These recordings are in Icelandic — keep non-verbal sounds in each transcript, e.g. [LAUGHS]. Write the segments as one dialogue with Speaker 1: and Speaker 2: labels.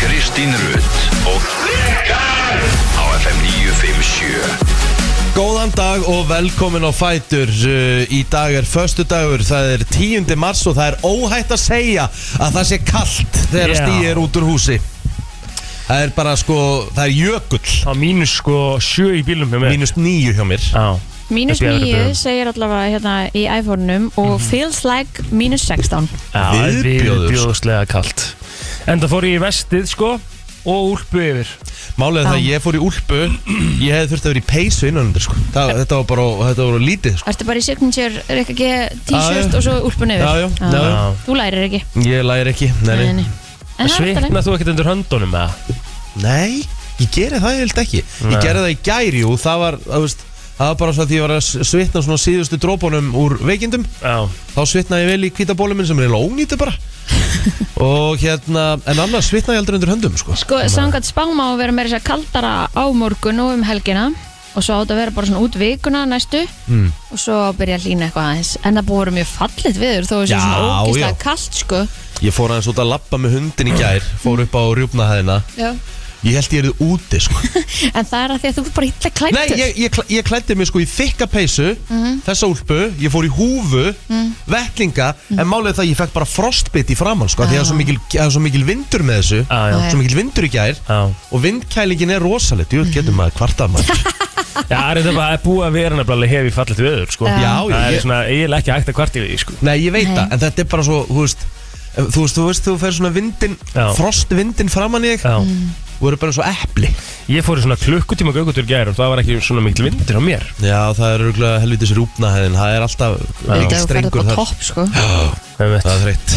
Speaker 1: Kristín Rutt og Rikar á FM 957
Speaker 2: Góðan dag og velkomin á Fætur Uh, Í dag er förstu dagur, það er 10. mars og það er óhætt að segja að það sé kallt þegar
Speaker 3: Já.
Speaker 2: yeah. stíð er út úr húsi Það er bara sko, það er jökull
Speaker 3: Það var mínus sko sjö í bílum hjá mér
Speaker 2: Mínus nýju hjá mér
Speaker 3: Já
Speaker 4: Mínus
Speaker 3: Þetta er öðru
Speaker 4: 9
Speaker 3: brögum.
Speaker 4: segir allavega hérna í iPhone-num og
Speaker 2: Mhm.
Speaker 4: feels like mínus 16
Speaker 3: Já, það er
Speaker 2: Viðbjóður.
Speaker 3: viðbjóðslega kalt Enda fór ég í vestið sko og úlpu yfir
Speaker 2: Málið er það
Speaker 4: Já.
Speaker 2: að ég fór í úlpu Ég hefði þurft að vera í peysu innan undir sko það, Þetta var bara, þetta var lítið sko
Speaker 4: Ertu bara í signature, Rikka G
Speaker 2: Já, já.
Speaker 4: t-shirt og svo úlpun yfir
Speaker 2: Já, já, já, já.
Speaker 3: Já.
Speaker 4: Þú lærir ekki
Speaker 2: Ég læri ekki, nei, nei.
Speaker 4: En það er alltaf
Speaker 3: Svitnað þú ekkert undir höndunum með það?
Speaker 2: Nei, ég geri það ég held ekki Ég
Speaker 3: Nei.
Speaker 2: geri það í gæri og það var, það, veist, það var bara svo að því ég var að svitna svona síðustu drópunum úr veikindum
Speaker 3: Já
Speaker 2: Þá svitnaði ég vel í kvítabóluminn sem er eiginlega ónýtu
Speaker 4: [LAUGHS]
Speaker 2: bara Og hérna, en annars svitnaði ég aldrei undir höndum sko
Speaker 4: Sko, samkvæmt spáma á að vera meira þess að kaldara á morgun og um helgina og svo átt að vera bara svona út vikuna næstu
Speaker 2: hmm,
Speaker 4: mm. og svo byrja að hlýna eitthvað aðeins en það búið að vera mjög fallit viður þó að það sé
Speaker 2: Já,
Speaker 4: svona ógislega
Speaker 2: já.
Speaker 4: kalt sko
Speaker 2: Ég fór aðeins út að labba með hundin í gær, fór upp á rjúpnahæðina
Speaker 4: já. [LAUGHS]
Speaker 2: Ég held ég erið úti sko
Speaker 4: en það er að því að þú er bara illa klættur
Speaker 2: Nei, ég, ég, klæ- ég klæddi mig sko í þykka peysu
Speaker 4: Mhm.
Speaker 2: Þessa úlpu, ég fór í húfu
Speaker 4: Mm.
Speaker 2: Vettlinga, en
Speaker 3: Mhm.
Speaker 2: málið er það að Ég fekk bara frostbit í framann sko, af Því að það er svo mikil- það er svo mikil vindur með þessu
Speaker 3: Já, já.
Speaker 2: Svo mikil vindur í gær
Speaker 3: Já
Speaker 2: Og vindkælingin er rosalegt, jú, getur maður kvartað maður
Speaker 3: [LAUGHS] Já, það er þetta bara að búið að vera nefnilega hefi fallit viður sko
Speaker 4: Já.
Speaker 2: Já, já,
Speaker 3: Það
Speaker 2: ég-
Speaker 3: er svona eiginlega ekki hægt að kvarti við því sko
Speaker 2: Nei, ég veit
Speaker 4: Nei.
Speaker 2: það, en þetta er bara svo, þú veist Þú veist, þú veist, þú fer svona vindin
Speaker 3: Já.
Speaker 2: Frostvindin framann í þig
Speaker 3: Já
Speaker 2: Og eru bara svo epli
Speaker 3: Ég fór í svona klukkutíma gaugutur gær og það var ekki svona mikil vindur á mér
Speaker 2: Já, það er rúglega helvitis rúpnahæðin Það er alltaf
Speaker 3: Já.
Speaker 2: mikill
Speaker 4: Þetta þú ferði
Speaker 2: strengur
Speaker 4: bara
Speaker 2: þar.
Speaker 4: topp sko
Speaker 3: Einmitt.
Speaker 2: Það er þreytt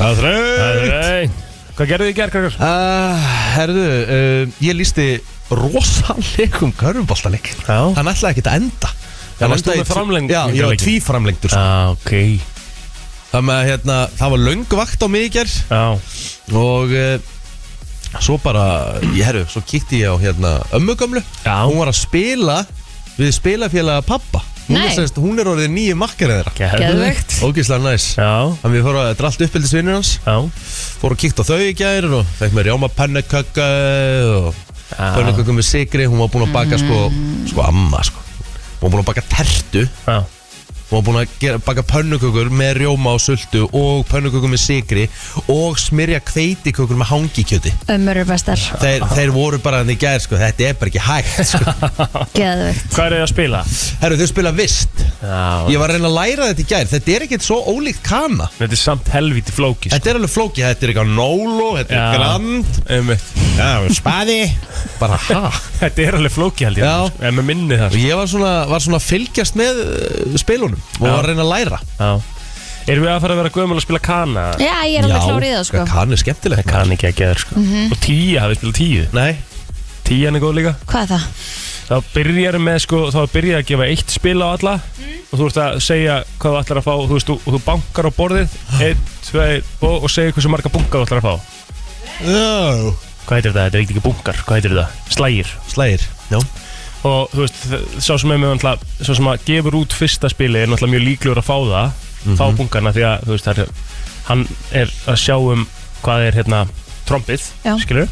Speaker 2: Það er
Speaker 3: Það
Speaker 2: þreytt
Speaker 3: er Nei. Hvað gerðu þið í gær, krakkar?
Speaker 2: Uh, herðu, uh, ég lísti rosalegum körfuboltaleik
Speaker 3: Já
Speaker 2: Hann ætlaði ekki að enda
Speaker 3: Já,
Speaker 2: Hann
Speaker 3: varst þú með
Speaker 2: endaði í tv-
Speaker 3: framleng-
Speaker 2: Já, ég var
Speaker 3: leikinn?
Speaker 2: tvíframlengdur
Speaker 3: Já,
Speaker 2: sko.
Speaker 3: Ah, ok
Speaker 2: Það með að hérna, það var löng vakt á mig í ger
Speaker 3: Já
Speaker 2: Og uh, svo bara, ég herru, svo kíkti ég á hérna ömmugömlu
Speaker 3: Já.
Speaker 2: Hún var að spila við spilafélaga pappa Hún er,
Speaker 4: Nei.
Speaker 2: semst, hún er orðið nýju makkar eða
Speaker 4: Geðveikt.
Speaker 2: Ógislega næs
Speaker 3: Já
Speaker 2: Þannig við fórum að drallt uppbyldisvinnir hans
Speaker 3: Já
Speaker 2: Fór og kíkt á þau í gær og fekk með rjáma pannakökka og
Speaker 3: Já.
Speaker 2: pönnukökum með sigri, hún var búin að baka sko, sko amma sko hún var búin að baka tertu,
Speaker 3: Já
Speaker 2: hún var búin að gera, baka pönnukökur með rjóma og sultu og pönnukökur með sigri og smyrja kveitikökur með hangikjöti
Speaker 4: Ömmur er bestar,
Speaker 2: þeir, þeir voru bara þannig í gær sko, þetta er bara ekki hægt sko.
Speaker 3: [LAUGHS]
Speaker 4: geðvögt
Speaker 3: Hvað er þið að spila?
Speaker 2: herru þau spila vist
Speaker 3: Já
Speaker 2: ég var að reyna að læra þetta í gær, þetta er ekkert svo ólíkt kana
Speaker 3: Þetta er samt helvíti flóki sko.
Speaker 2: Þetta er alveg flókið, þetta er eitthvað nólo, þetta er
Speaker 3: Já.
Speaker 2: grand
Speaker 3: Einmitt.
Speaker 2: Já, spaði Bara hæ
Speaker 3: [LAUGHS] Þetta er alveg flóki held ég
Speaker 2: Já.
Speaker 3: sko. En með minni það
Speaker 2: Og
Speaker 3: sko.
Speaker 2: ég var svona, var svona að fylgjast með uh, spilunum og
Speaker 3: Já.
Speaker 2: var að reyna að læra
Speaker 3: Já Erum við að fara að vera gömul að spila kana?
Speaker 4: Já, ég er alveg klárið það sko Mm.
Speaker 2: kann er skemmtilegt maður.
Speaker 3: Kan ekki að geða sko.
Speaker 4: Mhm.
Speaker 3: Og tíja, hafið spilað tíu
Speaker 2: Nei,
Speaker 3: Tíjan er góð líka
Speaker 4: Hvað er það?
Speaker 3: Þá byrjar með sko Þá byrjar að gefa eitt spil á alla Og þú ert að segja hvað þú ætlar að fá Þú veist, þú, og þú bankar á borðið Einn, tveir, og, og segja hversu marga bunkar þú ætlar að fá
Speaker 2: no.
Speaker 3: Hvað heitir þetta? Þetta er ekki bunkar Hvað heitir þetta? Slægir
Speaker 2: slægir Já.
Speaker 3: og þú veist, þ- sá sem er með náttúrulega- sá sem að gefur út fyrsta spili er náttúrulega mjög líklegur að fá það
Speaker 2: Mhm.
Speaker 3: fá bunkarna því að þú veist, það er, hann er að sjá um hvað er hérna trompið,
Speaker 4: Já.
Speaker 3: skilur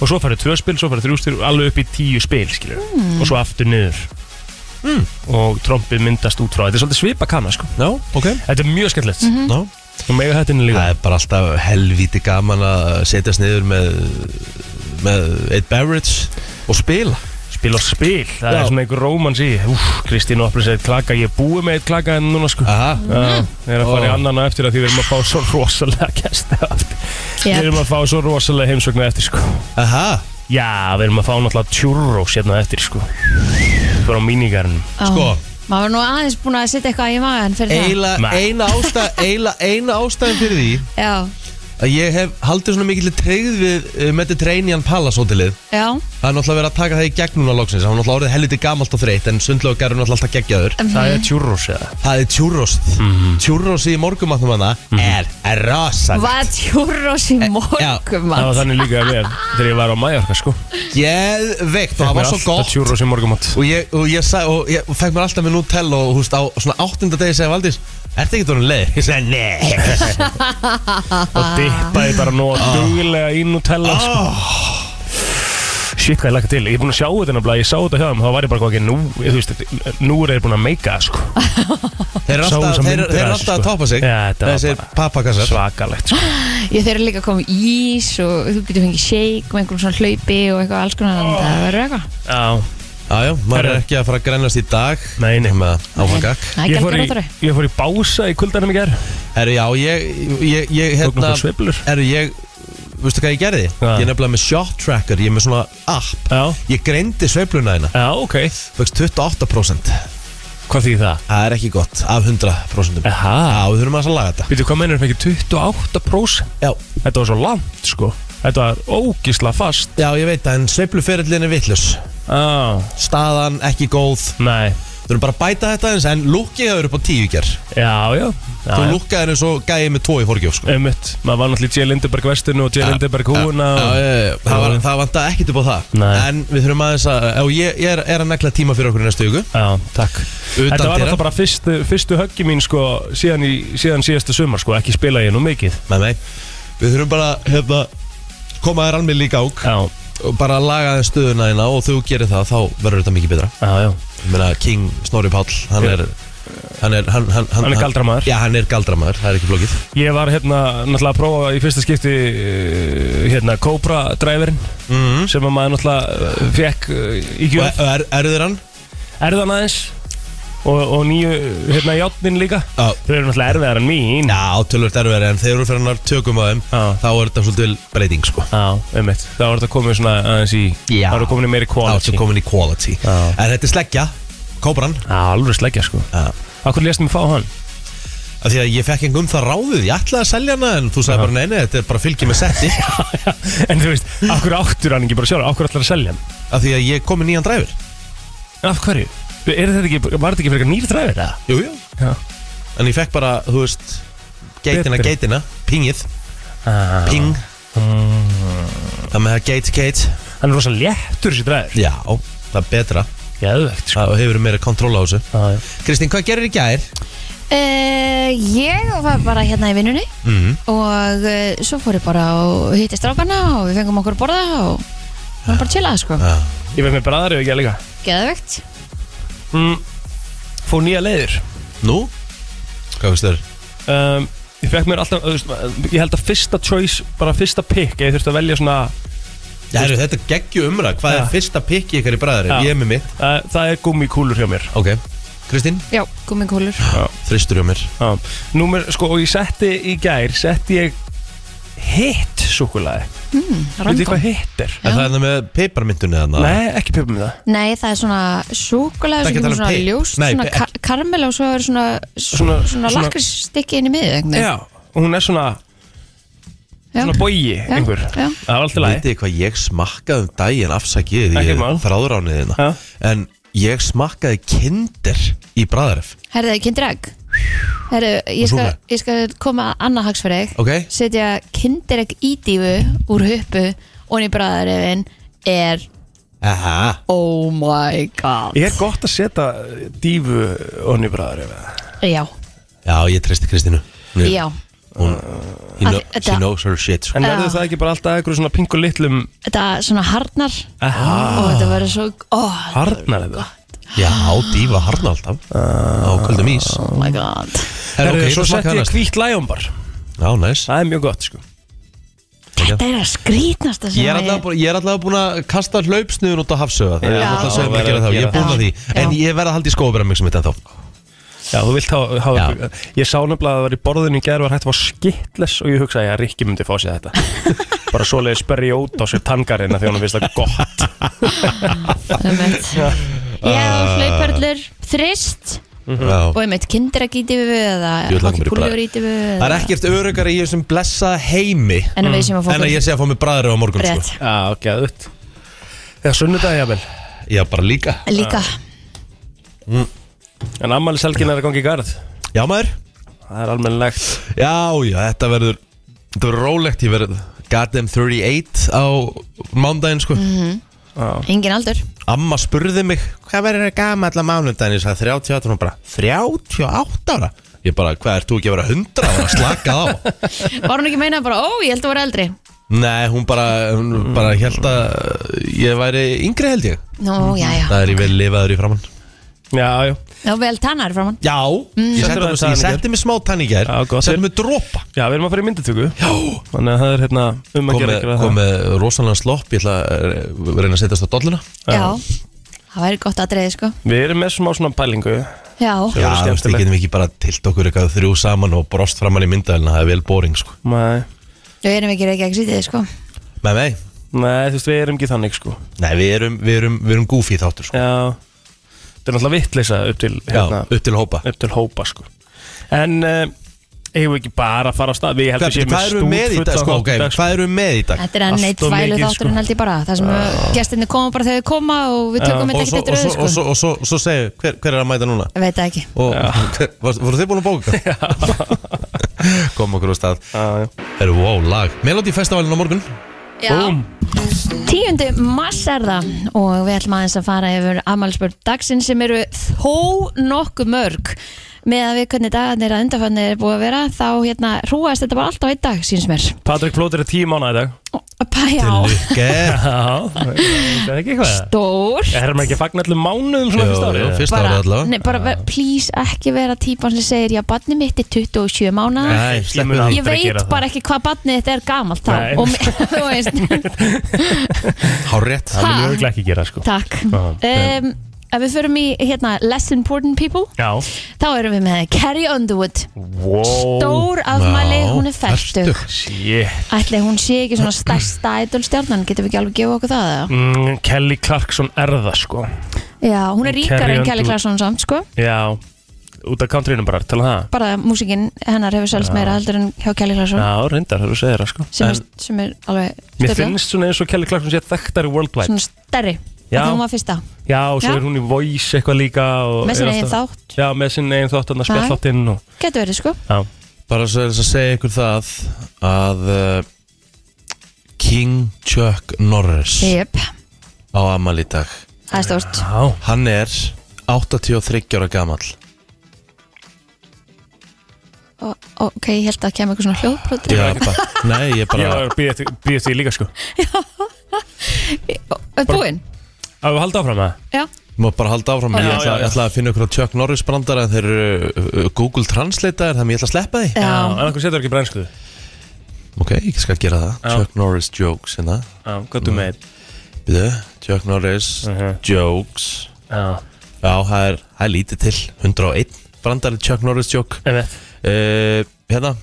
Speaker 3: og svo færðu tvö spil, svo færðu þrjú spil alveg upp í tíu spil, skilur og svo aftur niður og trompið myndast út frá, þetta er svolítið svipa kanna sko.
Speaker 2: Hmm. Já, ok Mhm.
Speaker 3: þetta er mjög skemmtilegt mm -hmm.
Speaker 2: Já.
Speaker 3: og mega þetta inn líka
Speaker 2: Það er bara alltaf helvíti gaman að setjast niður með, með eitt beverage og spila
Speaker 3: spil og spil, það
Speaker 2: Já.
Speaker 3: er svona einhver rómans í Úf, Kristín Opplins eitt klaka, ég er búið með eitt klaka en núna sko
Speaker 2: Aha. Mhm.
Speaker 3: Já, við erum að fara í
Speaker 2: Ó.
Speaker 3: annan á eftir að því við erum að fá svo rosalega gæsti aftur. Við
Speaker 4: Yep.
Speaker 3: erum að fá svo rosalega heimsóknu eftir sko.
Speaker 2: Aha.
Speaker 3: Já, við erum að fá náttúrulega tjúrós hérna á eftir sko. Þú erum á mínigarnum.
Speaker 2: Sko.
Speaker 4: Maður var nú aðeins búin að setja eitthvað í magan fyrir
Speaker 2: Eila,
Speaker 3: Nei. [LAUGHS]
Speaker 2: eina, ástæ, eila, eina ástæðin fyrir því
Speaker 4: það Já,
Speaker 2: að ég hef haldið svona mikill treyð við uh, með þetta Treinian Palace hótelið
Speaker 4: já
Speaker 2: Það er náttúrulega verið að taka það í gegn núna loksins Það er náttúrulega orðið helviti gamalt og þreytt En sundlega gerur náttúrulega alltaf geggjaður
Speaker 3: Það er tjúrós eða? Mhm.
Speaker 2: Það er tjúrós mm í morgumatnum hana er, er rosan
Speaker 4: Hvað tjúrós í morgum
Speaker 3: Eh, Það var
Speaker 4: maður?
Speaker 3: þannig líka að við þegar ég var á Mallorca sko.
Speaker 2: Geðveikt og það var svo gott
Speaker 3: Tjúrós í morgumátt.
Speaker 2: Og ég, og ég, sag, og ég og fekk mér alltaf með Nutella og húst á svona áttunda degi segja Valdís Ertu ekki tónum leið? Ég sagði, nei
Speaker 3: og dippaði bara nú
Speaker 2: Ah.
Speaker 3: duglega í Nutella sko. Shit, hvað ég laka til Ég er búin að sjá þetta nefnilega, ég sá þetta hjá þeim Þá var ég bara hvað ekki, nú, ég, þú veist, nú er ég búin að meika það, sko.
Speaker 2: [LAUGHS] Þeir eru
Speaker 3: Sá
Speaker 2: alltaf,
Speaker 3: þessar
Speaker 2: þeir,
Speaker 3: myndir
Speaker 2: þeir
Speaker 3: af
Speaker 2: eru
Speaker 3: þessu,
Speaker 2: alltaf að
Speaker 3: sko.
Speaker 2: tápa sig
Speaker 3: Já, þetta var
Speaker 2: Þessir
Speaker 3: bara
Speaker 2: pappakassar
Speaker 3: Svakalegt sko.
Speaker 4: Ég þeir eru líka að koma í ís og þú getur fengið shake með einhverjum svona hlaupi og eitthvað alls konar þannig að það verður eitthvað.
Speaker 3: Já,
Speaker 2: Jájá, maður er
Speaker 3: Herru.
Speaker 2: ekki að fara að grænast í dag
Speaker 3: Nei, nei.
Speaker 2: Þannig að áfram gakk.
Speaker 4: Það er
Speaker 3: ég fór,
Speaker 4: gælgjur
Speaker 3: í,
Speaker 4: óttari.
Speaker 3: ég fór í bása í kuldanum í gerð
Speaker 2: Herru, já, ég, ég, ég
Speaker 3: Tók
Speaker 2: hérna
Speaker 3: nokkuð sveiflur
Speaker 2: Herru, ég, veistu hvað ég gerði?
Speaker 3: Hvað?
Speaker 2: Ég er nefnilega með shot tracker, ég er með svona app
Speaker 3: Já,
Speaker 2: Ég greindi sveifluna hérna
Speaker 3: já, ok
Speaker 2: Fögst 28%
Speaker 3: Hvað þýð það?
Speaker 2: Það er ekki gott, af 100% Já,
Speaker 3: Aha
Speaker 2: við þurfum aðeins að laga þetta
Speaker 3: Býtu, hvað mennir fengið 28%
Speaker 2: Já,
Speaker 3: Þetta var svo langt, sko Þetta var ógisla fast
Speaker 2: já ég veit það, en sveifluferillin er vitlaus
Speaker 3: Já,
Speaker 2: Staðan ekki góð
Speaker 3: nei
Speaker 2: Þurfum bara að bæta þetta eins, en lukkið hefur upp á 10 í ger
Speaker 3: Já, já
Speaker 2: Þú lukkaðir eins og gæði með 2 í forgjöf, sko
Speaker 3: Ummitt, maður var náttúrulega í J. Lindeberg vestinu og J. Lindeberg húna
Speaker 2: Já,
Speaker 3: og...
Speaker 2: já, já, já. það, var, það vanta ekkert upp á það
Speaker 3: Nei.
Speaker 2: En við þurfum aðeins að og ég, ég er, er að negla tíma fyrir okkur í næstu viku
Speaker 3: Já, takk
Speaker 2: Utan
Speaker 3: Þetta var
Speaker 2: dyra.
Speaker 3: náttúrulega bara fyrstu, fyrstu höggi mín sko síðan, í, síðan síðasta sumar sko ekki spila ég nú mikið
Speaker 2: Með mig Við þurfum bara hérna, koma þér alveg líka ák
Speaker 3: Já,
Speaker 2: og bara laga þér stöðuna þína og þú gerir það þá verður þetta mikið betra
Speaker 3: já, já
Speaker 2: Ég meina King Snorri Páll hann
Speaker 3: Já.
Speaker 2: er hann er, hann, hann,
Speaker 3: Hann er galdramaður.
Speaker 2: Já, hann er galdramaður, það er ekki flókið
Speaker 3: Ég var hérna náttúrulega að prófa í fyrsta skipti eh, hérna Cobra driverinn
Speaker 2: Mhm.
Speaker 3: sem að maður náttúrulega eh, fekk eh, í
Speaker 2: Og
Speaker 3: gjöf
Speaker 2: er, er, Erður hann?
Speaker 3: erðan aðeins og, og nýju hérna játnin líka
Speaker 2: Já,
Speaker 3: Þau eru náttúrulega erfiðar en mín
Speaker 2: já tölvöld erður en þegar þú fyrir hann tökum á þeim
Speaker 3: Já.
Speaker 2: þá er þetta svolítið breyting sko
Speaker 3: Já, einmitt Það var þetta komið svona aðeins í
Speaker 2: Já.
Speaker 3: Það var komin í meiri
Speaker 2: Þá ertu
Speaker 3: quality
Speaker 2: komin í quality
Speaker 3: Já.
Speaker 2: En þetta er sleggja, kóbran
Speaker 3: Já, alveg sleggja sko
Speaker 2: Já.
Speaker 3: Akkur lést mér fá hann?
Speaker 2: Af Því að ég fekk engum það ráðið, ég ætlaði að selja hana en þú sagði bara neini, þetta er bara fylgjum
Speaker 3: [LAUGHS]
Speaker 2: með setti
Speaker 3: en þú veist, akkur áttur hann ekki bara sjálf Akkur ætlar að selja hann?
Speaker 2: Af því að ég kom með nýjan dræfur
Speaker 3: Af hverju? Er þetta ekki, var þetta ekki fyrir eitthvað nýr dræfir það?
Speaker 2: Jú, jú
Speaker 3: Já
Speaker 2: En ég fekk bara, þú veist, geitina,
Speaker 3: Betri.
Speaker 2: geitina, pingið,
Speaker 3: Ah. Mm.
Speaker 2: ping Það með það geit, geit
Speaker 3: Hann er rosa léttur þessi dræfir
Speaker 2: Já, það er betra,
Speaker 3: Jæðvegt sko
Speaker 2: það hefur meira kontról á þessu
Speaker 3: Já, já.
Speaker 2: Kristín, hvað gerir í gær?
Speaker 4: Uh, ég var bara hérna í vinnunni
Speaker 2: Mm.
Speaker 4: og uh, svo fór ég bara og hitti strákana og við fengum okkur að borða og það var bara chillað sko.
Speaker 3: Ég veit með bræðar ef ekki að líka
Speaker 4: Geðvegt.
Speaker 3: mm, Fór nýja leiðir
Speaker 2: Nú? Hvað finnst þér?
Speaker 3: um, Ég fekk mér alltaf, þú veist, ég held að fyrsta choice Bara fyrsta pick, ef ég þurfti að velja svona
Speaker 2: Já, heyrðu, þetta geggjum umra, hvað
Speaker 3: Já.
Speaker 2: er fyrsta pikki ykkar í bræðari?
Speaker 3: Já.
Speaker 2: Ég er með mitt
Speaker 3: uh, Það er gummikúlur hjá mér
Speaker 2: Ok, Kristín,
Speaker 4: Já, gummikúlur.
Speaker 2: þristur hjá mér
Speaker 3: Já. Númer, sko, og ég setti í gær Setti ég hitt súkulaði
Speaker 4: Mm,
Speaker 3: Veit þið
Speaker 4: Random.
Speaker 3: hvað hitt er?
Speaker 2: En það er það með peiparmyndunni þarna
Speaker 3: Nei, ekki pjöfum við það
Speaker 4: Nei, það er svona súkulega
Speaker 2: Það er
Speaker 4: sem
Speaker 2: ekki að tala
Speaker 4: kemur
Speaker 2: um
Speaker 4: svona
Speaker 2: pip.
Speaker 4: ljóst,
Speaker 2: Nei,
Speaker 4: svona
Speaker 2: ekki-
Speaker 4: kar karmel og svo er svona, svona,
Speaker 3: Svona-
Speaker 4: svona
Speaker 3: svona-
Speaker 4: lakristykki inn í miðið einhvern
Speaker 3: Já, og hún er svona, svona bógi einhver
Speaker 4: já.
Speaker 3: Það var alltaf læg
Speaker 2: Vitið þið hvað ég smakkaði um daginn afsakið því
Speaker 3: Ekkert
Speaker 2: ég
Speaker 3: mál.
Speaker 2: þráðránið þina
Speaker 3: Já.
Speaker 2: En ég smakkaði kindir í bræðaref
Speaker 4: Herðu, kindir egg Herðu,
Speaker 2: Og
Speaker 4: ég skal,
Speaker 2: súkkulaði.
Speaker 4: ég skal koma að annað hags fyrir þig
Speaker 2: Ok,
Speaker 4: Setja kindir egg í dífu úr huppu og í bræðarefin er
Speaker 2: aha
Speaker 4: oh my god
Speaker 3: Er gott að setja dífu onni bræðar ef það?
Speaker 4: Já,
Speaker 2: Já, ég treysti Kristínu Hún er-
Speaker 4: já
Speaker 2: Hún, he
Speaker 4: Af-
Speaker 2: know, she
Speaker 4: þetta-
Speaker 2: knows her shit sko.
Speaker 3: En
Speaker 4: Já.
Speaker 3: verður það ekki bara alltaf einhverju svona pingu litlum
Speaker 4: Þetta svona harnar
Speaker 3: Aha.
Speaker 2: Ah.
Speaker 4: og þetta verður svo oh,
Speaker 3: harnar eða?
Speaker 2: Já, dífa harna alltaf Á kvöldum ís
Speaker 4: oh my god
Speaker 2: Herra,
Speaker 3: Ah. svo
Speaker 2: ok, það
Speaker 3: setti
Speaker 2: smakkaði
Speaker 3: ég
Speaker 2: næst
Speaker 3: hvítt lægumbar
Speaker 2: Já, næs
Speaker 3: Það er mjög gott sko
Speaker 4: Þetta er að skrýtnast að
Speaker 2: Ég er allavega búin- ég er allavega búin að kasta hlaupsniðun út á hafsöga Það er
Speaker 4: Já.
Speaker 2: alltaf sem
Speaker 3: Já,
Speaker 2: að gera það Ég er búin að því
Speaker 4: já.
Speaker 2: En ég verð að halda í skóðbæramixum mitt ennþá
Speaker 3: Já, þú vilt hafa, hafa
Speaker 2: Já.
Speaker 3: Ég sá nefnilega að það var í borðinu í gerð var hægt að fá skittles og ég hugsaði að Rikki myndi fá sér
Speaker 2: [LAUGHS]
Speaker 3: þetta Bara svoleiði sperri út á sér tangarinn af því að honum finnst það gott
Speaker 4: Já,
Speaker 2: Ah.
Speaker 4: hlaupörlur, þrist
Speaker 2: Já.
Speaker 4: og ég meitt kindirakítifu eða
Speaker 2: Ég vil langa mér í bragð.
Speaker 4: hokkipúljórítifu
Speaker 2: Það er ekkert öryggar í þessum blessa heimi
Speaker 4: En að við sem að fá
Speaker 2: En að ég sé að fá mig bræðaref á morgun sko.
Speaker 4: rétt
Speaker 3: Já, gæðut Eða sunnudagi jafnvel
Speaker 2: Já, bara líka Ah. Mm.
Speaker 4: Líka,
Speaker 3: En ammælishelgin er að gangi í garð
Speaker 2: Já maður
Speaker 3: Það er almennilegt
Speaker 2: Já, já, þetta verður Þetta verður rólegt, ég verð Goddamn 38 á mándaginn sko
Speaker 4: Mhm. engin aldur
Speaker 2: Amma spurði mig Hvað verður það gama allar mánudaginn? Ég sagði 38 og hún bara 38 ára? Ég bara, hvað, ert þú ekki að vera hundra? Það var að slaka á [LAUGHS]
Speaker 4: Var hún ekki meinað bara, ó, ég held að vera eldri
Speaker 2: Nei, hún bara, hún bara held að ég væri yngri held ég
Speaker 4: Nú, já, já,
Speaker 2: Það er ég vel lifaður í framann
Speaker 3: Já, já,
Speaker 4: þá vel tannar framann
Speaker 2: Já,
Speaker 4: Mm.
Speaker 2: ég setti
Speaker 3: Settirðu
Speaker 2: mig-
Speaker 3: á það
Speaker 2: ég
Speaker 3: í gær?
Speaker 2: setti mig smá tann í gær
Speaker 3: Já, gott.
Speaker 2: Setti mig dropa
Speaker 3: já, við erum að fara í myndatöku
Speaker 2: Já
Speaker 3: Þannig að það er hérna um að gera
Speaker 2: Komið
Speaker 3: ykkur að það
Speaker 2: kom með rosalega slopp Ég ætla að eh, reyna að setjast á dolluna
Speaker 4: Já, það væri gott að dreði, sko
Speaker 3: Við erum með smá svona pælingu
Speaker 4: Já,
Speaker 3: Já,
Speaker 2: Já, þú veist,
Speaker 3: skemmtilegt.
Speaker 2: við getum ekki bara tilt okkur eitthvað þrjú saman og brost framann í myndavælina, það er vel boring, sko.
Speaker 3: Nei,
Speaker 4: við erum ekki reykja ekki sítið, sko
Speaker 2: Nei, nei,
Speaker 3: nei, þú veist, við erum ekki þannig sko
Speaker 2: nei, við erum, við erum, við erum goofy þáttur, sko.
Speaker 3: Já, þetta er náttúrulega vittleysa upp til
Speaker 2: Já,
Speaker 3: hérna,
Speaker 2: upp til hópa.
Speaker 3: upp til hópa sko En uh, eigum við ekki bara að fara á stað Við
Speaker 2: Hvað
Speaker 3: heldum
Speaker 2: hvað erum við með í dag, sko, ok, hvað erum við með í dag?
Speaker 4: Þetta er enn eitt
Speaker 3: Allt of
Speaker 4: þvælu
Speaker 3: mikið,
Speaker 4: þátturinn
Speaker 3: sko.
Speaker 4: held ég bara Það sem gestinni koma bara þegar þau koma og við tökum
Speaker 2: Og
Speaker 4: þetta
Speaker 2: svo,
Speaker 4: ekkert
Speaker 2: og svo,
Speaker 4: eftir öðu,
Speaker 2: og svo,
Speaker 4: sko
Speaker 2: og svo, og svo segju, hver, hver er að mæta núna?
Speaker 4: Veit það ekki
Speaker 2: Og, [LAUGHS] hver- varst- voru þið búin
Speaker 3: [LAUGHS]
Speaker 2: að bóka? Já. [LAUGHS] Kom okkur á stað.
Speaker 3: Já,
Speaker 2: Erum við á lag. Melody Festivalin á morgun.
Speaker 4: Já,
Speaker 3: Búm.
Speaker 4: 10. mars er það og við ætlum aðeins að fara yfir afmælspörn dagsinn sem eru þó nokkuð mörg með að við hvernig dagarnir að undarfannir er búið að vera þá hérna hrúast þetta bara alltaf einn dag síns mér
Speaker 3: Patrik Plóter er tíu mánu í dag
Speaker 4: Pá, Já,
Speaker 2: Lukke.
Speaker 3: [LAUGHS] Já, það er ekki eitthvað
Speaker 4: stór
Speaker 3: Er maður ekki að fagna allir mánuðum svona fyrst
Speaker 2: Jú,
Speaker 3: árið?
Speaker 2: jú, fyrsta
Speaker 4: bara,
Speaker 2: árið allavega.
Speaker 4: nei, bara ver- please ekki vera típan sem segir já, barni mitt er 27 mánuð
Speaker 2: Nei,
Speaker 3: Ég
Speaker 2: sleppum
Speaker 3: mun
Speaker 2: því.
Speaker 4: ég
Speaker 3: aldrei gera
Speaker 4: veit
Speaker 3: það.
Speaker 4: bara ekki hvað barnið þetta er gamalt þá
Speaker 3: Nei.
Speaker 4: og mi- [LAUGHS] þú veist,
Speaker 2: [LAUGHS] Hárrétt.
Speaker 3: Það
Speaker 4: Ha?
Speaker 3: mun örgulega ekki gera sko
Speaker 4: takk
Speaker 3: Já,
Speaker 4: um, ef við förum í hérna, less important people
Speaker 3: Já
Speaker 4: þá erum við með Carrie Underwood
Speaker 3: wow.
Speaker 4: stór afmæli,
Speaker 2: Já,
Speaker 4: hún er færtug
Speaker 2: fertug.
Speaker 3: Shit
Speaker 4: ætli hún sé ekki svona stærsta idolstjarnan getum við ekki alveg gefa okkur það eða?
Speaker 3: mm, Kelly Clarkson er það sko
Speaker 4: já, hún er ríkar
Speaker 3: Carrie
Speaker 4: en Kelly
Speaker 3: Underwood.
Speaker 4: Clarkson samt sko
Speaker 3: Já Út af countryinu bara, tala um það
Speaker 4: bara músikinn hennar hefur selst meira heldur en hjá Kelly Clarkson
Speaker 3: Já, reyndar, þú segir það sko
Speaker 4: sem,
Speaker 3: En
Speaker 4: er, sem er alveg
Speaker 3: Mér
Speaker 4: stöðla
Speaker 3: finnst svona eins og Kelly Clarkson sé þekktari worldwide
Speaker 4: svona stærri
Speaker 3: Já.
Speaker 4: já. hún var fyrsta
Speaker 3: Já, og svo
Speaker 4: Já.
Speaker 3: er hún í voice eitthvað líka og
Speaker 4: Með sinni
Speaker 3: er
Speaker 4: eigin
Speaker 3: alltaf-
Speaker 4: þátt.
Speaker 3: Já, með sinni eigin þátt, þannig að
Speaker 4: Já.
Speaker 3: spjallþáttinn og
Speaker 4: getur verið sko
Speaker 3: Já,
Speaker 2: Bara svo er þess að segja ykkur það að uh, King Chuck Norris
Speaker 4: yep.
Speaker 2: á amal í dag.
Speaker 4: það er stórt
Speaker 3: já,
Speaker 2: Hann er 83 ára gamall
Speaker 4: og, og, ok, ég held að kemur eitthvað svona hljóðbrot
Speaker 2: Já,
Speaker 4: [LAUGHS]
Speaker 2: bara, Nei, ég
Speaker 3: ég
Speaker 2: bara
Speaker 3: var að býja eftir- býja eftir því líka sko
Speaker 4: Ö, búinn
Speaker 3: Á, við halda áfram með
Speaker 4: já,
Speaker 2: Má bara halda áfram Ég
Speaker 3: Já,
Speaker 2: ætla,
Speaker 3: já, já.
Speaker 2: ég ætla að finna ykkur á Chuck Norris brandara en Þeir eru uh, Google Translator Þannig ég ætla að sleppa því
Speaker 4: já.
Speaker 3: En okkur setur ekki brænskuðu
Speaker 2: Ok, ég skal gera það
Speaker 3: Já.
Speaker 2: Chuck Norris jokes hérna
Speaker 3: Já, hvað þú með
Speaker 2: Býðu, Chuck Norris
Speaker 3: Mhm.
Speaker 2: jokes
Speaker 3: Já,
Speaker 2: Já, það er, það er lítið til 101 brandari Chuck Norris joke
Speaker 3: en veit
Speaker 2: uh, Hérna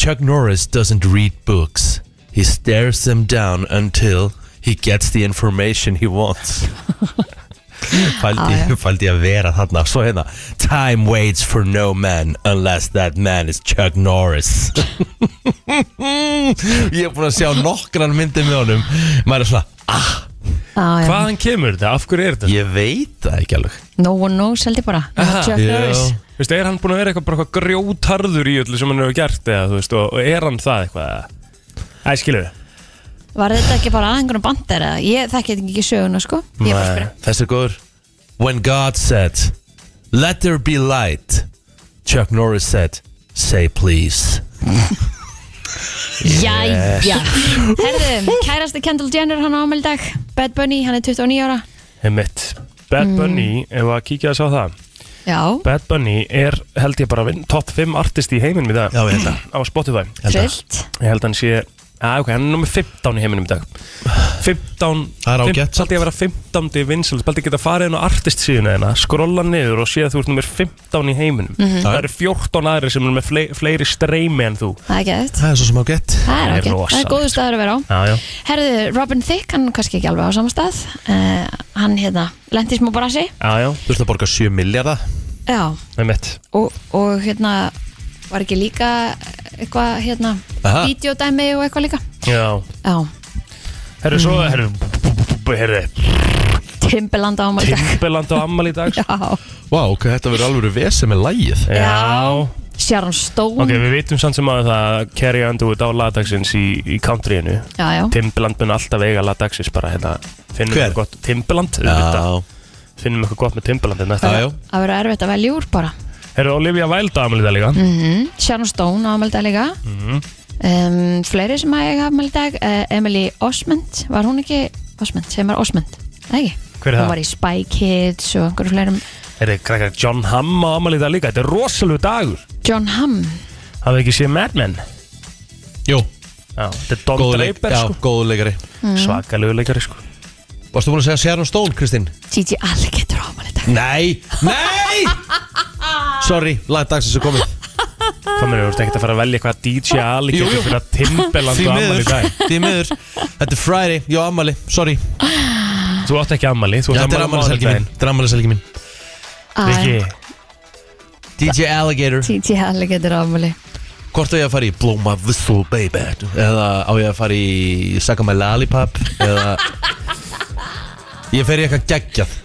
Speaker 2: Chuck Norris doesn't read books He stares them down until he gets the information he wants
Speaker 4: Já, já.
Speaker 2: Fældi, fældi að vera þarna Svo hérna Time waits for no man unless that man is Chuck Norris [LAUGHS] Ég er búin að sjá nokkran myndið með honum Maður er svona
Speaker 4: Já, já.
Speaker 3: Hvaðan kemur þetta? Af hverju er þetta?
Speaker 2: Ég veit það ekki alveg
Speaker 4: no one knows held ég bara Chuck
Speaker 2: Já.
Speaker 4: Norris
Speaker 3: Þú veist, er hann búin að vera eitthvað bara eitthvað grjótarður í öllu sem hann hefur gert eða, þú veist, og, og er hann það eitthvað eða? Æ, skilu
Speaker 4: Var þetta ekki bara aðengunum bandar eða? Ég þekki þetta ekki söguna sko Ég var að spyrja
Speaker 2: Þessi er góður When God said Let there be light Chuck Norris said Say please
Speaker 4: Jæja Herðu, kærasti Kendall Jenner hann á ámæli dag Bad Bunny, hann er 29 ára
Speaker 3: Emmett Bad
Speaker 4: Mm.
Speaker 3: Bunny, ef að kíkja að sjá það
Speaker 4: Já,
Speaker 3: Bad Bunny er, held ég bara, vinn- top 5 artist í heiminum í dag
Speaker 2: Já, ég held að.
Speaker 3: Á Spotify
Speaker 4: trillt
Speaker 3: Ég held að hann sé Já, ok, hann er nummer 15 í heiminum í dag 15
Speaker 2: Það er ágætt,
Speaker 3: Paldi að vera 15 í vinsal Paldi að geta farið inn á artist síðuna hérna Skrolla niður og sé að þú ert nummer 15 í heiminum Það eru 14 aðri sem eru með fle fleiri streymi en þú
Speaker 4: Það er gett
Speaker 2: Það er svo sem á gett
Speaker 4: Það er
Speaker 3: Það er
Speaker 4: ágætt, það er
Speaker 3: rosalegt.
Speaker 4: góður staður að vera á
Speaker 3: Já, já
Speaker 4: Herðu, Robin Thicke, hann er kannski ekki alveg á sama stað uh, Hann hérna, lendi í smá
Speaker 3: [LAUGHS]
Speaker 4: brasi
Speaker 3: Já, já,
Speaker 2: Þú ert að borga 7 miljardar
Speaker 4: Já,
Speaker 3: með mitt
Speaker 4: og, og hérna Var ekki líka eitthvað hérna
Speaker 2: Aha.
Speaker 4: Vídeodæmi og eitthvað líka
Speaker 3: Já
Speaker 4: Já,
Speaker 3: Herru, svo,
Speaker 2: Mhm.
Speaker 3: herru Herru,
Speaker 4: Timbaland á ámæli dag
Speaker 3: Timbaland á ammal í dag
Speaker 4: [LAUGHS] Já,
Speaker 2: Vá, wow, ok, þetta verður alveg vesið með lægið
Speaker 3: Já
Speaker 4: Sharon Stone
Speaker 3: Ok, við vitum samt sem að það að Carrie Underwood á lagdagsins í, í countryinu
Speaker 4: Já, já,
Speaker 3: Timbaland mun alltaf eiga lagdagsins bara hérna Finnum
Speaker 2: Hver?
Speaker 3: eitthvað gott Timbaland,
Speaker 2: Já,
Speaker 3: auðvitað Finnum eitthvað gott með Timbaland hérna
Speaker 2: já, já
Speaker 4: að vera erfitt að velja úr bara
Speaker 3: Herru, Olivia Wilde aðmæli það líka Mhm.
Speaker 4: Sharon Stone á afmældag líka um, fleiri sem að ég afmældag uh, Emily Osment, var hún ekki Osment, sem var Osment, eða ekki
Speaker 3: Hver er það?
Speaker 4: hún var í Spy Kids og einhverju fleirum
Speaker 3: Herru, krakkar, John Hamm á aðmæli það líka Þetta er rosalegu dagur
Speaker 4: John Hamm,
Speaker 3: Hafið ekki séð Mad Men
Speaker 2: Jú,
Speaker 3: Já, þetta er Don
Speaker 2: góðu leik-
Speaker 3: Draper
Speaker 2: já,
Speaker 3: sko
Speaker 2: góður leikari
Speaker 3: Svakalegu leikari sko
Speaker 2: Varstu búin að segja Sharon Stone, Kristín?
Speaker 4: Gigi Alligator á afmældag
Speaker 2: Nei,
Speaker 4: [LAUGHS]
Speaker 2: nei Sorry, lagdagsins er komið
Speaker 3: Hvað meður, þú ert ekkert að fara að velja hvað DJ Ali
Speaker 2: Jú, jú.
Speaker 3: getur fyrir að Timbaland
Speaker 2: Því
Speaker 3: á ammali
Speaker 2: miður,
Speaker 3: í dag
Speaker 2: því miður Þetta er Friday, já ammali, sorry
Speaker 3: Þú átt ekki ammali, þú átt
Speaker 2: Þetta
Speaker 3: ammali
Speaker 2: er
Speaker 3: á
Speaker 2: ammaliselgi mín
Speaker 3: mánudaginn
Speaker 2: Þetta er ammaliselgi mín
Speaker 3: Rikki,
Speaker 2: DJ Alligator
Speaker 4: Gigi Alligator á afmæli [LAUGHS]
Speaker 2: Hvort á ég að fara í Blow My Whistle Baby Eða á ég að fara í Suck on My Lollipop Eða Ég fer í eitthvað geggjað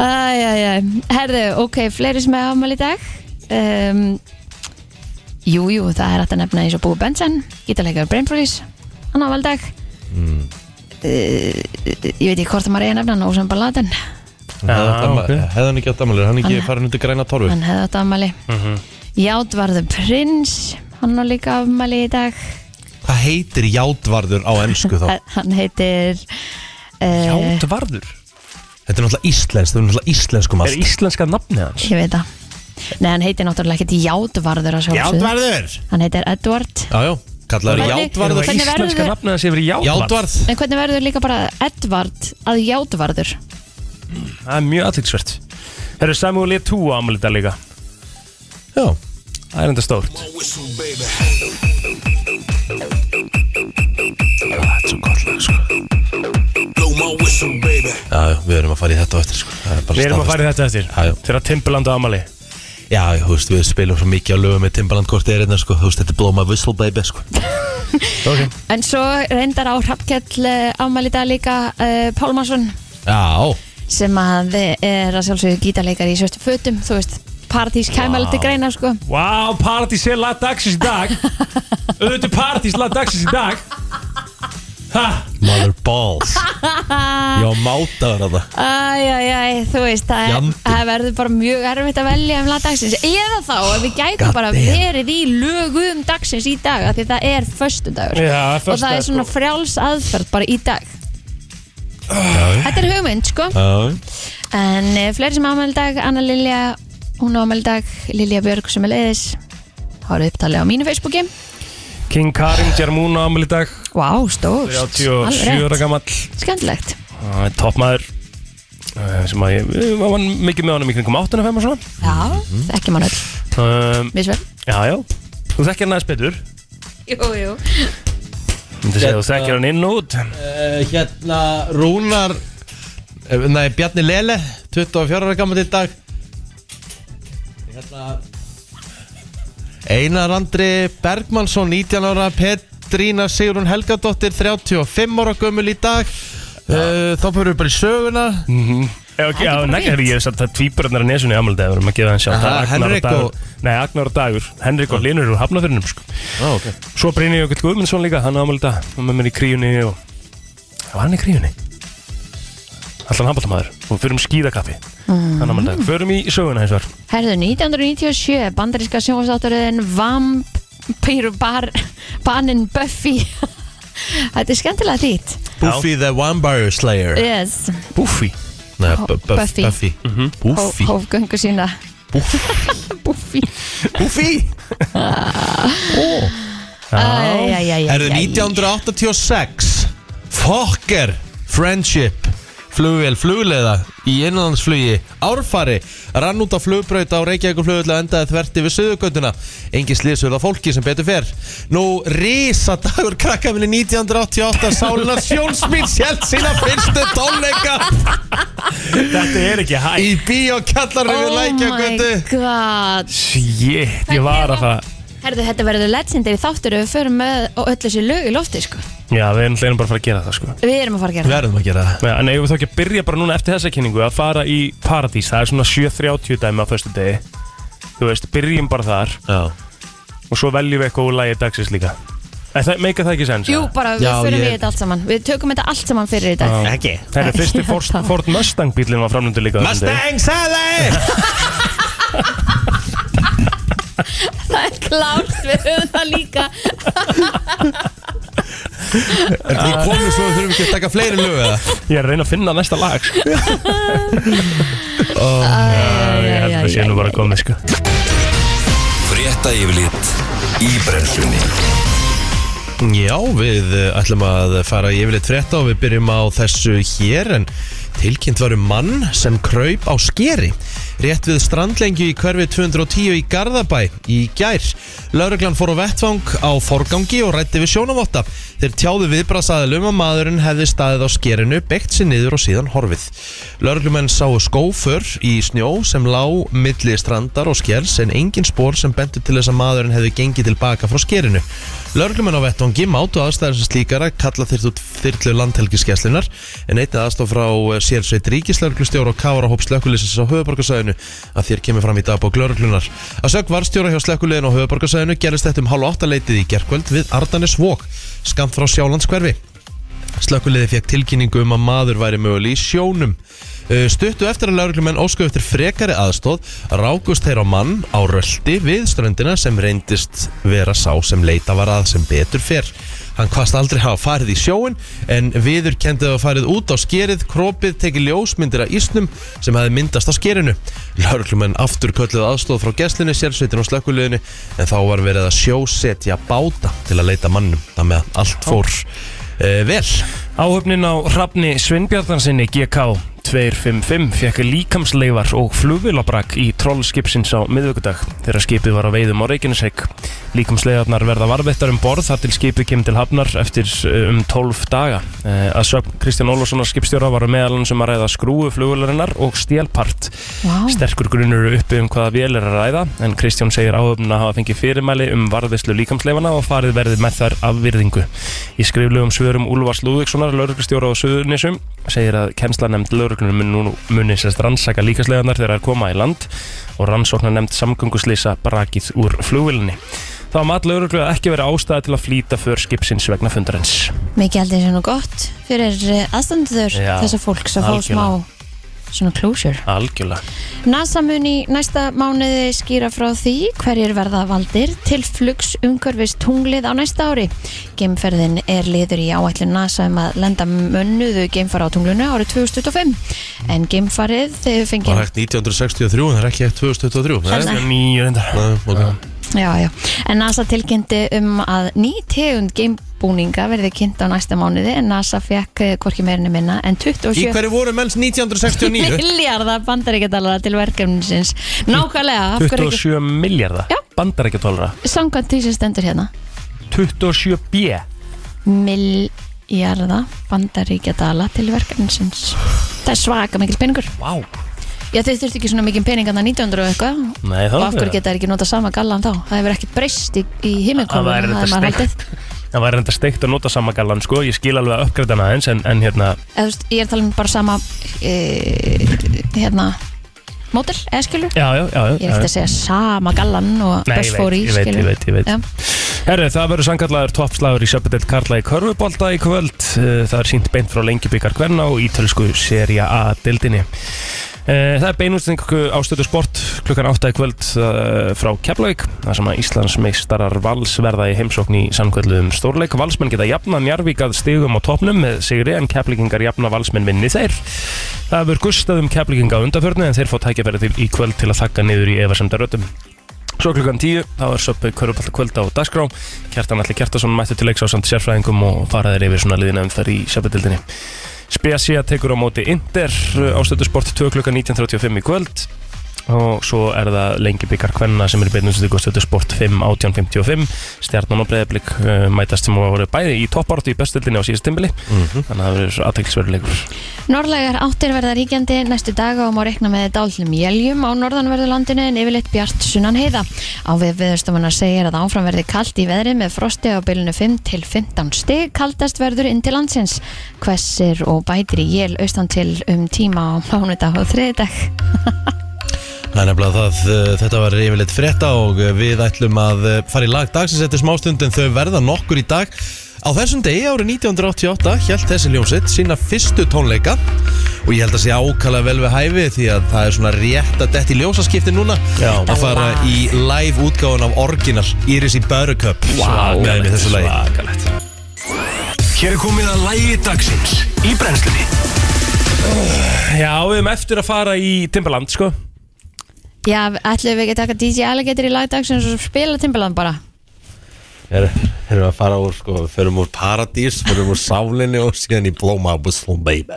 Speaker 4: Æjæjæ, herðu, ok, fleiri sem er afmæli í dag um, Jú, jú, það er hægt að nefna eins og Búi Benson, gítarleikar Brain Freeze hann afmæli í dag mm. uh, Ég veit ekki hvort það maður er að nefna hann, Ósam Balladen
Speaker 2: Hefði
Speaker 3: Ah,
Speaker 2: átt amma-
Speaker 3: ok.
Speaker 2: hefði hann ekki átt ammali, hann ekki farin undir græna torfu
Speaker 4: hann hefði átt afmæli mm
Speaker 3: Mhm.
Speaker 4: Játvarður Prins, hann á líka afmæli í dag
Speaker 2: Hvað heitir játvarður á ennsku þá?
Speaker 4: H Hann heitir uh,
Speaker 3: Játvarður
Speaker 2: Þetta er náttúrulega íslensk, þetta er náttúrulega íslenskum
Speaker 3: Er
Speaker 2: allt
Speaker 3: íslenska nafnið hans?
Speaker 4: Ég veit það Nei, hann heitir náttúrulega ekkert Játvarður að sjálfsögðu.
Speaker 2: Játvarður
Speaker 4: Hann heitir Edward
Speaker 2: Já, já, kallaður
Speaker 4: Hvernig-
Speaker 2: játvarður
Speaker 4: hvernig- verður-
Speaker 3: Íslenska nafnið hans yfir í Játvarð
Speaker 2: Játvarð
Speaker 4: En hvernig verður líka bara Edvard að játvarður?
Speaker 3: Það er mjög aðtilsvert Herru, Samuel E2 á ammali í dag líka
Speaker 2: Já,
Speaker 3: Það er enda stórt
Speaker 2: já, já, við erum að fara í þetta á eftir sko. Það er bara
Speaker 3: Við erum að
Speaker 2: staðfest.
Speaker 3: fara í þetta eftir
Speaker 2: Já, já.
Speaker 3: Þegar Timbaland á ammali
Speaker 2: Já, já, þú veist, við spilum svo mikið á lögum með Timbaland hvort er einna, sko, þú veist, þetta er blóma whistle baby, sko
Speaker 3: okay.
Speaker 4: En svo reyndar á Hrafnkell ámæli dag líka uh, Pálmarsson
Speaker 2: Já,
Speaker 4: sem að er að sjálfsögðu gítarleikar í svörstu fötum, þú veist Paradís kæmæli til greina sko
Speaker 3: Vá, wow, partys er lag dagsins í dag Auðvitað er partys lag dagsins í dag Ha,
Speaker 2: mother balls Já, mátaður að það
Speaker 4: Æjæjæ, þú veist það, er,
Speaker 2: Fjandinn.
Speaker 4: það verður bara mjög erfitt að velja um lag dagsins eða þá að við gætum
Speaker 2: God
Speaker 4: bara
Speaker 2: damn.
Speaker 4: verið í lögum dagsins í dag af því það er föstudagur
Speaker 3: Já,
Speaker 4: og það
Speaker 3: föstudagur,
Speaker 4: er svona
Speaker 3: sko.
Speaker 4: frjáls aðferð bara í dag
Speaker 2: Eh.
Speaker 4: Þetta er hugmynd sko
Speaker 2: Já,
Speaker 4: En uh, fleiri sem ámæli dag, Anna Lilja, hún ámæli dag, Lilja Björg sem er leiðis. Háru upptalið á mínu Facebooki.
Speaker 3: King Karim Jarmún á ammali í dag
Speaker 4: Vá, wow, stórst.
Speaker 3: 37 ára gamall
Speaker 4: Skendilegt.
Speaker 3: Það er toppmaður eh, sem að ég, ég var vann mikið með honum í kringum 8.5 og svona
Speaker 4: Já, mm
Speaker 2: Mhm.
Speaker 4: -hmm. ekki mann öll.
Speaker 3: um,
Speaker 4: Vissvel?
Speaker 3: Já, já, þú þekkir hann aðeins betur
Speaker 4: Jú, jú.
Speaker 3: Myndi segja Þú
Speaker 2: Hérna-
Speaker 3: þekkir hann inn og út
Speaker 2: Hérna, Rúnar eh, Nei, Bjarni Lele 24 ára gammal í dag Hérna Einar Andri Bergmannsson 19 ára Petrína Sigrun Helgadóttir 35 ára gömul í dag Uh, þá fyrir við bara í söguna
Speaker 3: Já, ok,
Speaker 4: Það Mhm. er
Speaker 3: já,
Speaker 4: bara
Speaker 3: nei,
Speaker 4: fínt.
Speaker 3: ég hef sagt að tvíburarnar er nesunni ámaldag við erum að gefa hann sjá
Speaker 2: Aha,
Speaker 3: það er Agnar
Speaker 2: Henrik
Speaker 3: og Dagur
Speaker 2: og- Ah.
Speaker 3: Nei, Agnar og Dagur Henrik og Linur úr Hafnafyrinum sko.
Speaker 2: oh, okay.
Speaker 3: Svo Brynni Jökull Guðmundsson líka, hann ámaldag hann með mér í kríunni og var hann í kríunni? Allan handbóltamaður og förum um skíðakaffi mm. hann ámaldag, förum í söguna eins og
Speaker 4: Herðu, 1997, bandaríska sjónvastátturinn Vampire Bar, Banin Buffy. [LAUGHS] Þetta er skemmtilega þýtt.
Speaker 2: Buffy the Vampire Slayer
Speaker 4: Yes.
Speaker 3: Buffi
Speaker 2: Nei, bu- bu-
Speaker 4: Buffy.
Speaker 2: Buffy
Speaker 3: Mhm.
Speaker 2: Buffy
Speaker 4: Hófgöngu sína.
Speaker 2: Buffy
Speaker 4: [LAUGHS] Buffy.
Speaker 2: Buffy
Speaker 4: [LAUGHS] Æj, æj, æj,
Speaker 2: Erðu 1986 Fokker Friendship Flugvél, flugleða í innanlandsflugi Árfari, rann út á flugbraut á Reykjavíkur flugvöldu og endaði þverti við söðugönduna Engi slísurð á fólki sem betur fer Nú, risadagur krakkaminni 1988 Sálunar Sjónsmýts held sína fyrstu tónleika
Speaker 3: Þetta er ekki hægt
Speaker 2: Í bíókallari við Lækjagöndu
Speaker 4: Oh my god.
Speaker 3: Shit, ég var að fara
Speaker 4: Herðu, þetta verður legendary þáttur ef við förum með og öll þessi lög í lofti, sko.
Speaker 3: Já, við erum hleinum bara að fara að gera það sko
Speaker 4: Við erum að fara að gera það.
Speaker 2: Verðum að gera það
Speaker 3: Já, En eigum við þá ekki að byrja bara núna eftir þessa kynningu að fara í Paradís, það er svona 7.30 dæmi á föstu degi Þú veist, byrjum bara þar
Speaker 2: Já.
Speaker 3: og svo veljum við eitthvað úr lagi dagsins líka En það meika það ekki sens
Speaker 4: Jú,
Speaker 3: eða?
Speaker 4: bara við
Speaker 2: Já,
Speaker 4: förum
Speaker 2: ég-
Speaker 4: við þetta allt saman Við tökum þetta allt saman fyrir í dag
Speaker 3: Já.
Speaker 2: Ekki.
Speaker 3: Það er
Speaker 4: [LAUGHS]
Speaker 3: fyrsti Ford, Ford Mustang bílinn var framlöndu líka
Speaker 2: Mustang Sally
Speaker 4: [LAUGHS] Það er klárt, við höfum það líka
Speaker 2: Er því komið svo þurfum við ekki að taka fleiri lög eða?
Speaker 3: Ég er að reyna að finna næsta lag sko. Já, Ég held að sé nú bara komið sko.
Speaker 1: Frétta yfirlit í brennslunni
Speaker 2: Já, við eh, ætlum að fara í yfirleitt frétta og við byrjum á þessu hér en tilkynnt varum mann sem kraup á skeri rétt við strandlengju í hverfi 210 í Garðabæ í gær. Lauruglan fór á vettvang á forgangi og rætti við sjónavotta. Þeir tjáðu viðbrasaðilum að maðurinn hefði staðið á skerinu, byggt sér niður og síðan horfið. Lauruglumenn sáu skófur í snjó sem lá milli strandar og skers en engin spór sem bentu til þess að maðurinn hefði gengið tilbaka frá skerinu. Lörglumenn á vettvangi mátu aðstæður sem slíkara kalla þyrftu þyrlu landhelgiskeslinar en einnig aðstof frá eh, sérsveit ríkislörglustjóra og kára hóp slökkulisins á höfuborgarsæðinu að þér kemur fram í dagbók lörglunar. Að sög varstjóra hjá slökkulegin á höfuborgarsæðinu gerist þetta um hálf átta leitið í gerkvöld við Ardanes Vók, skamt frá Sjálandskverfi. Slökkuleiði fekk tilkynningu um að maður væri möguleg í sjónum. Eh, Stuttu eftir að lauruglumenn ósku eftir frekari aðstóð rákust þeir á mann á röldi við ströndina sem reyndist vera sá sem leita var að sem betur fer. Hann kvast aldrei hafa farið í sjóin en viður kendið að hafa farið út á skerið, kropið tekið ljósmyndir af ísnum sem hefði myndast á skerinu. Lauruglumenn aftur kölluð aðstóð frá geslinni, sérsveitin og slökkuleiðinu en þá var verið að sjósetja báta til að leita mannum. Það með að allt fór uh, vel.
Speaker 3: Áhöfnin á Hrafni Svinnbjarnarsinni GK 255 fekk líkamsleifar og flugvilabrak í trollskipsins á miðvöggudag þegar skipið var á veiðum á Reykjanesheik. Líkamsleifarnar verða varvettar um borð þar til skipið kemur til hafnar eftir eh, um 12 daga. Eh, Að sögn Kristján Ólafssonar skipstjóra var meðalans um að ræða skrúu flugvilarinnar og stélpart.
Speaker 4: Vá.
Speaker 3: Sterkur grunur eru uppi um hvaða vél er að ræða en Kristján segir áhöfnum að hafa fengið fyrirmæli um varðislu líkamsleifana og farið verðið með þær af virðingu. Í skriflegum svörum Úlfars Lúðvíkssonar, lauruglustjóra á Suðurnisum, segir að kennslanefnd lauruglunum mun, nú- muni sérst rannsaka líkamsleifanar þegar þær koma í land og rannsóknarnemnd samgönguslýsa brakið úr flugvillinni. Þá mat lauruglu að ekki verið ástæða til að flýta för skipsins vegna fundarins.
Speaker 4: Mikið heldur þessi nú gott fyrir aðstanduður
Speaker 3: Já,
Speaker 4: þessa fólks að fá smá
Speaker 3: algjörlega.
Speaker 4: svona closure.
Speaker 3: Algjörlega.
Speaker 4: NASA mun í næsta mánuði skýra frá því hverjir verða valdir til flugs umhverfis tunglið á næsta ári. Gemferðin er liður í áætlun NASA um að lenda mönnuðu gemfara á tunglunu árið 2025 en gemfarið þegar
Speaker 2: var
Speaker 4: fengið
Speaker 2: hægt 1963 en það er ekki hægt 2023
Speaker 4: Þannig-
Speaker 3: Það er nýju reyndar.
Speaker 2: Nei, ok.
Speaker 4: Já, já. En NASA tilkynnti um að ný tegund gamebúninga verði kynnt á næsta mánuði en NASA fekk eh, hvorki meirinu minna en
Speaker 2: Í
Speaker 4: 27
Speaker 2: hverju voru menns 1969?
Speaker 4: miljardar bandaríkjadalara til verkefnisins. Nákvæmlega, af hverju ekki
Speaker 3: 27 miljardar.
Speaker 4: Já.
Speaker 3: Bandar ekki tólra.
Speaker 4: samkvæmt því sem stendur hérna.
Speaker 3: 27 bjö.
Speaker 4: Miljardar bandaríkjadala til verkefnisins. Það er svaka mikil peningur.
Speaker 3: Vá.
Speaker 4: Já, þau þurftu ekki svona mikil pening að 1900 og eitthvað
Speaker 3: Nei, það
Speaker 4: og
Speaker 3: var
Speaker 4: af hverju
Speaker 3: það.
Speaker 4: geta þær ekki nota sama gallan þá? Það hefur ekkert breyst í, í
Speaker 3: Það
Speaker 4: himminkólum.
Speaker 3: væri þetta steikt Það væri þetta steikt að nota sama gallan sko Ég skil alveg að uppgræta hana aðeins en, en hérna
Speaker 4: eða þú veist, ég er að tala um bara sama e, hérna mótel, eða skilur
Speaker 3: Já, já, já,
Speaker 4: ég er ekkert að segja sama gallan og
Speaker 3: Nei, ég
Speaker 4: best fór í,
Speaker 3: veit, ég veit, ég
Speaker 4: skilur.
Speaker 3: veit, ég veit.
Speaker 4: Já.
Speaker 3: Herri, það verður sannkallaður toppslagur í Söpudelt Karla í Körfubolta í kvöld Eh, Það er sínt beint frá lengjubikar Kvenna og ítölsku seria A dildinni Eh, Það er beinústingu ástöðu sport klukkan 8 í kvöld eh, frá Keflavík Það sem að Íslands meistarar Vals verða í heimsókn í sannkvölduðum stórleik Valsmenn geta jafna Njarvík að stigum á topnum með sigri en Keflingar jafna Valsmenn vinni þeir Það hefur gustað um Keflinga undarförni en þeir fá tækjafæri til í kvöld til að þakka niður í efasemdarötum Svo klukkan 10, þá er söpbu köruballta kvölda á dagskrá. Kjartan Alli Kjartason mættu til leiks á samt sérfræðingum og faraðir yfir svona liðin umferð í söpudildinni. Spesía tekur á móti Inder ástöðu sport 2 klukkan 19.35 í kvöld og svo er það lengi byggar kvenna sem er í beinuðstöku stöðu sport 5 18.55 stjarnan og breyðablík uh, mætast sem voru bæði í toppáratu í bestildinni á síðast timbili þannig að það verður aðtækilsveruleikur
Speaker 4: Norðlægar áttir verða ríkjandi næstu daga og má rekna með dálnum jéljum á norðanverðu landinu en yfirleitt bjart sunnan heiða. Á við viðurstofuna segir að áfram verði kalt í veðri með frosti á bylunu 5 til 15 stig kaldast verður inn til landsins. Hvessir og bætir í jél austan til um tíma á mánudag og þriðdag.
Speaker 2: Það er nefnilega það, uh, þetta var yfirleitt frétta og uh, við ætlum að uh, fara í lag dagsins eftir smástund en þau verða nokkur í dag. Á þessum degi árið 1988 hjælt þessi ljómsitt sína fyrstu tónleika og ég held að sé ákala vel við hæfi því að það er svona rétt að detti ljósaskipti núna
Speaker 3: Já.
Speaker 2: að fara í live útgáðan af orginal Iris í Börguköp með mér í þessu lagi.
Speaker 3: Svakalegt
Speaker 1: Hér er komið að lægi dagsins í brennslunni
Speaker 3: Já, við erum eftir að fara í Timbaland, sko
Speaker 4: Já, ætlum við ekki að taka DJ Alligator í lagdagsins og spila Timbaland bara
Speaker 2: Þeir eru að fara úr, sko, við förum úr Paradís, förum úr Sálinni og síðan í Blóma Whistle Baby.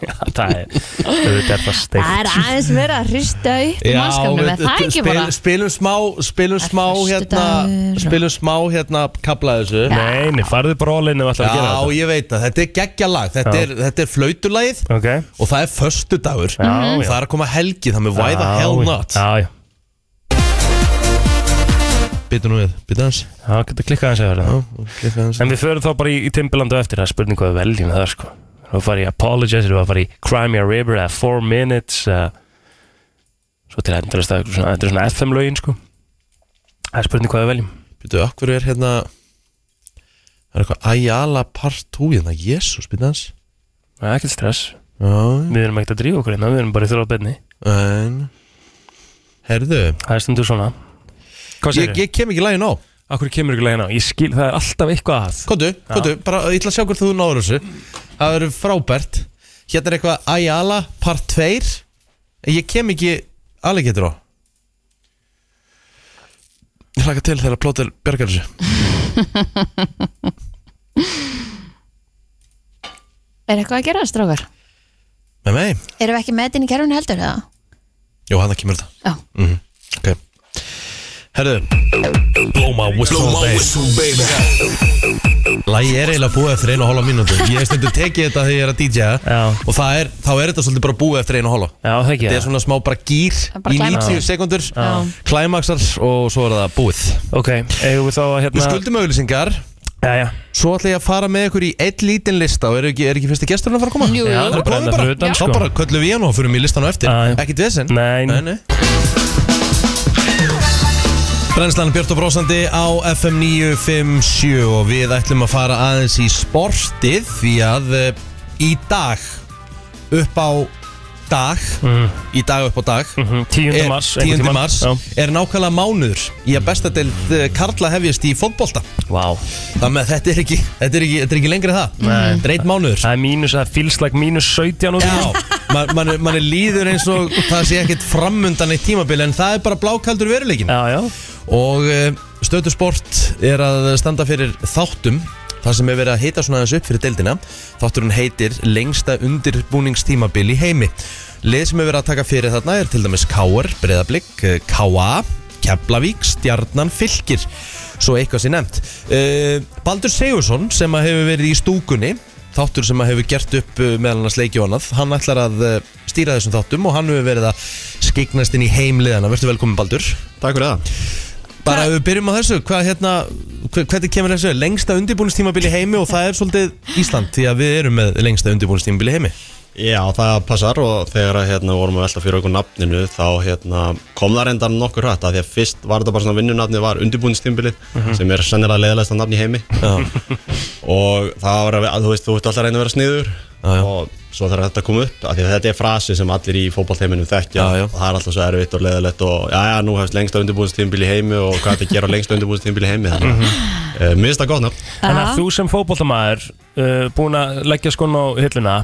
Speaker 3: Já, [LAUGHS] það er, auðvitað er það steikt
Speaker 4: Það er aðeins verið að hrista upp í mannskapnum, er það ekki bara?
Speaker 2: spilum smá, spilum smá, hérna,
Speaker 4: föstudagur.
Speaker 2: spilum smá, hérna, kabla þessu.
Speaker 3: Nei, nei, farðu brólinn ef alltaf að gera
Speaker 2: Já,
Speaker 3: þetta
Speaker 2: ég veit það, þetta er geggja lag, þetta
Speaker 3: Já.
Speaker 2: er, þetta er flautulæð
Speaker 3: Ok,
Speaker 2: og það er föstudagur.
Speaker 3: Já, Mhm. já.
Speaker 2: Það er að koma helgi, það með why the
Speaker 3: Já,
Speaker 2: hell not.
Speaker 3: Já, já,
Speaker 2: Býtu nú við, býtu hans.
Speaker 3: já, getur klikkað hans eða
Speaker 2: Já,
Speaker 3: verða
Speaker 2: klikka hans.
Speaker 3: En við förum þá bara í, í Timbaland og eftir Það er spurning hvað við veljum það, sko Við erum að fara í Apologize, við erum að fara í Cry Me a River eða Four Minutes eða Svo til endalist að þetta er svona FM-lögin, sko Það er spurning hvað við veljum
Speaker 2: Býtu, okkur er hérna, það er eitthvað Ayala part 2, hérna, Jesus, býtu hans.
Speaker 3: Það er ekkert stress
Speaker 2: Já,
Speaker 3: Við erum ekkert að drífa okkur hérna, við erum bara í þurfa benni
Speaker 2: en, herðu,
Speaker 3: Það er stundur svona Hvað
Speaker 2: ég,
Speaker 3: segir þið?
Speaker 2: ég kem ekki lægin á.
Speaker 3: Akkur kemur ekki legin á, ég skil, það er alltaf eitthvað að
Speaker 2: Kondu, kondu, bara ég ætla að sjá hvort þú náður þessu Það verður frábært Hérna er eitthvað Ayala part 2 En ég kem ekki alveg getur á Ég hlaka til þegar plótir bjargar þessu
Speaker 4: Er eitthvað að gera það, strákar?
Speaker 2: Með mig?
Speaker 4: Erum við ekki með þetta inn í kerfinu heldur, eða?
Speaker 2: Jó, hann það kemur þetta Mhm.
Speaker 4: Já,
Speaker 2: Ok Herðu Blow my whistle, babe Lægi er eiginlega búið eftir einu og hálfa mínútu Ég hef stundu tekið þetta þegar ég er að DJ-a
Speaker 3: Já.
Speaker 2: Og það er, þá er þetta svolítið bara búið eftir einu og hálfa
Speaker 3: Já, það ekki
Speaker 2: Þetta er svona smá bara gýr
Speaker 4: er bara
Speaker 2: í
Speaker 4: climax.
Speaker 2: 90 sekundur
Speaker 4: Já.
Speaker 2: Climaxar og svo er það búið
Speaker 3: Ok, eigum við þá að
Speaker 2: Við
Speaker 3: hérna
Speaker 2: skuldum auðlýsingar
Speaker 3: Já, já,
Speaker 2: Svo ætla ég að fara með ykkur í einn lítinn lista og er ekki, er ekki fyrsti gesturinn að fara að koma?
Speaker 4: Jú, jú.
Speaker 3: Já,
Speaker 2: Það er
Speaker 3: bara
Speaker 2: komið
Speaker 3: enda
Speaker 2: bara,
Speaker 3: fyrir utan,
Speaker 2: þá
Speaker 3: sko.
Speaker 2: bara köllum við hann og fyrir mig listan á eftir
Speaker 3: Já, já.
Speaker 2: Ekkit vesinn
Speaker 3: Nei.
Speaker 2: Brennslan Björn og Brósandi á FM 957 og við ætlum að fara aðeins í sportið því að eh, í dag upp á dag í dag upp á dag
Speaker 3: mhm, 10.
Speaker 2: er,
Speaker 3: mars
Speaker 2: 10. mars
Speaker 3: Já,
Speaker 2: er nákvæmlega mánuður í að besta deild eh, karla hefjast í fótbolta
Speaker 3: vá
Speaker 2: þannig að þetta er ekki, þetta er ekki, þetta er ekki lengri en það dreit mánuður
Speaker 3: Það er mínus, það er fylslag mínus 17 út
Speaker 2: Já, man, man, er- man er líður eins og það sé ekkert framundan eitt tímabil en það er bara blákaldur veruleikin
Speaker 3: já, já,
Speaker 2: og eh, stötu sport er að standa fyrir þáttum það sem er verið að heita svona aðeins upp fyrir deildina þátturinn heitir lengsta undirbúningstímabil í heimi lið sem er verið að taka fyrir þarna er til dæmis K.R. Breðablík, K.A. Keflavík, Stjarnan, Fylkir svo eitthvað sem nefnt Eh, Baldur Segursson sem að hefur verið í stúkunni þáttur sem að hefur gert upp eh, meðal annars leiki og annað hann ætlar að eh, stýra þessum þáttum og hann hefur verið að skiknast inn í heimliðana verður velkomin Baldur
Speaker 5: Takk fyrir það
Speaker 2: Bara ef við byrjum á þessu, hvað hérna, hve- hvernig kemur þessu? Lengsta undirbúinistímabil í heimi og það er svolítið Ísland því að við erum með lengsta undirbúinistímabil í heimi.
Speaker 5: Já, það passar og þegar að, hérna, vorum að velta fyrir okkur nafninu þá hérna, kom það reyndar nokkur hrætt að því að fyrst var þetta bara svona vinnunafni var undirbúinstímbilið
Speaker 2: Mhm.
Speaker 5: sem er sennilega leðilegsta nafn í heimi [LAUGHS] og það var að, að þú veist, þú ert alltaf að reyna að vera sniður
Speaker 2: já.
Speaker 5: og svo þarf þetta að koma upp af því að þetta er frasi sem allir í fótballtheiminum þekkja
Speaker 2: Já, já.
Speaker 5: og það er alltaf svo erfitt og leðilegt og já, já, nú hefst lengsta undirbúinstímbil í heimi og hvað þetta gera á lengsta undirbúinstímbil í heimi þannig
Speaker 2: Mhm.
Speaker 5: að uh, mista gott nafn
Speaker 3: Þannig að þú sem fótboltamaður uh, búin að leggja skon á hilluna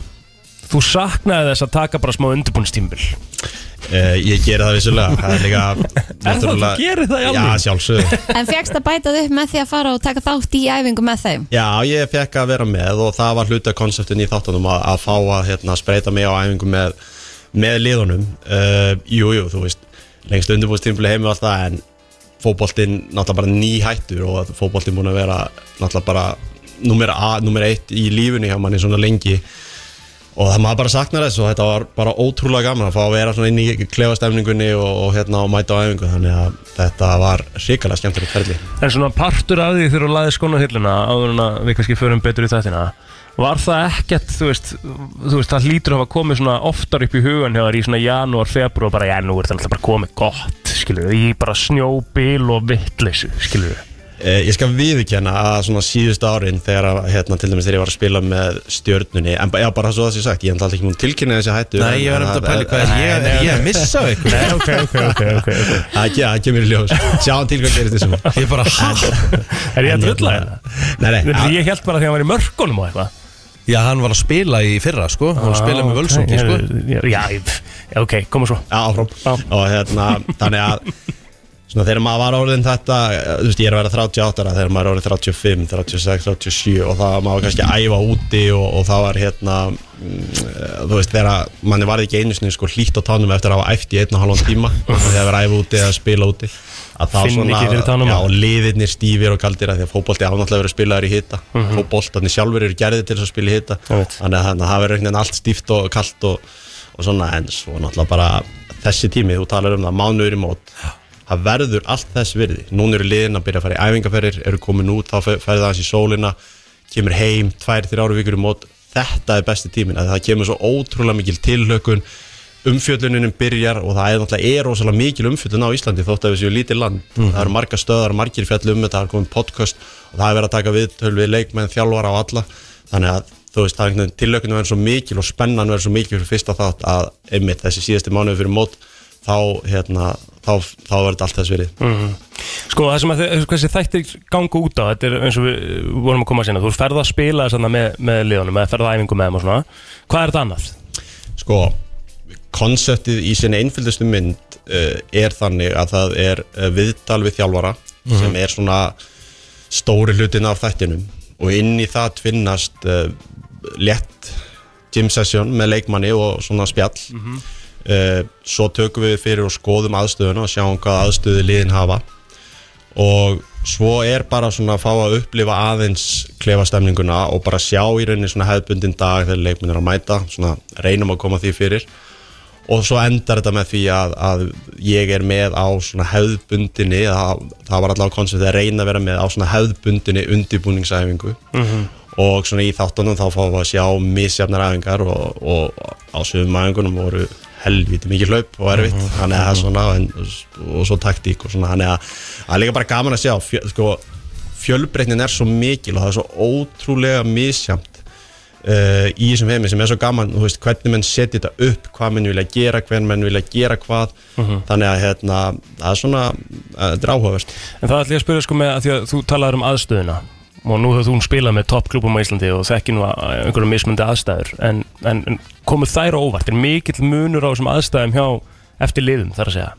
Speaker 3: Þú saknaði þess að taka bara smá undirbúnstímbil
Speaker 2: Eh,
Speaker 5: uh, Ég geri það vissulega Það er
Speaker 3: [LAUGHS]
Speaker 5: líka náttúrulega-
Speaker 3: gerir það í alvöru?
Speaker 5: Já, sjálfsög
Speaker 4: En fegst að bæta þau upp með því að fara og taka þátt í æfingu með þeim?
Speaker 5: Já, ég fekk að vera með og það var hluti af konseptin í þáttunum að, að fá að hérna, spreita mig á æfingu með, með liðunum uh, Jú, jú, þú veist, lengst undirbúðstímpli heim og allt það en fótboltinn náttúrulega bara nýhættur og að fótboltinn búin að vera náttúrulega bara nummer, a, nummer eitt í lífinu hjá manni svona lengi og það maður bara saknar þess og þetta var bara ótrúlega gaman að fá að vera svona inn í klefastemningunni og, og hérna og mæta á æfingu þannig að þetta var hrikalega skemmtilegt ferli
Speaker 3: En svona partur af því þegar þú laði skóna hilluna áður en að við kannski förum betur í þættina Var það ekkert, þú veist, þú veist það hlýtur að hafa komið svona oftar upp í hugan hjá þar í svona janúar, februar bara, já, nú er það náttúrulega bara komið gott, skilur við, í bara snjóbil og vittleysu, skilur við.
Speaker 5: Eh, Ég skal viðurkenna að svona síðust árin þegar að, hérna, til dæmis þegar ég var að spila með stjörnunni en ba- já, bara svo það sé sagt, ég hef alltaf ekki múin tilkynna þessi hættu
Speaker 2: Nei, ég var um að pæli hvað er ég, ég er missa á ykkur
Speaker 3: Nei, ok, ok, ok, ok, ok.
Speaker 5: Það ja, kemur í ljós, sjáum til hvað gerist þessum
Speaker 2: Ég er
Speaker 5: [LAUGHS]
Speaker 2: bara, hæ?
Speaker 3: Er ég að drulla þetta?
Speaker 5: hérna- Nei, nei,
Speaker 3: Nei,
Speaker 5: að-
Speaker 3: Ég held bara því að hann var í mörkunum og eitthvað.
Speaker 2: Já, hann var að spila í fyrra, sko Hann var að spila með
Speaker 3: Ah, Ok,
Speaker 2: völsungi, sko
Speaker 3: ég- Já, ég- já, ok, koma svo.
Speaker 5: Já, áfram
Speaker 3: Já.
Speaker 5: og hérna, þannig að svona þegar maður var orðin þetta eh, þú veist, ég er að vera 38 ára þegar maður er orðin 35, 36, 37 og það maður var kannski að æfa úti og, og það var hérna mm, eh, þú veist, þegar að manni varði ekki einu sinni sko hlýtt á tánum eftir að hafa æft í einn og halvan tíma þegar verið að æfa úti eða spila úti að þá
Speaker 3: Finn ekki fyrir tánum.
Speaker 5: já, og liðirnir stífir og kaldir að því að fótbolti ánáttúrulega verið spilaður í hita mm -hmm. fótboltarnir sjálfur eru gerðið til þess að spila í hita
Speaker 3: Ég veit.
Speaker 5: þannig að þannig að það verður einhvern veginn allt stíft og kalt og, og svona en svo náttúrulega bara þessi tími, þú talar um það mánuður í mót það verður allt þess virði núna eru liðin að byrja að fara í æfingaferðir eru komin út, þá fer- ferðu aðeins í sólina kemur heim, tvær, þrjáru vikur í mót þetta er besti tímin, að það kemur svo ótrúlega mikil tilhlökun umfjölluninum byrjar og það er náttúrulega er rosalega mikil umfjöllun á Íslandi þótt að við séu lítið land það eru marga stöðar, margir fjall um þetta það er komin podcast og það er verið að taka við tölvið leikmenn, þjálfara og alla þannig að þú veist, það er einhvern veginn tilökunum verður svo mikil og spennan verður svo mikil fyrir fyrsta þátt að einmitt þessi síðasti mánuði fyrir mót þá, hérna, þá, þá verður þetta allt þess verið
Speaker 3: Sko það sem að þe- þessi þættir ganga út á Þetta er eins og við uh, vorum að koma að sinna Þú ert ferð að spila þess með, með liðunum Eða ferð að æfingu með þeim og svona Hvað er þetta annað?
Speaker 5: sko konseptið í sinni einfyldustu mynd uh, er þannig að það er uh, viðtal við þjálfara sem er svona stóri hlutin af þættinum og inn í það tvinnast uh, lett gym session með leikmanni og svona spjall mm svo tökum við fyrir og skoðum aðstöðuna og sjáum hvað aðstöðu liðin hafa og svo er bara svona að fá að upplifa aðeins klefastemninguna og bara sjá í rauninni svona hefðbundin dag þegar leikmenn er að mæta, svona reynum að koma því fyrir og svo endar þetta með því að, að ég er með á svona hefðbundinni það, það var allavega koncept að reyna að vera með á svona hefðbundinni undirbúningsæfingu -hmm. og svona í þáttunum þá fáum við að sjá misjafnar æfingar og, og á sögum æfingunum voru helviti mikið hlaup og erfitt þannig að það er svona en, og svo taktík og svona þannig að það er líka bara gaman að sjá fjö, sko, fjölbreytnin er svo mikil og það er svo ótrúlega misjamt uh, í þessum heimi sem er svo gaman þú veist, hvernig menn setja þetta upp, hvað menn vilja gera hvern menn vilja gera hvað þannig að hérna, það er svona uh, þetta er áhugavert
Speaker 3: En það ætlum ég að spyrja sko með að Því að þú talaður um aðstöðuna Og nú hefur þú spilað með toppklubum á Íslandi Og þekki nú að- einhverjum mismundi aðstæður En, en, en komur þær á óvart Er mikill munur á þessum aðstæðum hjá Eftir liðum þar að segja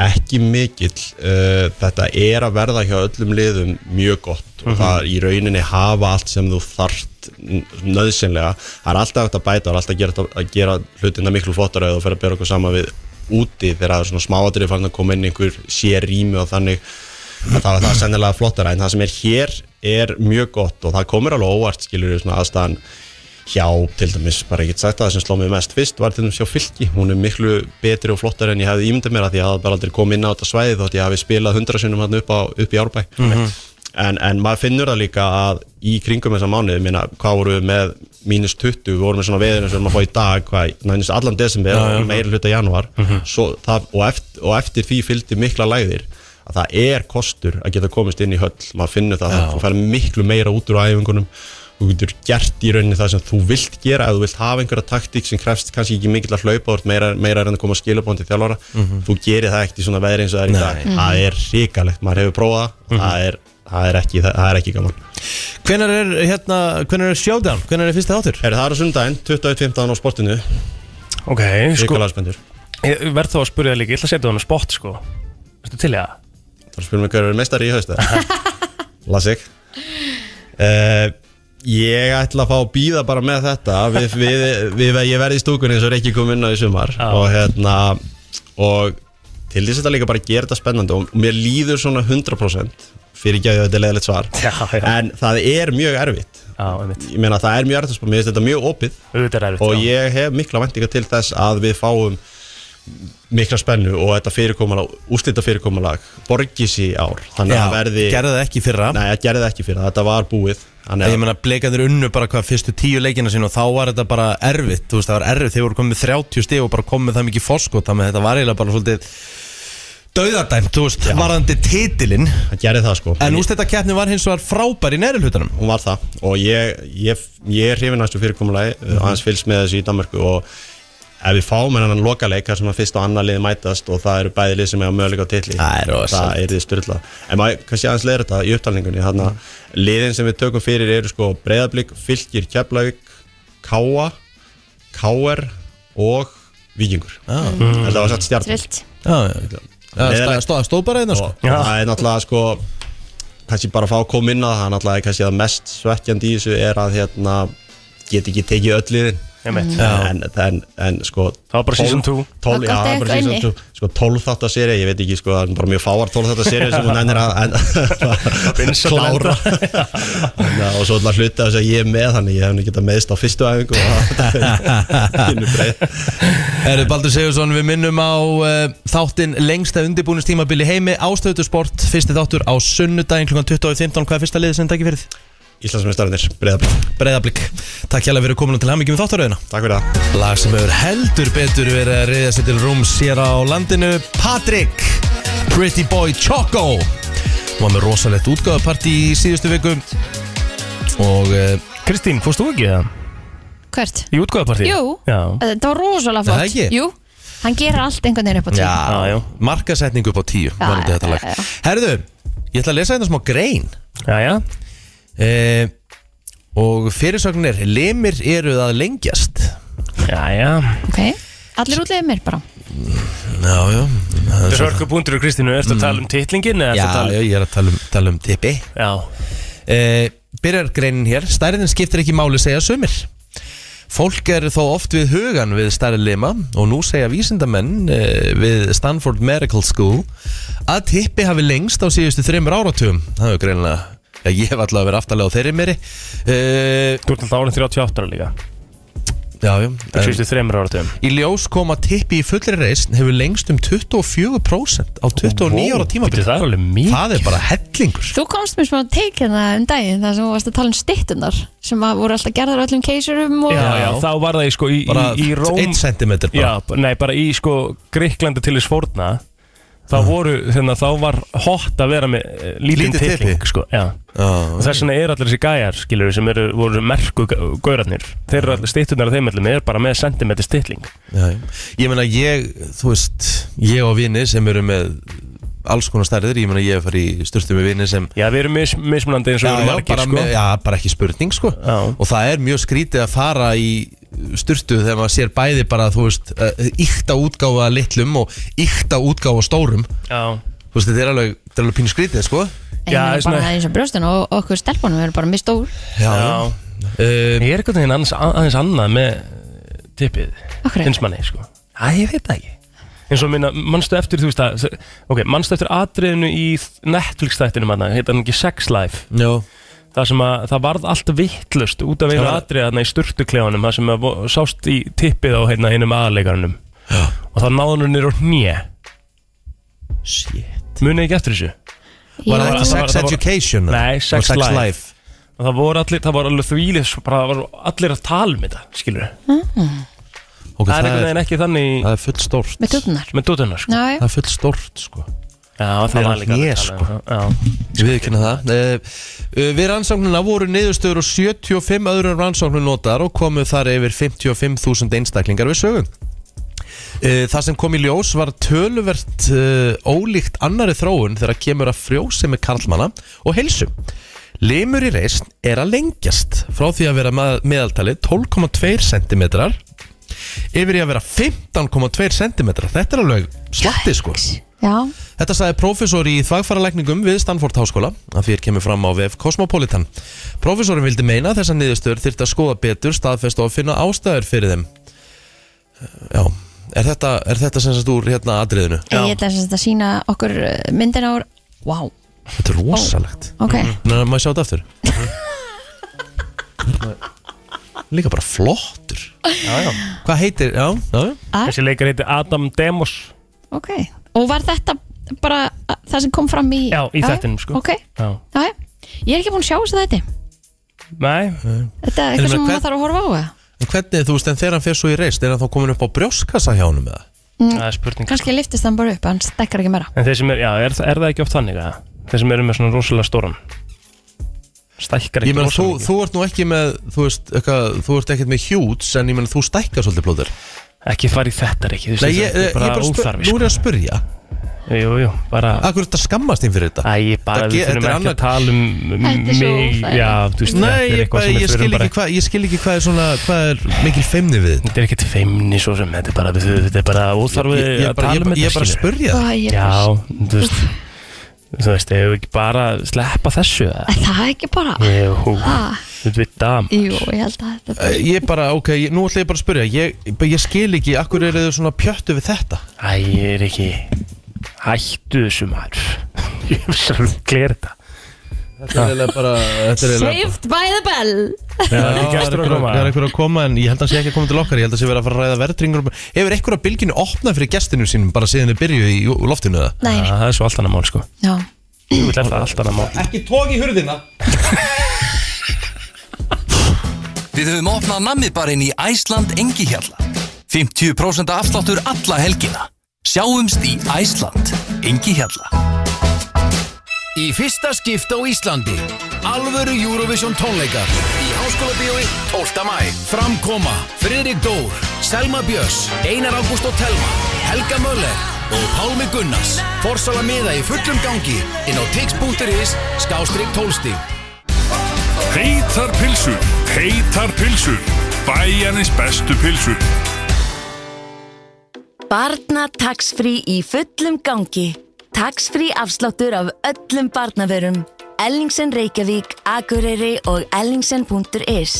Speaker 5: ekki mikill uh, þetta er að verða hjá öllum liðum mjög gott og það er í rauninni hafa allt sem þú þarft n- nöðsynlega, það er alltaf hægt að bæta það er alltaf að gera, að gera hlutina miklu flottar eða þú fer að bera okkur saman við úti þegar það er svona smáatrið farin að koma inn einhver sér rými og þannig að það, það er sennilega flottara en það sem er hér er mjög gott og það komur alveg óvart skilur við svona aðstæðan hjá til dæmis, bara ég get sagt að það sem sló mig mest fyrst var til dæmis hjá Fylki, hún er miklu betri og flottar en ég hefði ímyndað mér að því að ég hafði bara aldrei komið inn á þetta svæði þótt ég hafi spilað hundra sinnum hann upp, á, upp í Árbæ en, en maður finnur það líka að í kringum þessa mánuði, minna, hvað voru við með mínus 20, við vorum með svona veðinu sem við erum að fá í dag, hvað, nænist allan desember og meira hluta januar svo, það, og, eftir, og eftir því fylgdi mikla lægðir að það er kostur að geta komist inn í höll, maður finnur það, þú fær miklu meira út úr æfingunum þú getur gert í rauninni það sem þú vilt gera ef þú vilt hafa einhverja taktík sem krefst kannski ekki mikill að hlaupa þú ert meira, meira að reyna að koma skilabónd til þjálfara þú gerir það ekkert í svona veðri eins og það er í dag það er hrikalegt, maður hefur prófað það og það, er, það, er ekki, það, er ekki gaman
Speaker 2: Hvenær er, hérna, hvenær er showdown? Hvenær er fyrsta þáttur?
Speaker 5: Heru, Það er á sundaginn, 21.15 á sportinu
Speaker 3: Ok, sko,
Speaker 5: hrikalega spendur
Speaker 3: ég verð þá að spyrja það líka Ég ætla að setja það á spott sko Ertu til í það?
Speaker 5: Það er spilum við hverju meistari í haust eða?
Speaker 3: [LAUGHS]
Speaker 5: Lasik uh, Ég ætla að fá að býða bara með þetta við, við, við, Ég verði í stúkunni eins og Reykjavík kom inn á í sumar
Speaker 3: Já.
Speaker 5: og, hérna, og til þess að þetta líka bara gera þetta spennandi og mér líður svona 100% fyrir ekki að þetta er leiðilegt svar
Speaker 3: Já, já.
Speaker 5: en það er mjög erfitt
Speaker 3: Já, einmitt
Speaker 5: ég meina það er mjög erfitt, sko, mér finnst þetta mjög opið
Speaker 3: Auðvitað er erfitt
Speaker 5: og
Speaker 3: já.
Speaker 5: ég hef mikla vendinga til þess að við fáum mikla spennu og þetta fyrirkomulag, úslita fyrirkomulag borgi sér í ár þannig að verði,
Speaker 2: gerði það ekki í fyrra
Speaker 5: nei, ég gerði það ekki fyrir það, þetta var búið
Speaker 2: Nei,
Speaker 5: þannig
Speaker 2: Ég
Speaker 5: að,
Speaker 2: meina, blekandir unnu bara hvað fyrstu tíu leikina sín og þá var þetta bara erfitt, þú veist, það var erfitt, þeir voru komið 30 stig og bara komið það mikið fórskot, þannig að þetta var eiginlega bara svolítið dauðardæmt, þú veist, varðandi titilinn,
Speaker 5: hann gerði það sko
Speaker 2: en úst þetta keppni var hins vegar frábær í nærilhutunum.
Speaker 5: hún var það og ég, ég, ég er hrifin næstu fyrirkomulagi
Speaker 2: Mhm.
Speaker 5: mm hans fylgst með þessu í Danmarku og ef við fáum hennan lokaleik þar sem að fyrst og annar liði mætast og það eru bæði lið sem hefur möguleika á titli
Speaker 2: Það er rosalegt.
Speaker 5: það er því styrla en maður kannski aðeins leiður þetta í upptalningunni þannig
Speaker 2: Mhm.
Speaker 5: að liðin sem við tökum fyrir eru sko Breiðablík, Fylgir, Keflavík Káa, Káer og Víkingur ah. þetta var satt stjarn
Speaker 4: trillt
Speaker 2: Já, já, já,
Speaker 5: Leiðilegt.
Speaker 2: stóð, stóð bara
Speaker 3: Hérna,
Speaker 2: einna, sko.
Speaker 5: og
Speaker 2: [LAUGHS]
Speaker 5: það er náttúrulega sko kannski bara að fá að koma inn að það er náttúrulega kannski það mest svekkjandi í þessu er að hérna get ekki tekið öll liðin
Speaker 3: Einmitt
Speaker 5: en, en, en sko
Speaker 3: Það var bara season 2.
Speaker 5: 12,
Speaker 4: Það
Speaker 5: já, það
Speaker 4: gott
Speaker 5: var bara
Speaker 4: eitthvað
Speaker 5: season 2 sko 12 þáttar seri, ég veit ekki sko það er bara mjög fáar 12 þáttar seri sem hún ennir að en,
Speaker 3: binsa til
Speaker 5: klára [LAUGHS] Þannig að- og svo alltaf hluta þess að ég er með þannig ég hef nú getað meðst á fyrstu æfingu og það
Speaker 3: [LAUGHS]
Speaker 5: er innu breið
Speaker 2: Erðu Baldur Sigursson, við minnum á uh, þáttinn lengsta undirbúinist tímabili heimi, ástöðutusport, fyrsti þáttur á sunnudaginn klukkan 20.15, hvað er fyrsta liðið sem takk fyrir þið?
Speaker 5: Íslandsmeistarnir, breyðabli,
Speaker 2: Breiðablík, takk hjálpa fyrir komin til hamingjum í þáttaröðina.
Speaker 5: takk fyrir það
Speaker 2: Lag sem hefur heldur betur verið að reyða sér til rúms hér á landinu Patrick, Pretty Boy Choco Var með rosalegt útgáðapartí í síðustu viku Og uh,
Speaker 3: Kristín, fórst þú ekki það?
Speaker 4: hvert?
Speaker 3: Í útgóðapartíð?
Speaker 4: Jú,
Speaker 3: Já
Speaker 4: þetta var rosalega
Speaker 2: Það
Speaker 4: flott
Speaker 2: ekki?
Speaker 4: Jú, hann gerir allt einhvern veginn upp á tíu
Speaker 3: Já, já.
Speaker 2: markasetning upp á tíu
Speaker 4: Já,
Speaker 2: varðandi
Speaker 4: já,
Speaker 2: þetta lag.
Speaker 4: já, já.
Speaker 2: Herðu, ég ætla að lesa þetta smá grein
Speaker 3: Já, já
Speaker 2: uh, Og fyrirsögnir, limir eru að lengjast
Speaker 3: Já, já
Speaker 4: Ok, allir útlegið mér bara
Speaker 2: Já, já það er
Speaker 3: Þetta er
Speaker 2: svo- Mm.
Speaker 3: hörkubundur og Kristínu, ertu að tala um titlingin eða ertu
Speaker 2: Já,
Speaker 3: að
Speaker 2: já,
Speaker 3: tala
Speaker 2: ég er að tala um, tala um tippi
Speaker 3: Já,
Speaker 2: Eh, byrjar greinin hér stærðin skiptir ekki máli segja sumir fólk eru þó oft við hugan við stærri lima og nú segja vísindamenn eh, við Stanford Medical School að tippi hafi lengst á síðustu þreymur áratugum það er greinlega Já, ég hef alltaf verið aftalega á þeirri meiri uh,
Speaker 3: þú ert alltaf árið 38 líka
Speaker 2: Já, já
Speaker 3: Þú
Speaker 2: en,
Speaker 3: sýstu þreymur áratum
Speaker 2: Í ljós kom að tippi í fullri reisn hefur lengst um 24% á 29 ára tímabili
Speaker 3: Það er alveg mjög
Speaker 2: Það er bara hellingur
Speaker 4: Þú komst mér smá teik hérna um daginn þar sem þú varst að tala um styttunar sem að voru alltaf gerðar öllum keisurum og...
Speaker 3: Já, já, þá var það í sko í, í,
Speaker 2: bara
Speaker 3: í Róm
Speaker 2: 1 cm bara
Speaker 3: Já, b- nei, bara í sko Greiklandi til þess forna Þá voru, þannig þá var hot að vera með eh, lítinn
Speaker 2: Lítið
Speaker 3: titling
Speaker 2: tippi.
Speaker 3: sko, já.
Speaker 2: Já,
Speaker 3: og þess vegna er allir þessi gæjar skilur sem eru, voru merku gaurarnir þeir eru allir stýttunar af þeim öllum er bara með sentimetri stýtling
Speaker 2: Já, já. ég meina ég, þú veist, ég og vini sem eru með alls konar stærðir, ég meina ég er farið í styrstu með vini sem
Speaker 3: já við erum mis, mismunandi eins og við erum margir
Speaker 2: bara,
Speaker 3: sko.
Speaker 2: með, já, bara ekki spurning sko
Speaker 3: Já.
Speaker 2: og það er mjög skrítið að fara í styrtu þegar maður sér bæði bara, þú veist, eh, ykta útgáfa af litlum og ykta útgáfa af stórum
Speaker 3: já.
Speaker 2: þú veist, þetta er alveg, þetta er alveg pínu skrítið sko
Speaker 4: En
Speaker 3: Já,
Speaker 4: það er
Speaker 3: svona-
Speaker 4: bara eins og brjóstin og og okkur stelpunum eru bara mjög stór
Speaker 2: Já,
Speaker 3: Já.
Speaker 2: Um,
Speaker 3: ég er einhvern veginn annars, aðeins annað með eh, tippið
Speaker 4: Af hverju?
Speaker 3: eins manni sko já ég veit það ekki eins og minna, mannstu eftir þú veist að ok, mannstu eftir atriðinu í Netflix þættinu manna, heita hann ekki Sex Life
Speaker 2: já,
Speaker 3: það sem að það varð allt vittlust út af einu
Speaker 2: Það var-
Speaker 3: atrið þarna í sturtuklefanum það sem að vo- sást í tippið á hérna hinnum aðleikarnum og það náði hann nýr og hnje
Speaker 2: shit
Speaker 3: munið ekki eftir þessu
Speaker 2: Var
Speaker 3: Já.
Speaker 2: það
Speaker 3: Það
Speaker 2: ekki
Speaker 3: var-
Speaker 2: sex
Speaker 3: það var-
Speaker 2: education?
Speaker 3: Nei,
Speaker 2: Og
Speaker 3: Sex
Speaker 2: sex
Speaker 3: Life.
Speaker 2: life.
Speaker 3: og það voru allir, það voru alveg þvílið bara það voru allir að tala um þetta skilur
Speaker 2: Ok,
Speaker 3: það er einhvern veginn ekki þannig
Speaker 2: það er full stórt
Speaker 4: með tuttunar
Speaker 3: með dótunar sko.
Speaker 4: Já, já,
Speaker 2: Það er full stórt sko
Speaker 3: já, það
Speaker 2: er
Speaker 3: var
Speaker 2: allt
Speaker 3: líka
Speaker 2: hné,
Speaker 3: að tala um það. Já.
Speaker 2: Ég viðkynna það Eh, eh, Við rannsóknuna voru niðurstöður og 75 öðrum rannsóknum notaðar og komu þar yfir 55.000 einstaklingar við sögum Eh, Það sem kom í ljós var töluvert eh, ólíkt annari þróun þegar kemur að frjósi með karlmanna og heilsu Limur í reisn er að lengjast frá því að vera ma- meðaltalið 12,2 cm yfir í að vera 15,2 cm Þetta er alveg slatti sko
Speaker 4: já,
Speaker 2: Þetta sagði prófessor í þvagfæralækningum við Stanford Háskóla að fyrir kemur fram á VF Cosmopolitan. Prófessorin vildi meina að þessar niðurstöður þyrfti að skoða betur staðfest og að finna ástæður fyrir þeim. Eh, Já, er þetta, er þetta sem sagt úr hérna atriðinu?
Speaker 4: ég ætla sem sagt að sína okkur myndina uh, úr Vá,
Speaker 2: Þetta er rosalegt
Speaker 4: ok,
Speaker 2: Mhm. Nei, maður sjá þetta aftur Hérna, Líka bara flottur
Speaker 3: já, já.
Speaker 2: Hvað heitir, já, já
Speaker 3: Þessi leikar heiti Adam Demos
Speaker 4: ok og var þetta bara a- það sem kom fram í
Speaker 3: Já, í þættinum, sko.
Speaker 4: ok,
Speaker 3: Já.
Speaker 4: já, já. ég er ekki búin að sjá þessu þetta
Speaker 3: Nei,
Speaker 4: þetta er
Speaker 2: En ég
Speaker 4: eitthvað sem
Speaker 2: meina,
Speaker 4: maður
Speaker 2: hvern-
Speaker 4: þarf að horfa á eða?
Speaker 2: En hvernig, þú veist, en þegar hann fer svo í reist Er hann þá komin upp á brjóskassa hjá honum með það?
Speaker 3: það er spurning sko.
Speaker 4: Mm. kannski liftist hann bara upp, hann stekkar ekki meira
Speaker 3: En þeir sem er, já, er, er það ekki oft þannig að Þeir sem eru með svona rosalega stóran Stækkar
Speaker 2: Ég
Speaker 3: ekki
Speaker 2: meina, þú,
Speaker 3: rosalega
Speaker 2: þú ert nú ekki með, þú veist, eitthvað, þú ert ekkert með hjúts En ég meina, þú stækkar svolítið blóður
Speaker 3: mikið. Ekki fara í þetta ekki
Speaker 2: Nei, ég, ég bara, spyr,
Speaker 3: óþarfi
Speaker 2: nú
Speaker 3: sko.
Speaker 2: er ég að spyrja
Speaker 3: Jú, jú, bara
Speaker 2: Akkur þetta skammast þín fyrir þetta
Speaker 3: Æ, ég bara,
Speaker 2: Það ge-
Speaker 3: við þurfum
Speaker 2: þetta er
Speaker 3: ekki
Speaker 2: annað-
Speaker 3: að tala um
Speaker 4: Þetta er svo
Speaker 3: mig,
Speaker 4: óþægilegt.
Speaker 3: já, þú veist,
Speaker 2: Nei,
Speaker 3: þetta er
Speaker 2: ég,
Speaker 3: eitthvað sem
Speaker 2: ég,
Speaker 3: við
Speaker 2: skil
Speaker 3: þurfum
Speaker 2: ekki
Speaker 3: bara,
Speaker 2: hvað, ég skil ekki hvað er svona, hvað er mikil feimni við þetta
Speaker 3: þetta er ekkert feimni svo sem, þetta er bara, við, þetta er bara
Speaker 2: Ég,
Speaker 3: óþarfið
Speaker 2: ég,
Speaker 3: að
Speaker 2: ég, bara,
Speaker 3: tala
Speaker 2: ég,
Speaker 3: um
Speaker 2: bara- ég er bara að
Speaker 3: þetta, skilur.
Speaker 2: spurja
Speaker 4: Æ, ég er
Speaker 3: Já,
Speaker 4: bara-
Speaker 3: þú veist, þú veist, hefur við ekki bara sleppa þessu, eða?
Speaker 4: Er það er ekki bara
Speaker 3: Jú,
Speaker 4: Ah.
Speaker 3: þú veit það,
Speaker 4: jú, ég held að þetta
Speaker 2: Eh, Ég bara, ok, ég, nú ætla ég bara að spyrja Ég, ég skil ekki, akkur eru þau svona pjöttu við þetta
Speaker 3: æ, ég er ekki, hættu þessu maður, [LAUGHS] ég hef sjálf gler þetta.
Speaker 2: Þetta er eiginlega bara Þetta
Speaker 4: saved by the bell
Speaker 3: Það er
Speaker 2: Það
Speaker 3: gestur að koma.
Speaker 2: er einhver að koma en ég held að hann sé ekki að koma til okkar Ég held að sé verið að fara að ræða verðringur Hefur einhver að bylginu opnað fyrir gestinu sínum bara síðan þið byrjuð í í loftinu eða?
Speaker 4: nei,
Speaker 3: Já, Það er svo allt annað mál, sko,
Speaker 4: já,
Speaker 3: þú veit það allt annað mál.
Speaker 2: Ekki tók í hurðina
Speaker 6: Við höfum opnað nammibarinn í Æsland Engihjalla. 50% afsláttur alla helgina. Sjáumst í Æsland Engihjalla.
Speaker 7: Í fyrsta skipt á Íslandi Alvöru Eurovision tónleikar Í Háskóla Bíói 12. mæ Framkoma Friðrik Dór Selma Björs Einar Ágúst og Telma Helga Möller og Pálmi Gunnars Forsala miða í fullum gangi inn á tix.is skástrík tólstík
Speaker 8: Heitar pilsur, heitar pilsur, bæjarins bestu pilsur.
Speaker 9: Barna taxfrí í fullum gangi. Taxfrí afsláttur af öllum barnaverum. Ellingsen Reykjavík, Akureyri og ellingsen.is.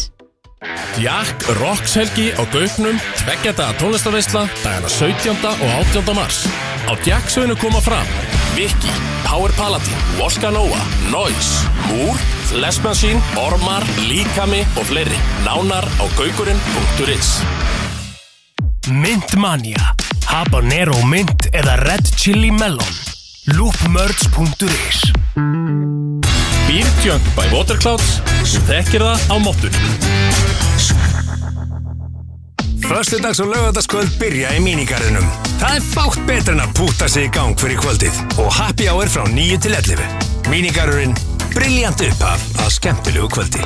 Speaker 7: Jakk Rocks-helgi á Gauknum, tveggjadaða tónlistaveisla, dagana 17. og 18. mars. Á Jakksveinu koma fram Viki, Power Paladin, Voska Nova, Noise, Múr, Les Machine, Ormar, Líkami og fleiri. Nánar á gaukurinn.is
Speaker 3: Myntmania, Habanero Mint eða Red Chili Melon loopmerge.is
Speaker 7: Bírtjöng by Waterclouds, þekkir það á móttur.
Speaker 8: Föstudags og lögadagskvöld byrja í mínigarðinum. Það er fátt betra en að púta sig í gang fyrir kvöldið og happy hour frá 9 til 11. Mínigarðurinn, briljant upphaf að skemmtilegu kvöldi.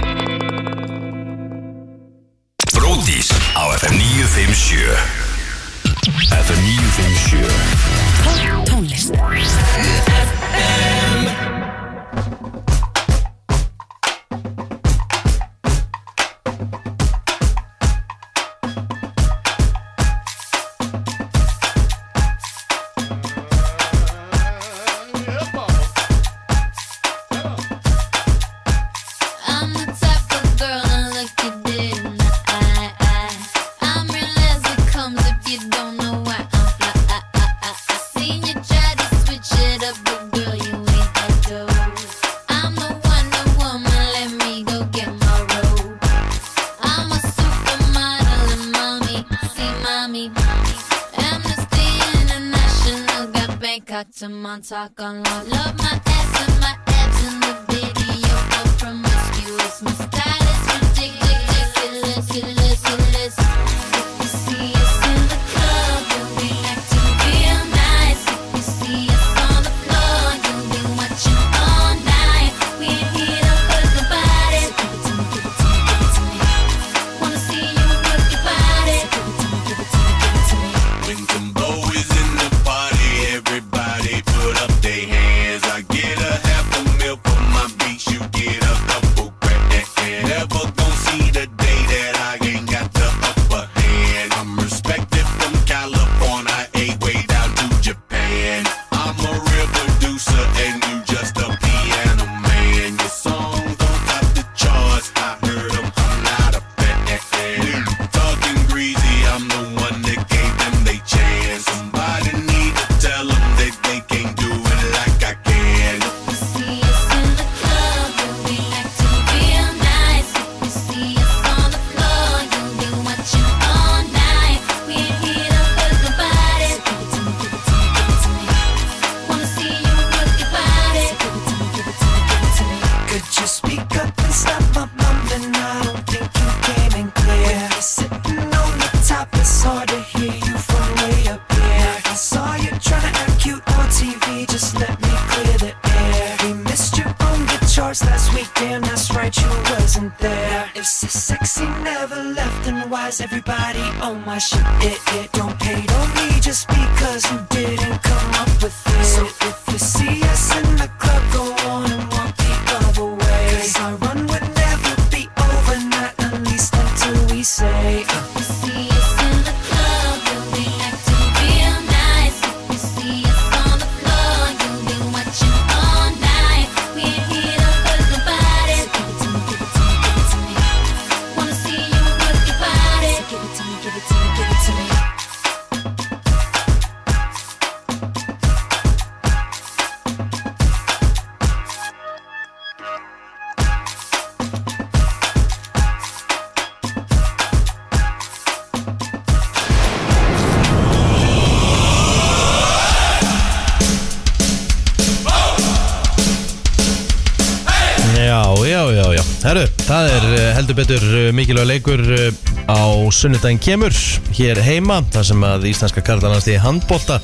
Speaker 1: Bróðís á FM 957 FM 957
Speaker 9: Tónlist.
Speaker 10: I'm the type of girl that look you dead in the eye, eye. I'm real as it comes if you don't know why I'm fly. I, I, I, I seen you try to switch it up, but girl, you ain't that dope. I'm the Wonder Woman, let me go get my robe. I'm a supermodel and mommy, see mommy. Amnesty International got Bangkok to Montauk on loan. Love my ass and my abs in the video for promiscuous. My style is ridiculous, ridiculous, ridiculous. If you see us in the club, you'll be acting real nice. If you see us on the floor, you'll be watching all night. We ain't here to work the body. So give it to me, give it to me, give it to me. Wanna see you work your body. So give it to me, give it to me, give it to me.
Speaker 1: When Kimbo is in the party Everybody put up their hands I get a half a
Speaker 11: bars last weekend, that's right, you wasn't there. If so sexy never left, then why's everybody on my shit? It, it don't pay no need just because you didn't come up with it. So if you see us in the club, go on and walk the other way. 'Cause our run would never be over, not at least until we say. "Oh,
Speaker 2: Já, já, já, já Herru, það er eh, heldur betur eh, mikilvæg leikur eh, á sunnudaginn kemur hér heima, þar sem að Íslandska karlanast í handbólta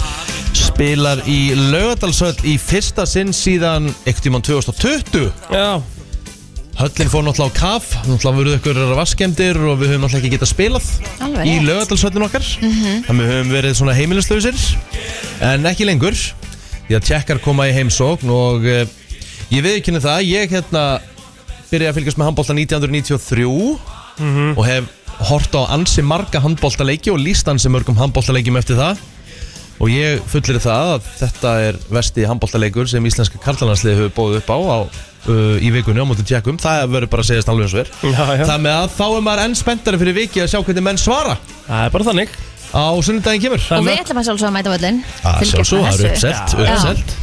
Speaker 2: spilar í laugadalsöld í fyrsta sinn síðan ekkert tímann 2020
Speaker 3: Já,
Speaker 2: Höllin fór náttúrulega á kaf, náttúrulega voruð ykkur vaskemdir og við höfum náttúrulega ekki getað spilað
Speaker 4: Alveg
Speaker 2: í
Speaker 4: rétt.
Speaker 2: lögadalsöldin okkar Þannig við höfum verið svona heimilislausir en ekki lengur því að tjekkar koma í heimsókn og uh, ég veið ekki henni það ég hérna byrjaði að fylgjast með handbólta 1993 og hef hort á ansi marga handbóltaleiki og líst ansi mörgum handbóltaleikjum eftir það og ég fullir það að þetta er vesti handbóltaleikur sem íslenska karlanarsliði hefur bóðið upp á, á uh, í vikunni á móti tjekkum, það verður bara að segja alveg eins og er
Speaker 3: Já, já.
Speaker 2: Það með að þá er maður enn spenntari fyrir viki að sjá hvernig menn svara
Speaker 3: það er bara þannig
Speaker 2: á sunnudaginn kemur
Speaker 3: Það er
Speaker 4: Og við
Speaker 3: mörg-
Speaker 4: ætlum að sjálfsögða að mæta völlin
Speaker 2: að sjálfsögðu, það er uppselt,
Speaker 4: Já.
Speaker 2: uppselt.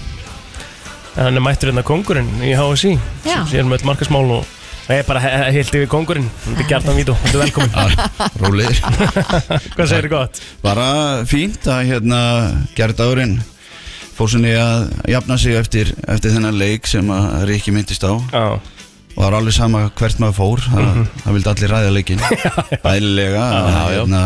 Speaker 3: En hann er mættur hérna kongurinn í HSI
Speaker 4: Já.
Speaker 3: Sér með öll markasmál og Það er bara he- he- heilt yfir kongurinn Þetta er Gjartan Vító, þetta er velkomin
Speaker 12: Rólir
Speaker 3: [LAUGHS] Hvað segir þið gott?
Speaker 12: Bara fínt að hérna gerðdagurinn fór svona í að jafna sig eftir, eftir þennan leik sem að Ríkki myndist á
Speaker 3: Já, Mhm.
Speaker 12: og það var alveg sama hvert maður fór það það vildi allir ræða
Speaker 3: [LAUGHS]
Speaker 12: leikin bælilega
Speaker 2: Já, já.
Speaker 12: hérna,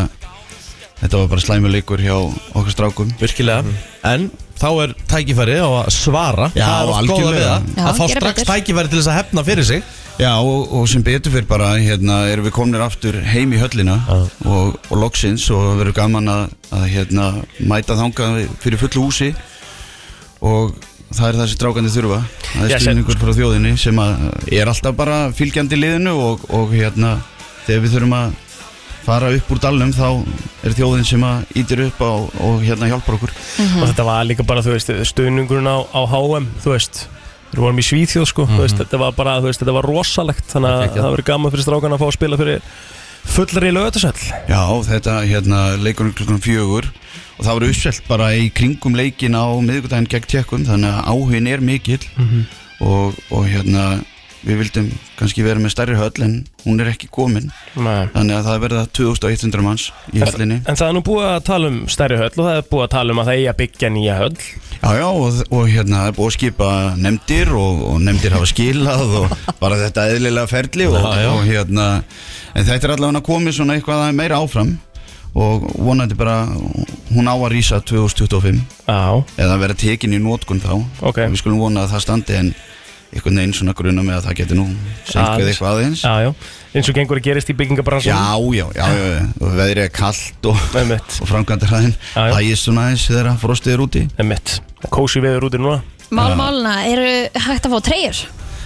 Speaker 12: þetta var bara slæmur leikur hjá okkar strákum Mm.
Speaker 2: Virkilega En þá er tækifæri á að svara
Speaker 12: Já,
Speaker 2: Það er oft góða við
Speaker 12: algjörlega.
Speaker 2: það
Speaker 4: Já,
Speaker 2: Að fá
Speaker 4: gera
Speaker 2: strax
Speaker 4: betur.
Speaker 2: tækifæri til þess að hefna fyrir sig
Speaker 12: já og, og sem betur fyrir bara hérna, erum við komnir aftur heim í höllina og, og loksins og verður gaman að, að hérna, mæta þangað fyrir fullu húsi og það er það sem strákandi þurfa það
Speaker 3: Já,
Speaker 12: er
Speaker 3: sem-
Speaker 12: stuðningur frá þjóðinni sem að er alltaf bara fylgjandi liðinu og, og hérna þegar við þurfum að fara upp úr dalnum þá er þjóðin sem að ítir upp á, og hérna hjálpar okkur
Speaker 3: og þetta var líka bara, þú veist, stöðningurinn á, á HM, þú veist Við vorum í Svíþjóð, sko, þú veist, þetta var bara, þú veist, þetta var rosalegt Þannig að það verið gaman fyrir strákan að fá að spila fyrir fullri lögatasöll
Speaker 12: Já, þetta hérna leikurinn klukkan fjögur og það var uppselt bara í kringum leikin á miðvikudaginn gegn tjekkum þannig að áhugin er mikill
Speaker 3: Mhm.
Speaker 12: Mhm. og, og hérna við vildum kannski vera með stærri höll en hún er ekki komin þannig að það verða 2100 manns í höllinni
Speaker 3: En það er nú búið að tala um stærri höll og það er búið að tala um að það eigi að byggja nýja höll
Speaker 12: Já, já, og, og hérna það er búið að skipa nefndir og, og nefndir hafa skilað og
Speaker 3: [LAUGHS]
Speaker 12: bara þetta eðlilega ferli og,
Speaker 2: Já, já.
Speaker 12: og hérna en þetta er allavega komið svona eitthvað meira áfram og vonandi bara hún á að rísa 2025
Speaker 3: Já,
Speaker 12: eða vera tekin í nótkun þá
Speaker 3: Ok.
Speaker 12: við skulum vona að það standi en einhvern veginn svona gruna með að það geti nú senkað
Speaker 3: Aðeins.
Speaker 12: eitthvað aðeins já,
Speaker 3: já, já, eins og gengur að gerist í
Speaker 12: já,
Speaker 3: byggingabransan
Speaker 12: já, já, já, já. og veðrið er kallt og,
Speaker 3: Einmitt.
Speaker 12: og framkvæmdi hraðin
Speaker 3: Já, já.
Speaker 12: hægist svona aðeins þegar frostið er úti
Speaker 3: Emmett, kósi veður úti núna
Speaker 4: Mál máluna, eru hægt að fá treyjur?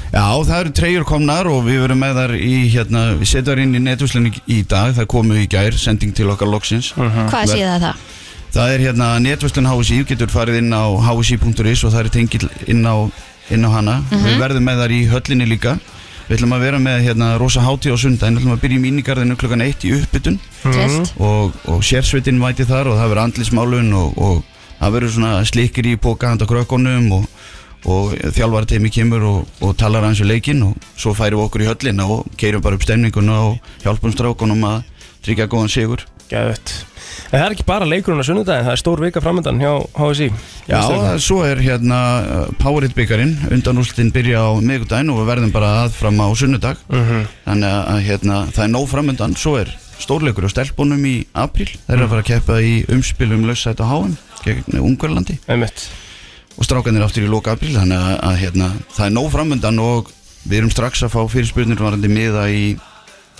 Speaker 12: Já, það eru treyjur komnar og við verum með þar í hérna, við setjum þar inn í netvöslunni í dag, það komu í gær, sending til okkar loksins.
Speaker 4: Hvað séð það það?
Speaker 12: Það er hérna netvöslun HSI, getur farið inn á hsi.is og það er tengil inn á, inn á hana. Við verðum með þar í höllinni líka. Við ætlum að vera með hérna rosa hátíð á sundaginn, við ætlum að byrja í mínigarðinu klukkan 1 í uppbytun
Speaker 4: Treyst?
Speaker 12: og, og sérsveitin væti þar og það verður andlismálun og, og það verður svona slikir í boka handa krökkunum og, og þjálfara teimi kemur og, og talar aðeins við leikinn og svo færum við okkur í höllina og keirum bara upp stemninguna og hjálpum strákunum að tryggja góðan sigur
Speaker 3: Gæðvett En það er ekki bara leikurinn á sunnudaginn, það er stór vika framöndan hjá HSI
Speaker 12: Já,
Speaker 3: Stefán.
Speaker 12: svo er hérna Powerade byggarinn, undanúslitin byrja á miðgudaginn og við verðum bara að fram á sunnudag
Speaker 4: Mhm.
Speaker 3: Mhm.
Speaker 12: þannig að hérna, það er nóg framundan, svo er stórleikur á stelpunum í apríl, þeir
Speaker 3: Mm.
Speaker 12: eru að fara að keppa í umspilum lausætt á háum gegn Ungverlandi
Speaker 3: Einmitt
Speaker 12: og strákan er aftur í loka apríl þannig að, að hérna, það er nóg framöndan og við erum strax að fá fyrirspurnir varandi miða í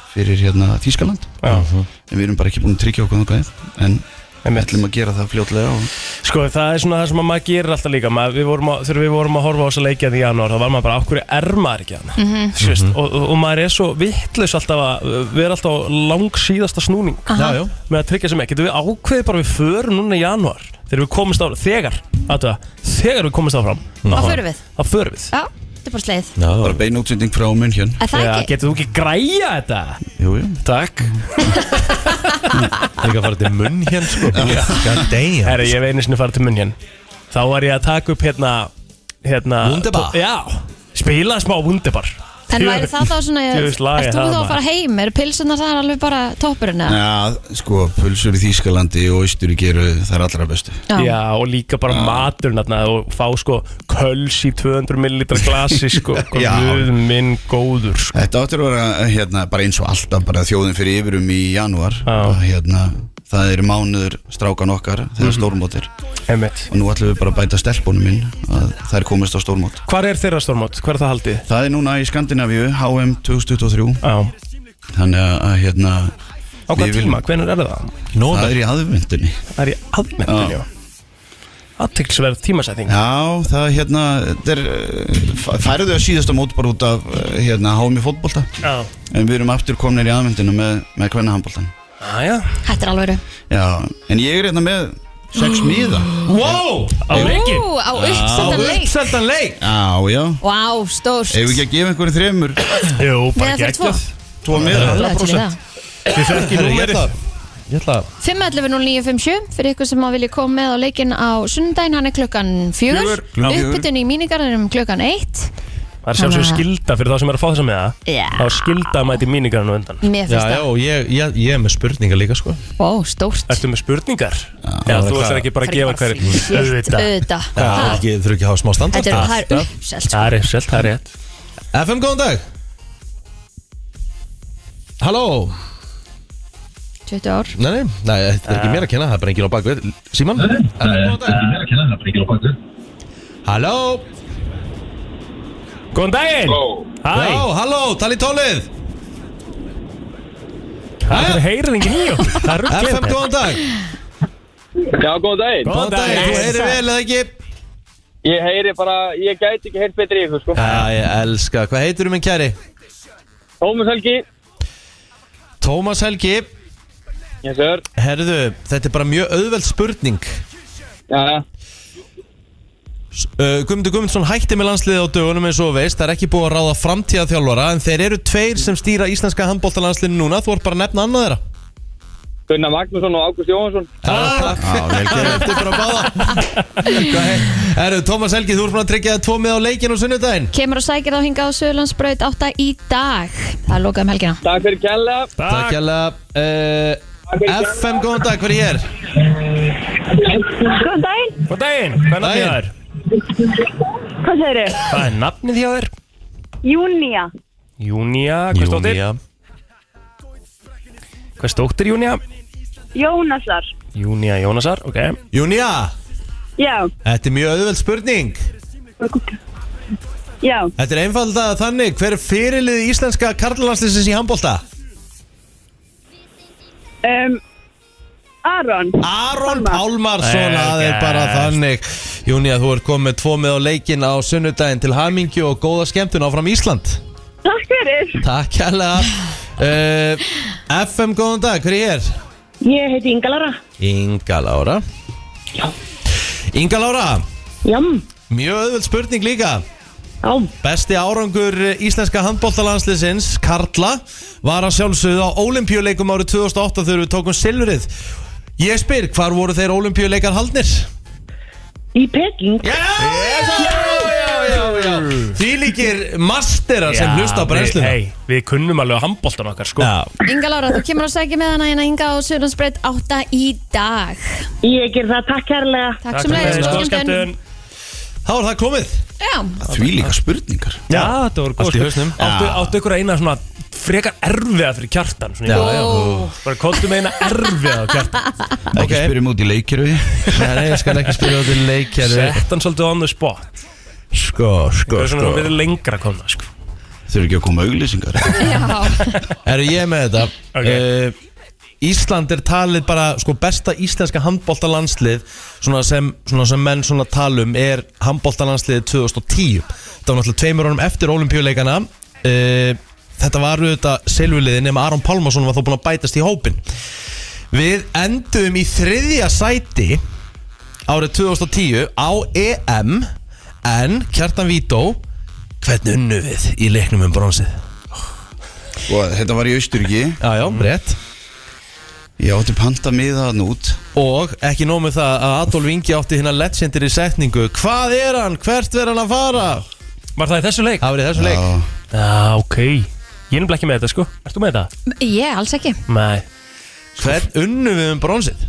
Speaker 12: fyrir hérna Þískaland
Speaker 3: Já.
Speaker 12: en við erum bara ekki búin að tryggja okkur þangað en við ætlum að gera það fljótlega og
Speaker 3: Sko það er svona það sem að maður gerir alltaf líka maður, við vorum að, Þegar við vorum að horfa á þessa leikja í janúar þá var maður bara, okkur er maður ekki hann mm
Speaker 13: Mhm.
Speaker 3: -hmm. og, og, og maður er svo vittlis alltaf að við erum alltaf á lang síðasta snúning
Speaker 13: Aha. Já, já.
Speaker 3: með að tryggja sem ekki Getum við ákveðið bara við förum núna í janúar þegar við komumst áfram þegar, aðtöða, þegar við komumst áfram
Speaker 4: Þá
Speaker 3: þá-
Speaker 4: förum við.
Speaker 3: þá förum við
Speaker 4: Já, þetta er bara sleið
Speaker 12: Já, bara beina útsending frá mun hér
Speaker 4: Er það ekki?
Speaker 3: Getur þú ekki græja þetta?
Speaker 12: Jú, jú
Speaker 3: [LAUGHS] Takk
Speaker 2: Líka að fara til munn hér sko God damn
Speaker 3: Herra, ég hef einu sinni farið til munn hér Þá var ég að taka upp hérna, hérna
Speaker 2: Wunderbar?
Speaker 3: Já, spila smá Wunderbar
Speaker 4: En væri það þá
Speaker 2: [LAUGHS]
Speaker 4: svona,
Speaker 12: Djöfull lag
Speaker 4: ert
Speaker 12: er
Speaker 4: þú þá
Speaker 12: það,
Speaker 4: að
Speaker 12: maður.
Speaker 4: fara heim? Er pilsunar þar alveg bara toppurinn? eða?
Speaker 12: Já, sko, pulsur í Þýskalandi og Ísturíki eru þær allra bestu
Speaker 4: Já.
Speaker 3: Já, og líka bara ja. matur þarna, og fá sko köls í 200 millilitra glasi
Speaker 2: [LAUGHS]
Speaker 3: sko
Speaker 12: Já.
Speaker 3: Guð minn góður sko.
Speaker 12: Þetta áttur að vera hérna, bara eins og alltaf bara þjóðin fyrir yfirum í janúar og hérna, það eru mánuður strákan okkar þegar stórmótir
Speaker 3: Mhm. Einmitt.
Speaker 12: og nú ætlum við bara að bæta stelpunum inn að þær komist á stórmót
Speaker 3: Hvar er þeirra stórmót? Hvar er það haldið?
Speaker 12: Það er núna í Skandinavíu, HM 2023
Speaker 3: Já.
Speaker 12: Þannig að, að hérna
Speaker 3: Á hvað tíma? Hvenær er það?
Speaker 12: Nóna. Það er í aðvendunni
Speaker 3: Það er í aðvendunni, já Aðtilsverð tímasetting
Speaker 12: Já, það hérna þetta er, eh, fa- færðu að síðasta mót bara út af eh, hérna, HM í fótbolta
Speaker 3: Já.
Speaker 12: En við erum aftur komnir í aðvendinu með, með hvernig
Speaker 3: Æja
Speaker 4: Þetta er alveg
Speaker 12: Já, en ég er hérna með sex miða
Speaker 3: Wow, á
Speaker 4: leikinn? Ó, á uppseldan leik.
Speaker 2: uppseldan leik
Speaker 12: Já, já
Speaker 4: Vá, stórt
Speaker 12: Ef við ekki að gefa einhverju þremur
Speaker 3: Jú,
Speaker 4: bara Nei, það er geggjað. tvo.
Speaker 12: Tvo miða,
Speaker 4: Það er
Speaker 12: 100%
Speaker 3: Þið
Speaker 2: þekki Herri, ég númerið. ætla- Ég ætla að
Speaker 4: 5.11.09.57 fyrir ykkur sem að vilja koma með á leikin á sunnudaginn, hann er klukkan fjögur
Speaker 3: Fjögur, klukkan fjögur.
Speaker 4: uppbytun í mínigarðinum klukkan eitt
Speaker 3: Það er sjálfsög skilda fyrir þá sem er að fá þessa með það
Speaker 4: Já.
Speaker 3: Það er skilda að mæti mínigarinn og undan
Speaker 4: Mér finnst það.
Speaker 2: og ég, ég, ég er með spurningar líka sko
Speaker 4: Ó, stórt
Speaker 3: Ertu með spurningar? Já,
Speaker 2: það er
Speaker 3: þú
Speaker 2: klart.
Speaker 3: ætlar ekki bara að
Speaker 4: Það er
Speaker 3: gefa
Speaker 4: ekki
Speaker 3: hverju
Speaker 4: bara frítt, auðvitað.
Speaker 2: Það er
Speaker 4: Ha.
Speaker 2: ekki, þurfi ekki að hafa smá standart
Speaker 4: Ah, Þetta er- það er uppselt, sko.
Speaker 3: Það er uppselt, það er rétt
Speaker 2: FM, góðan dag Halló
Speaker 4: 20 ár
Speaker 2: Nei, nei, nei, þetta
Speaker 3: Eh.
Speaker 2: er ekki mér að kenna, það er bara enginn á bakvið Síman, FM, góðan dag Halló
Speaker 3: Góðan daginn Hæ.
Speaker 2: Já, halló, tali tólið
Speaker 3: Það er heyrið enginn í okkur Það er ruglið hérna.
Speaker 2: FM, góðan dag
Speaker 14: Já, góðan daginn
Speaker 2: Góðan daginn, þú heyrir vel eða ekki?
Speaker 14: Ég heyri bara, ég gæti ekki heyrt betri í ykkur sko
Speaker 2: Já, ég elska, hvað heitir þú minn kæri?
Speaker 14: Tómas Helgi
Speaker 2: Tómas Helgi
Speaker 14: Yes sir
Speaker 2: Herðu, þetta er bara mjög auðveld spurning
Speaker 14: Já, já
Speaker 2: Uh, Guðmundur Guðmundsson hætti með landsliði á dögunum eins og þú veist, það er ekki búið að ráða framtíða þjálfara en þeir eru tveir sem stýra íslenska handbóltalandsliðinu núna, þú ert bara að nefna annað þeirra
Speaker 14: Gunnar Magnússon og Ágúst Jóhansson
Speaker 2: Þetta [LAUGHS] er bara báða Erðu, Tómas Helgi, þú ert búin að tryggja það tvo með á leikinu á sunnudaginn
Speaker 4: Kemur og sækir þá hingað á Söðurlandsbraut 8 í dag Það er lokað um helgina
Speaker 14: Takk fyrir kjalla
Speaker 2: Takk hérlega uh, FM, góðan dag, hver er ég er?
Speaker 15: Góðan daginn,
Speaker 3: Góðan daginn, hvað er nafnið þér?
Speaker 15: hvað segir þau?
Speaker 3: Hvað er nafnið hjá þér?
Speaker 15: Júnia,
Speaker 3: Júnia, hvað stóttir? Hvað stóttir Júnia?
Speaker 15: Jónasar
Speaker 3: Júnia Jónasar, ok
Speaker 2: Júnia,
Speaker 15: Já,
Speaker 2: þetta er mjög auðveld spurning
Speaker 15: já,
Speaker 2: Þetta er einfaldað þannig, hver er fyrirlið íslenska karlalandsliðsins í handbólta?
Speaker 15: um, Aron
Speaker 2: Aron Pálmarsson, það er bara þannig Júnia, þú ert komið tvo með á leikin á sunnudaginn til hamingju og góða skemmtun áfram Ísland
Speaker 15: Takk fyrir
Speaker 2: Takk hérlega uh, FM, góðan dag, hver er ég er?
Speaker 15: Ég heiti Inga Lara
Speaker 2: Inga Lára Inga Lára
Speaker 15: Já
Speaker 2: Mjög auðvöld spurning líka
Speaker 15: Já.
Speaker 2: Besti árangur íslenska handbóltalandsliðsins, Karla var að sjálfsögðu á olimpíuleikum árið 2008 þegar við tókum silfrið Ég spyr, hvar voru þeir olimpíuleikar haldnir?
Speaker 15: Í Peking
Speaker 2: Já, já, já, já, já. Því líkir masterar sem hlusta á brennsluna
Speaker 3: Hei, við kunnum alveg að handbóltan okkar sko Já,
Speaker 4: Inga Lára, þú kemur og sækir með hana hérna hingað á Söðurlandsbraut 8 í dag
Speaker 15: Ég ger það, takk kærlega
Speaker 4: Takk sem leiðis, góða skemmtun
Speaker 2: Þá er það komið
Speaker 4: Já,
Speaker 12: Því líka spurningar
Speaker 3: Já, þetta voru góð
Speaker 12: Allt í hausnum.
Speaker 3: Áttu,
Speaker 12: Já.
Speaker 3: áttu ykkur eina svona frekar erfiða fyrir kjartan svona,
Speaker 12: Já, já. Ó.
Speaker 3: Bara kóttum eina erfiða á kjartan
Speaker 12: Ekki spyrjum út í leikirfi
Speaker 2: Nei, nei, ég skal ekki spyrja út í leikirfi
Speaker 3: Sett hann svolítið on the spot
Speaker 2: Sko, sko,
Speaker 3: Það er svona
Speaker 2: sko
Speaker 3: verið lengra komna sko
Speaker 12: Þau eru ekki að koma auglýsingar
Speaker 2: Eru ég með þetta uh, Ísland er talið bara sko, besta íslenska handbóltalandslið svona sem, svona sem menn svona talum er handbóltalandsliðið 2010 Þetta var náttúrulega tveimur honum eftir olimpíuleikana uh, Þetta var auðvitað silvuliðin nema Aron Pálmarsson var þó búin að bætast í hópin Við endum í þriðja sæti árið 2010 á EM en Kjartan Vító hvernig unnu við í leiknum um bronsið?
Speaker 12: Og Sko, þetta var í Austuríki
Speaker 2: Já, já, rétt
Speaker 12: Ég átti panta miða þarna út
Speaker 2: Og ekki nóg með það að Adolf Ingi átti hérna legendir í setningu Hvað er hann? Hvert verður hann að fara?
Speaker 3: Var það í þessu leik?
Speaker 2: Það var í þessu leik
Speaker 3: Já, ok Ég er nefnilega ekki með þetta sko Ert þú með Sko. þetta?
Speaker 4: Ég, alls ekki
Speaker 3: Nei
Speaker 2: Hvern unnu við um bronsið?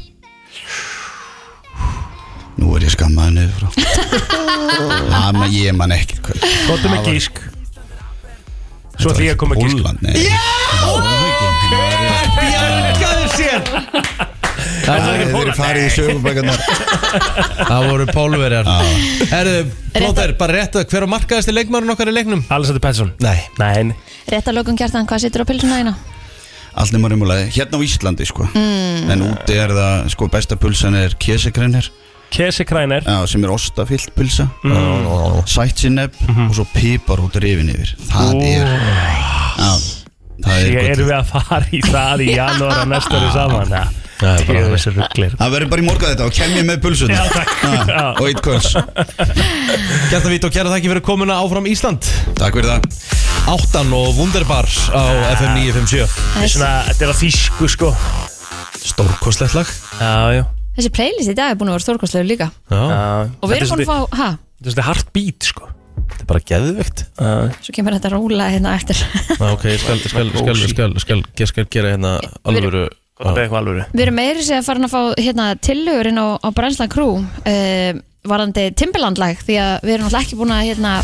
Speaker 12: Nú er ég skammaði niður frá Það með ég man ekkert hvað
Speaker 3: Góttu með um gísk Svo því að koma gísk
Speaker 12: Úlland, nei
Speaker 2: Bjargaðu sér
Speaker 12: Það hefur verið farið í sögubækarnar
Speaker 2: [LAUGHS] Það voru pólverjar Herðu, Plóter, bara rétt að hver á markaðasti leikmannun okkar í leiknum?
Speaker 3: Alessandr Petsson
Speaker 2: Nei
Speaker 3: Nei
Speaker 4: Rétt að lokum kjartan, hvað situr á pilsuna þína?
Speaker 12: Allt nema remulæði, hérna á Íslandi sko
Speaker 4: Mm.
Speaker 12: En úti er það, sko, besta pulsan er kesekrænir
Speaker 3: Kesekrænir
Speaker 12: Já, sem er ostafyllt pulsa
Speaker 3: Mm.
Speaker 12: Sætsinepp og svo pipar út rifin yfir Það er Já, það er
Speaker 3: Ég
Speaker 12: gott.
Speaker 3: erum við að fara í það í janúar að næsta ári saman Já.
Speaker 2: Það er
Speaker 3: bara þessi rugglir
Speaker 12: Það verður bara í morga þetta og kem ég með pulsun Já, takk
Speaker 2: Ah,
Speaker 12: Og eitt kvöls
Speaker 2: Kjartan Vít og kæra þakki fyrir komuna áfram Ísland
Speaker 12: Takk fyrir það
Speaker 2: Áttan og Wunderbar á FM 957
Speaker 3: Þetta er svona, þetta er að þýsku sko
Speaker 2: Stórkostlegt lag
Speaker 3: Já, já
Speaker 4: Þessi playlist í dag er búin að vera stórkostlegu líka Og við erum búin að fá, ha,
Speaker 3: Þetta er svona hart beat sko
Speaker 2: Þetta er bara geðvegt
Speaker 4: svo kemur þetta róla hérna eftir [LAUGHS]
Speaker 2: Já, Ah, ok, ég skal, skal, skal, skal, skal, skal, skal gera hérna alvöru Góða
Speaker 3: beðið eitthvað alvöru
Speaker 4: Við erum meiri sér að fara að fá hérna, tillögur inn á, á Brænslan Crew uh, varandi Timberland-lag því að við erum náttúrulega ekki búin að hérna,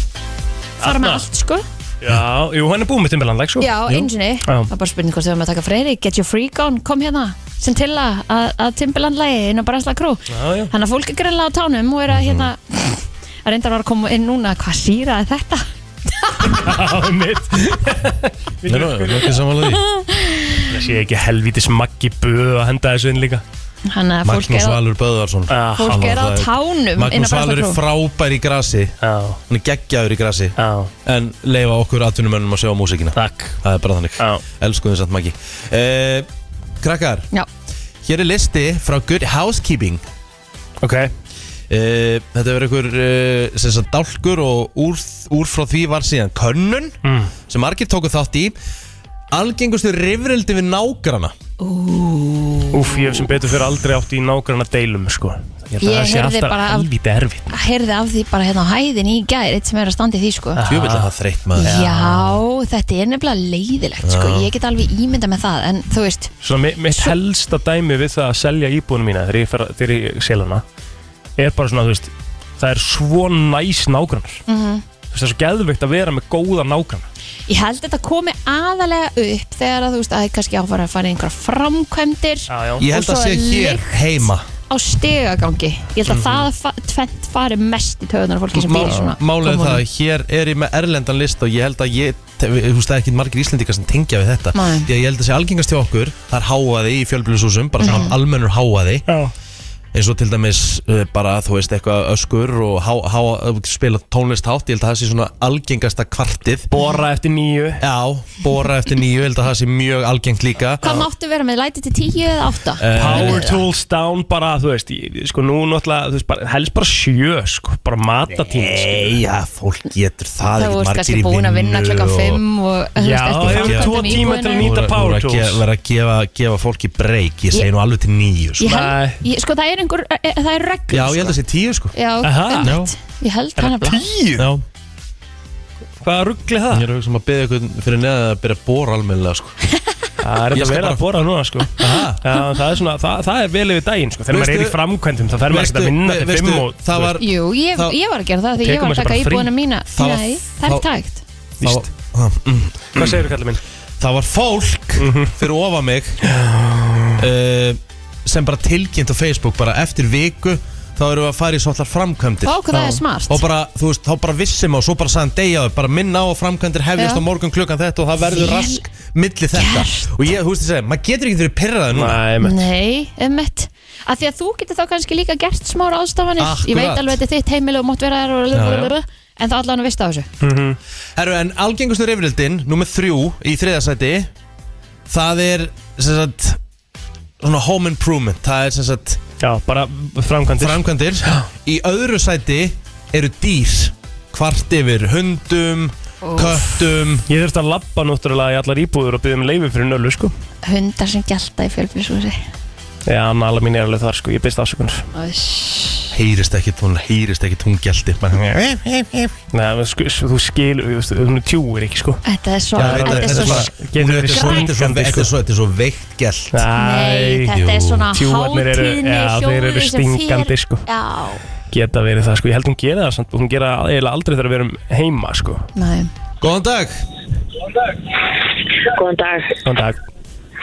Speaker 4: fara með
Speaker 3: Arna.
Speaker 4: allt sko
Speaker 3: Já, jú, hann er búið með Timberland like, sko
Speaker 4: Já, einu sinni,
Speaker 3: Já.
Speaker 4: það er bara spurning hvort við erum að taka freyri Get your freak on, kom hérna sem til að, að, að Timberland-lagi inn á Brænslan Crew
Speaker 3: Já, já.
Speaker 4: Þannig að fólk er greinlega á tánum og er að hérna
Speaker 2: Mhm.
Speaker 4: að reyndar var að koma inn núna hvað síra er þetta?
Speaker 3: [LAUGHS] Já, mitt
Speaker 2: [LAUGHS] Nei, nú, ég er ekki sammála því.
Speaker 3: [LAUGHS] Það sé ekki helvítis Maggi Böð að henda þessu inn líka Ah,
Speaker 4: Þannig að fólk
Speaker 2: Magnús
Speaker 4: er á
Speaker 2: Valur Böðvarsson
Speaker 4: Fólk er á tánum inn á
Speaker 2: Magnús Valur er
Speaker 4: Brænslan Crew
Speaker 2: frábær í grasi Hann er geggjaður í grasi
Speaker 3: Já.
Speaker 2: En leifa okkur atvinnumönnum að sjá músikina
Speaker 3: Takk
Speaker 2: Það er bara þannig Já. Elsku þið samt Maggi eh, Krakkar
Speaker 4: Já.
Speaker 2: Hér er listi frá Good Housekeeping
Speaker 3: Ok
Speaker 2: eh, Þetta verður ykkur eh, sem sagt dálkur og úr, úr frá því var síðan könnun
Speaker 3: Mm.
Speaker 2: sem margir tóku þátt í Algengustu rifrildi við nágrana
Speaker 3: Úf, ég hef sem betur fyrir aldrei átt í nágranna deilum sko Ég, held að
Speaker 4: Ég
Speaker 3: það sé
Speaker 4: heyrði
Speaker 3: alltaf
Speaker 4: bara af-
Speaker 3: helvítið erfitt
Speaker 4: heyrði af því bara hérna á hæðin í gær eitt sem er að standa í því sko
Speaker 2: Tjöfull er það þreytt maður
Speaker 4: Já, þetta er nefnilega leiðilegt sko,
Speaker 3: Já.
Speaker 4: ég get alveg ímynda með það en þú veist,
Speaker 3: Svona mi- mitt helsta dæmi við það að selja íbúinu mína þegar ég, fer, þegar ég sel hana er bara svona, þú veist, það er svo næs nágrannar
Speaker 4: mm
Speaker 3: Þú veist, það er svo geðveikt að vera með góða nágrannar
Speaker 4: ég held þetta komi aðalega upp þegar að þú veist að það er kannski áfara að fara í einhverja framkvæmdir
Speaker 2: Ég held
Speaker 4: og
Speaker 2: að
Speaker 4: svo
Speaker 2: sé
Speaker 4: er
Speaker 2: hér
Speaker 4: lykt
Speaker 2: heima
Speaker 4: á stegagangi, ég held að
Speaker 2: Mhm.
Speaker 4: það fa tvent fari mest í töðunar fólki sem býr í svona
Speaker 2: Málið er það að
Speaker 4: kommúnum.
Speaker 2: hér er ég með erlendan list og ég held að ég, te- við- þú veist það er ekki margir íslendingar sem tengja við þetta
Speaker 4: Nei.
Speaker 2: Því að ég held að sé algengast hjá okkur, það er háaði í fjölbílusúsum, bara svona
Speaker 4: Mhm.
Speaker 2: almennur háaði
Speaker 3: Já
Speaker 2: eins og til dæmis uh, bara þú veist eitthvað öskur og há, há, spila tónlist hátt, ég held að það sé svona algengasta kvartið
Speaker 3: Bora eftir nýju
Speaker 2: Já, bora eftir nýju, ég held að það sé mjög algengt líka
Speaker 4: Hvað máttu vera með, læti til 10 eða 8?
Speaker 2: Eh,
Speaker 3: Power tools down bara, þú veist, ég- sko nú náttúrulega, þú veist, bara, helst bara sjö, sko, bara matatíma
Speaker 2: Nei, já, fólk getur það
Speaker 4: Það
Speaker 2: ekkert
Speaker 4: voru
Speaker 2: margir
Speaker 4: kannski
Speaker 2: í
Speaker 4: búin að vinna
Speaker 2: vinnu
Speaker 4: klokkan
Speaker 2: og-
Speaker 4: 5 og [LAUGHS] þú
Speaker 3: Já,
Speaker 4: veist, ekki
Speaker 3: hefur
Speaker 4: framkvæmdum
Speaker 3: tvo
Speaker 4: í
Speaker 3: tíma
Speaker 4: íbúðinni.
Speaker 3: til að nýta
Speaker 2: Þú
Speaker 3: power
Speaker 2: voru að
Speaker 3: tools.
Speaker 2: ge- vera að gefa, gefa fólki breyk ég segi
Speaker 4: Ég-
Speaker 2: nú alveg til nýju
Speaker 4: Ég held, ég, sko það er einhver, e, það er reglur
Speaker 2: já ég held að
Speaker 4: sko.
Speaker 2: það sé tíu sko
Speaker 4: Já, einmitt. ég held hann að
Speaker 2: tíu? Já
Speaker 3: Hvaða ruggli það?
Speaker 2: Ég er að hugsa um að beða ykkur fyrir neða að byrja að bóra almennilega sko
Speaker 3: Það er þetta verið að bora núna sko Já, það, er svona, það, það er vel yfir daginn sko. Þegar maður er í
Speaker 2: Veistu-
Speaker 3: framkvæmdum þá fer maður ekkert að
Speaker 2: veistu-
Speaker 3: vinna til
Speaker 2: veistu,
Speaker 3: fimm og
Speaker 2: það var-
Speaker 4: Jú, ég,
Speaker 2: Þá-
Speaker 4: ég var að gera það því
Speaker 2: Tekur
Speaker 4: ég var
Speaker 2: maður
Speaker 4: að
Speaker 2: sér
Speaker 4: taka
Speaker 2: bara frí?
Speaker 4: íbúðina mína
Speaker 2: Þá-
Speaker 4: Nei, það er
Speaker 2: þá-
Speaker 4: ekki tækt
Speaker 2: Víst
Speaker 3: Hvað segir þú kallið minn?
Speaker 2: Það var fólk fyrir eh, ofa mig uh, sem bara tilkynnt á Facebook bara eftir viku þá erum við að fara í svona framkvæmdir
Speaker 4: Vá, hvað það er
Speaker 2: Já.
Speaker 4: smart.
Speaker 2: og bara, þú veist, þá bara vissum og svo bara sagðan deyjaðu, bara minna á að framkvæmdir hefjast á
Speaker 4: Já.
Speaker 2: morgun klukkan þetta og það verður
Speaker 4: Vel
Speaker 2: rask milli þetta og ég, þú veist, ég segi, maður getur ekki verið pyrraði núna
Speaker 4: Nei, emmett að Því að þú getur þá kannski líka gert smá ráðstafanir Ég veit
Speaker 2: Akkurat.
Speaker 4: alveg að þetta er þitt heimil og mátt vera þar og
Speaker 2: Já, já.
Speaker 4: En það allan að veist á þessu
Speaker 3: Mhm.
Speaker 2: -hmm. Herru, en algengustu reyfrildin Númer þrjú í þriðasæti Það er sem sagt, Svona home improvement Það er sem sagt Já, bara framkvæmdir Framkvæmdir Í öðru sæti eru dýr Kvart yfir hundum Köttum
Speaker 3: Ég þurfti að labba náttúrulega í allar íbúður og byggja um leifi fyrir nölu sko
Speaker 4: Hundar sem gælta í fjölbílshúsi
Speaker 3: Já, nala mín er alveg þar sko, ég byrst afsökunar
Speaker 2: Heyrist ekki tón, heyrist ekki tón gælti Þetta
Speaker 3: Nei, þú sk- þú skilur, þú veist, hún tjúir ekki sko
Speaker 4: Þetta er svo,
Speaker 3: Já, ég veit það,
Speaker 4: þetta er
Speaker 3: þetta er
Speaker 4: svo
Speaker 3: bara- Getur verið sko.
Speaker 2: Þetta er svo- þetta er svo veikt gælt
Speaker 4: Nei, þetta er svona hátíðni
Speaker 3: þeir
Speaker 4: hljóður
Speaker 3: eru stingandi sko
Speaker 4: Já,
Speaker 3: Geta verið það sko, ég held hún gera það samt Hún gera það eiginlega aldrei þegar við erum heima sko
Speaker 4: nei
Speaker 2: Góðan dag
Speaker 15: Góðan dag.
Speaker 3: Góðan dag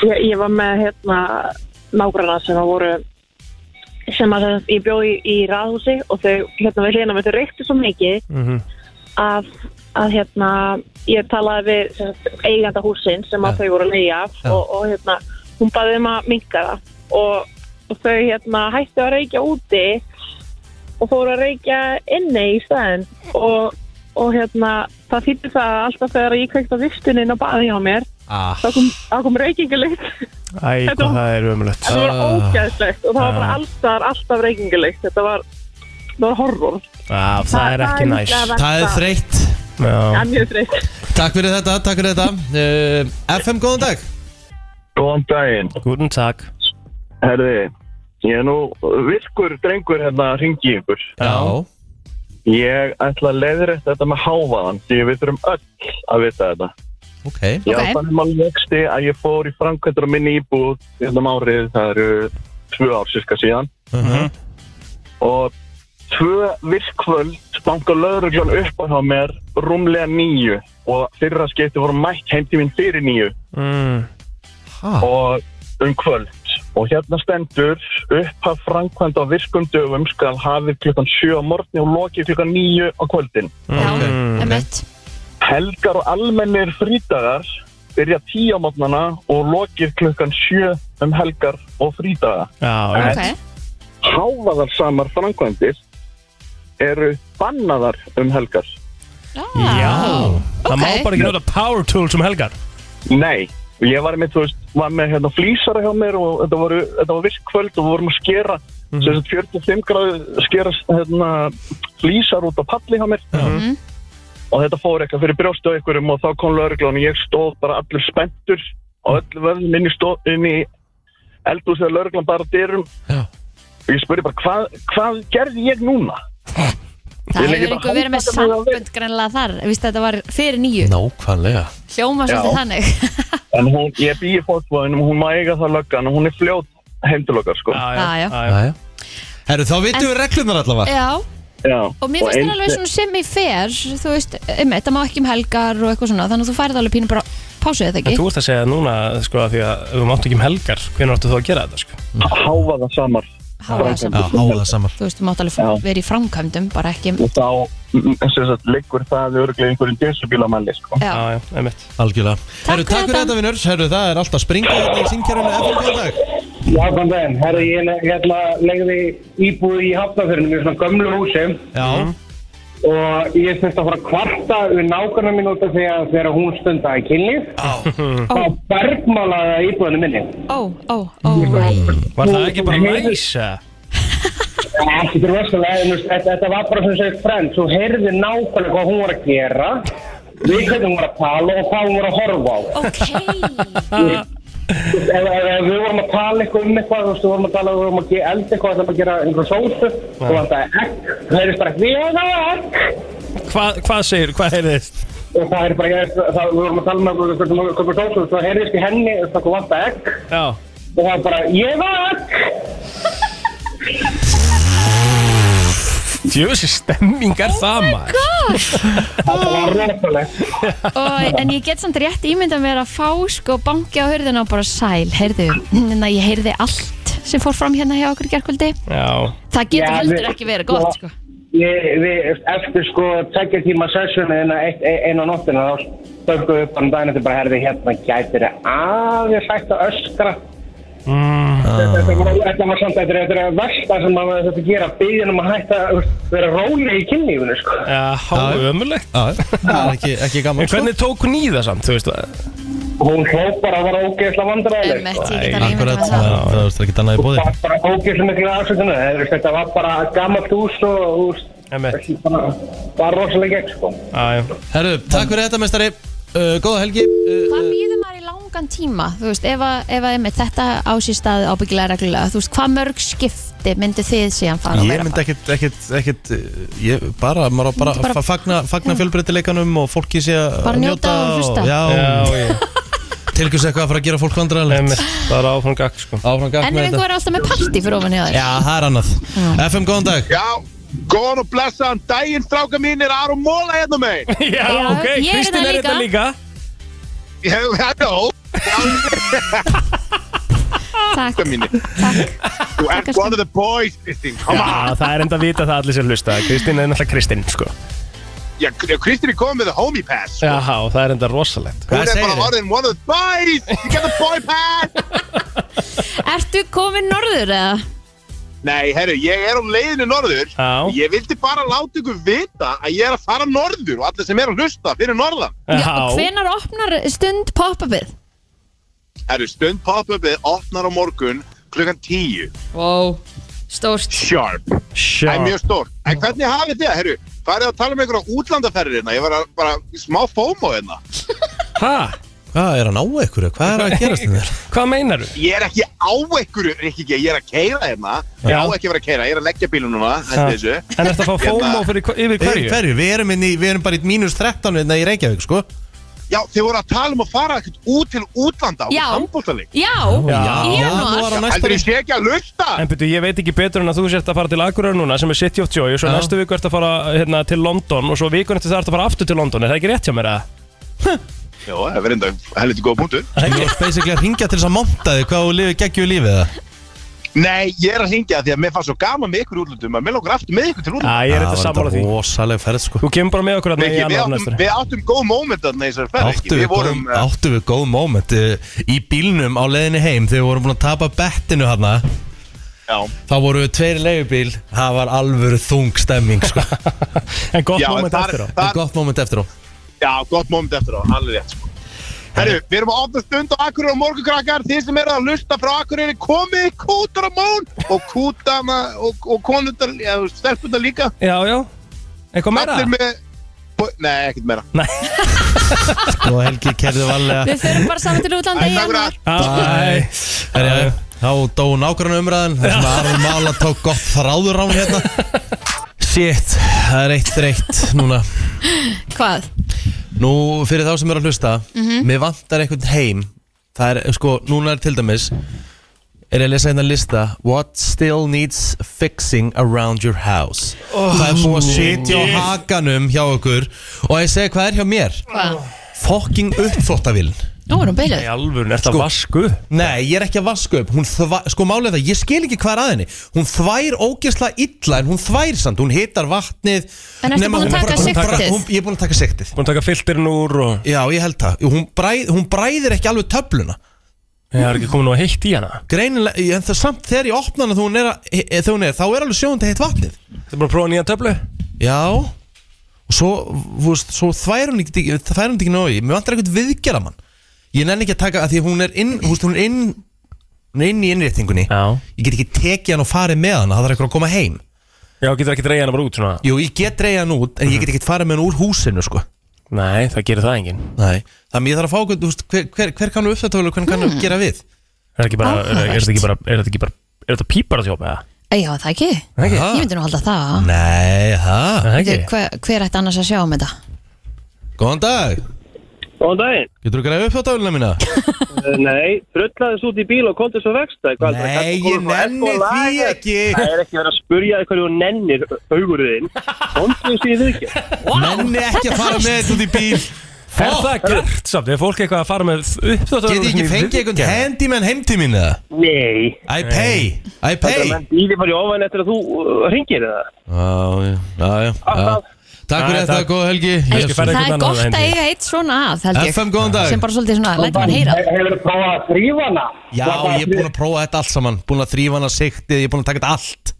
Speaker 15: Ég, ég var með hérna nágrana sem að voru sem að sem sagt, ég bjóð í, í ráðhúsi og þau hérna við hlýna með þau reyktu svo mikið
Speaker 3: Mhm.
Speaker 15: að, að hérna ég talaði við sem sagt, eiganda húsin sem að
Speaker 13: Já.
Speaker 15: þau voru að leiða af
Speaker 13: Já.
Speaker 15: og, og hérna hún baði um að minka það og, og þau hérna hættu að reykja úti og fóru að reykja inni í staðinn og, og hérna það þýtti það að alltaf þegar ég kveikt á viftunni inn á baði hjá mér
Speaker 2: Ah.
Speaker 15: þá kom, þá kom reykingulikt
Speaker 3: Æ,
Speaker 15: Þetta
Speaker 3: hvað
Speaker 15: var-
Speaker 3: það er ömulegt
Speaker 15: þetta
Speaker 13: Ah.
Speaker 15: var
Speaker 2: Ah.
Speaker 15: ógæðslegt og það var bara
Speaker 3: Ah.
Speaker 15: alltaf, alltaf reykingulikt þetta var, þetta var horror
Speaker 3: Já, það er ekki
Speaker 15: það er
Speaker 3: næs
Speaker 15: líka að
Speaker 2: Það er þreytt
Speaker 13: Ah.
Speaker 15: Það
Speaker 3: Já
Speaker 15: er mjög þreytt
Speaker 2: Takk fyrir þetta, takk fyrir þetta uh, FM, góðan dag
Speaker 16: Góðan daginn.
Speaker 3: Góðan takk.
Speaker 16: Herði, ég er nú virkur drengur hérna að ringi ykkur.
Speaker 2: Já.
Speaker 16: Ég ætla að leiðrætt þetta með hávaðan því við þurfum öll að vita þetta.
Speaker 2: Ok.
Speaker 16: Ég okay. þannig mál vexti að ég fór í framkvæmdur á minni íbúð hérna um árið, það eru tvö ár cirka síðan.
Speaker 4: Mhm.
Speaker 3: Mhm.
Speaker 16: Og tvö virkvöld banka löðruglan upp á hjá mér rúmlega nýju og fyrra skipti voru mætt heimti mín fyrir nýju.
Speaker 3: Mm.
Speaker 16: og um kvöld og hérna stendur upphaf framkvæmd á virkum dögum skal hafið klukkan 7 á morgni og lokið klukkan 9 á kvöldin
Speaker 4: okay. emmett
Speaker 16: Helgar og almennir frídagar byrja 10 á morgnana og lokið klukkan 7 um helgar og frídaga
Speaker 3: Já,
Speaker 16: okay. Hávaðar samar framkvæmdir eru bannaðar um helgar
Speaker 3: Já Það má
Speaker 16: Ok.
Speaker 3: bara ekki nota power tools um helgar
Speaker 16: Nei, ég var með, þú veist, var með hérna flýsara hjá mér og þetta, voru, þetta var viss kvöld og við vorum að skera mm
Speaker 4: Mhm.
Speaker 16: -hmm. 45 gráðu skera hérna, flýsar út á palli hjá mér
Speaker 4: Mhm.
Speaker 16: og þetta fór eitthvað fyrir brjóstu á einhverjum og þá kom lögreglan og ég stóð bara allur spenntur og öll vöðum inn í, stó- inn í eldhús þegar lögreglan bara dyrum
Speaker 2: Já.
Speaker 16: og ég spurði bara hvað, hvað gerði ég núna?
Speaker 4: Það
Speaker 16: Ég legg
Speaker 4: hefur
Speaker 16: bara
Speaker 4: einhver verið með
Speaker 16: handfatan á
Speaker 4: sambönd grannlega þar Vist þetta var fyrir nýju
Speaker 2: Nákvæmlega
Speaker 4: Hljóma svolítið
Speaker 16: Já.
Speaker 4: þannig
Speaker 16: En hún, ég býi fótbóðinum og hún má eiga það löggan og hún er fljót heim til okkar sko
Speaker 4: Já, já. Já,
Speaker 2: Herru, þá vitum
Speaker 4: En-
Speaker 2: við reglunar allavega
Speaker 4: Já,
Speaker 16: Já,
Speaker 4: og mér finnst það alveg svona sem í fer Þú veist, emmett, það má ekki um helgar og eitthvað svona Þannig að þú færið alveg pínu bara pásu eða
Speaker 3: En
Speaker 4: ekki
Speaker 3: þú ert að segja núna, sko, að því að ef þú mátt ekki um helgar, hvernig áttu þú að gera þetta, sko?
Speaker 16: Hávaða samar.
Speaker 4: Hávaða samar. Já,
Speaker 2: hávaða samar.
Speaker 4: Þú veist, þú mátt alveg fá- vera í framkvæmdum Bara ekki um-
Speaker 16: og þá mm, sem sagt, liggur það örglega einhverjum desubílamanni sko.
Speaker 4: Já. Já,
Speaker 3: einmitt
Speaker 2: Algjörlega Herru, takk fyrir þetta vinnur Herru, það er alltaf springa þetta í syngkjörunni FM, góðan dag
Speaker 17: Já, kom þeim. Herri, ég le- hérna legði íbúð í Hafnafjörnum í svona gömlu húsi.
Speaker 2: Já.
Speaker 17: Og ég þurfti að fara að kvarta við nákvæmna mín út af því að þegar hún stundaði kynlíf, þá bergmálaði það íbúðinu minni.
Speaker 4: Ó, ó, ó
Speaker 3: Var það ekki bara næs? eða?
Speaker 17: Ekki til rosalega, en þú veist, þetta, þetta var bara sem segir frend. Svo heyrði nákvæmlega hvað hún var að gera, við hvernig hún var að tala og hvað hún var að horfa á. Ok. Ef, ef, ef við vorum að tala eitthvað um eitthvað, þú veist, við vorum að tala, við vorum að ge- elda eitthvað, ætlaðum að gera einhverja sósu, þú veist, það er ekk, það heyrðist bara ekki, ég það er ekk,
Speaker 3: Hvað, hvað segir, hvað er þið?
Speaker 17: og það er bara, ég, það, við vorum að tala með einhverjum einhverjum einhverjum sósu, það heyrðist í henni, þú veist, það vant að ekk,
Speaker 3: Já.
Speaker 17: og það er bara, ég það er ekk,
Speaker 3: Djöfisir stemming er það maður.
Speaker 17: það var rosalegt.
Speaker 4: og, en ég get samt rétt ímynda mér að fá sko banki á hörðina og bara sæl, heyrðu, en ég hérna, heyrði allt sem fór fram hérna hjá okkur í gerkvöldi
Speaker 3: Já
Speaker 4: það getur
Speaker 17: Já,
Speaker 4: heldur
Speaker 17: við-
Speaker 4: ekki verið gott sko.
Speaker 17: Ég, við, eftir sko tveggja tíma sessjónu einu, einu á e, nóttina þá stökkum við upp hann daginn eftir bara herði hérna gætir þið aðeins hægt að öskra
Speaker 3: Mhm.
Speaker 17: þetta var, þetta var samt þetta er- þetta er að versta sem maður hefði þetta að gera byggðin um að hætta að vera róli í kynlífinu sko
Speaker 3: Há ömulegt
Speaker 2: Það er ekki, ekki gaman sko.
Speaker 3: En hvernig tók hún í það samt, þú veist það?
Speaker 17: hún hlópar að vera ógeðsla vandræðileg sko.
Speaker 2: Akkurat, það það er ekki annað í bóði
Speaker 17: bara ógeðsla miklu aðsöknu þetta var bara gammalt hús og hús bara rosalega gegn sko
Speaker 2: Herru, takk fyrir þetta mestari uh, Góða helgi
Speaker 4: hvað býður maður í langan tíma þú veist, ef, að, ef að einmitt, þetta á sér stað ábyggilega reglulega, þú veist, hvað mörg skipti myndu þið síðan fara
Speaker 2: Ég myndi ekkit, ekkit, ekkit uh, ég, bara, maður á bara,
Speaker 4: Myndi bara-
Speaker 2: bara fagna, fagna fjölbreytileikanum og fólki sé að
Speaker 4: Bara njóta og hlusta.
Speaker 2: Já,
Speaker 4: Já,
Speaker 2: já Til hvers eitthvað að fara að gera fólk vandræðilegt
Speaker 3: Það er áfram gakk sko
Speaker 2: Áfram gakk
Speaker 4: en ef
Speaker 2: með
Speaker 4: einhver
Speaker 2: þetta
Speaker 4: er alltaf með party fyrir ofan hjá þér
Speaker 2: Já, það er annað FM, góðan dag
Speaker 13: Já, góðan og blessaðan daginn, stráka mínir, Aron Móla hérna megin.
Speaker 3: Já, Já, ok, ég er Kristín hérna er hérna líka.
Speaker 13: Já, halló.
Speaker 4: Takk.
Speaker 13: Mínir. Takk. Þú ert one of the boys, Kristín. Come on.
Speaker 3: Já, það er enda að vita það allir sem hlusta Kristín er náttúrulega Kristín, sko
Speaker 13: Já, Kr- Kristín er komið með the homie pass.
Speaker 3: Já, það er enda rosalegt
Speaker 13: Hún er bara orðin one of the boys. You get the boy pass.
Speaker 4: [LAUGHS] Ertu komin norður eða?
Speaker 13: Nei, herru, ég er á leiðinu norður.
Speaker 3: Já.
Speaker 13: Ég vildi bara láta ykkur vita að ég er að fara norður og allir sem er að hlusta fyrir norðan.
Speaker 4: Já, og hvenar opnar stund pop-upið?
Speaker 13: Herru, stund pop-upið opnar á morgun klukkan 10.
Speaker 4: Wow, stórt.
Speaker 13: Sharp.
Speaker 3: Sharp.
Speaker 13: Það er mjög stórt. En hvernig hafið þið það, herru? Farið að tala um einhverja útlandaferðir hérna. Ég var að, bara smá fómo hérna.
Speaker 3: Hæ?
Speaker 2: Hvað er að ná ykkur? Hvað er að gerast þér?
Speaker 3: [LAUGHS] Hvað meinar þú?
Speaker 13: Ég er ekki á einhverju, Rikki G. Ég er að keira hérna. Ég
Speaker 2: Já.
Speaker 13: á ekki að vera að keira. Ég er að leggja bílum núna.
Speaker 2: Ha.
Speaker 13: eftir þessu.
Speaker 2: En ertu að fá
Speaker 13: Hérna-
Speaker 2: FOMO
Speaker 3: fyrir,
Speaker 2: Yfir hverju? Við erum, inn í, við erum bara í mínus 13 hérna í Reykjavík, sko
Speaker 13: Já, þið voru að tala um að fara ekkert út til útlanda á
Speaker 4: Já.
Speaker 13: handbóltaleik.
Speaker 4: Já,
Speaker 3: Já. í janúar.
Speaker 13: Það var á næsta Heldur ég sé ekki að lusta.
Speaker 3: En byrju, ég veit ekki betur en að þú sért að fara til Akureyri núna sem er City of Joy og svo
Speaker 13: Já.
Speaker 3: næstu viku ert að fara hérna, til London og svo vikun eftir það ert að fara aftur til London, er það ekki rétt hjá mér að?
Speaker 13: Jó, það verður enda helviti góða punktu.
Speaker 2: Þú ert basically að ringja til þess að monta þig hvað þú lifið geggjum lífið það
Speaker 13: Nei, ég er að hringja því að mér fannst svo gaman með ykkur í útlöndum að mér lókar aftur með ykkur til útlöndum.
Speaker 3: Já, ég er þetta sammála því.
Speaker 2: Rosaleg ferð sko
Speaker 3: Þú kemur bara með okkur að
Speaker 13: Við,
Speaker 3: neyja
Speaker 13: við,
Speaker 3: annar
Speaker 13: áttum,
Speaker 3: næstur.
Speaker 13: við áttum góð móment að þessari ferð ekki.
Speaker 2: Áttu við,
Speaker 13: Við vorum, eh,
Speaker 2: góð, áttu við góð moment eh, Í bílnum á leiðinni heim Þegar við vorum búin að tapa bettinu hana
Speaker 13: Já
Speaker 2: Þá voru við tveir leifubíl Það var alvöru þung stemming sko.
Speaker 3: [LAUGHS] En
Speaker 13: gott Já, en moment þar- eftir á. þar-
Speaker 2: En gott moment eftir á
Speaker 13: já, gott móment eftir á, alveg rétt sko. Herru, við erum að opna stund á Akureyri og morgunkrakkar, þið sem eru að lusta frá Akureyri, komið í kútar á món og kútana og, og konundar, já, stelpundar líka.
Speaker 3: Já, já, eitthvað meira?
Speaker 13: Allir með, nei, ekkert meira.
Speaker 3: Nei.
Speaker 2: Og Helgi kerði valega
Speaker 4: Við förum bara saman til útlanda í januar.
Speaker 2: Æ, herja, Þá dó nákvæmna umræðan Það sem að Aron Mála tók gott þráður á hérna Shit, það er eitt reitt núna
Speaker 4: Hvað?
Speaker 2: Nú, fyrir þá sem eru að hlusta
Speaker 4: Mhm.
Speaker 2: Mér vantar einhvern heim Það er, sko, núna er til dæmis Er ég að lesa hérna lista What still needs fixing around your house
Speaker 1: Oh,
Speaker 2: Það er búið að
Speaker 1: shit.
Speaker 2: sitja á hakanum hjá okkur Og ég segi hvað er hjá mér
Speaker 4: Hvað?
Speaker 2: Fucking uppþóttavílin
Speaker 4: Nú er hún beiluð.
Speaker 2: Í
Speaker 3: alvöru, er það vasku?
Speaker 2: Sko- Nei, ég er ekki að vasku upp Hún þva, Sko málið er það, ég skil ekki hvað er að henni Hún þvær ógesla illa en hún þvær samt Hún hitar vatnið
Speaker 4: En ertu
Speaker 2: nema hún-
Speaker 4: búin að taka
Speaker 2: hún- hún-
Speaker 4: sigtið?
Speaker 2: hún- Ég er búin að taka siktið
Speaker 3: Búin að taka filterinn úr og
Speaker 2: Já, ég held það Hún, bræð, hún bræðir ekki alveg töfluna
Speaker 3: Það er ekki komin nú að heitt í hana
Speaker 2: Greinilega, ég- en það samt þegar ég opna hana þegar hún er, að- e- e- þegar hún er þá er alveg sjóðandi heitt vatnið
Speaker 3: Það er bara að prófa nýja töflu
Speaker 2: Já Og svo, þú veist, svo þvær hún ekki það þvær hún ekki nógi Mér vantar eitthvað viðgerða mann Ég nenni ekki að taka að því að hún er inn Þú veist, hún er inn Hún er inn í innréttingunni
Speaker 3: Já
Speaker 2: Ég get ekki tekið hann og farið með hana Það þarf eitthvað að koma heim
Speaker 3: Já, getur ekki dreigja hana bara út svona
Speaker 2: Jú, ég get dreigja hann út En ég get ekki farið með hann úr húsinu, sko
Speaker 3: Mhm. Nei, það gerir það enginn
Speaker 2: Nei, þannig ég þarf að fá okkur, þú veist, hver, hver, hver kannu uppdatölu, hvernig kannu
Speaker 4: Hmm.
Speaker 2: gera við?
Speaker 3: Er ekki bara, er, er þetta
Speaker 2: Áhugavert.
Speaker 3: ekki bara, er þetta ekki bara, er þetta pípar að þjópa eða?
Speaker 4: Æ, Eh, Já, það ekki.
Speaker 3: Ekki?
Speaker 4: Ég myndi nú halda það.
Speaker 2: Nei, Mm, það
Speaker 4: Ekki. Hver, hver ætti annars að sjá um þetta?
Speaker 2: Góðan dag
Speaker 18: Góðan daginn
Speaker 2: Getur þú greið uppdatölu mína?
Speaker 18: Eh, Nei, drullaðist út í bíl og komdu svo vexta
Speaker 2: Nei, ég nenni því ekki
Speaker 18: Það er ekki verið að spurja þig hverju þú nennir augurðin Komdu þessi í viðgjörn
Speaker 2: Nenni ekki að fara með þetta út í bíl
Speaker 3: Er það gert samt? Er fólk eitthvað að fara með uppþáttur
Speaker 2: Get ég ekki fengið einhvern handyman heim til mín eða?
Speaker 18: Nei
Speaker 2: I pay, I pay
Speaker 18: Þetta menn býði bara í ofan eftir að þú uh, hringir eða
Speaker 2: Já, já, já, já. Takk
Speaker 18: Já,
Speaker 2: fyrir þetta,
Speaker 18: takk.
Speaker 2: góð helgi
Speaker 18: Ég
Speaker 2: Jesús.
Speaker 18: skal
Speaker 4: Það er gott að eiga eitt svona að, held ég
Speaker 2: FM, góðan dag.
Speaker 4: Sem bara svolítið svona, læt mann heyra
Speaker 17: Hefur þú prófað að þrýfa hana?
Speaker 2: Já, ég er búin að prófa þetta allt saman Búin að þrýfa hana siktið, ég er búin að taka þetta allt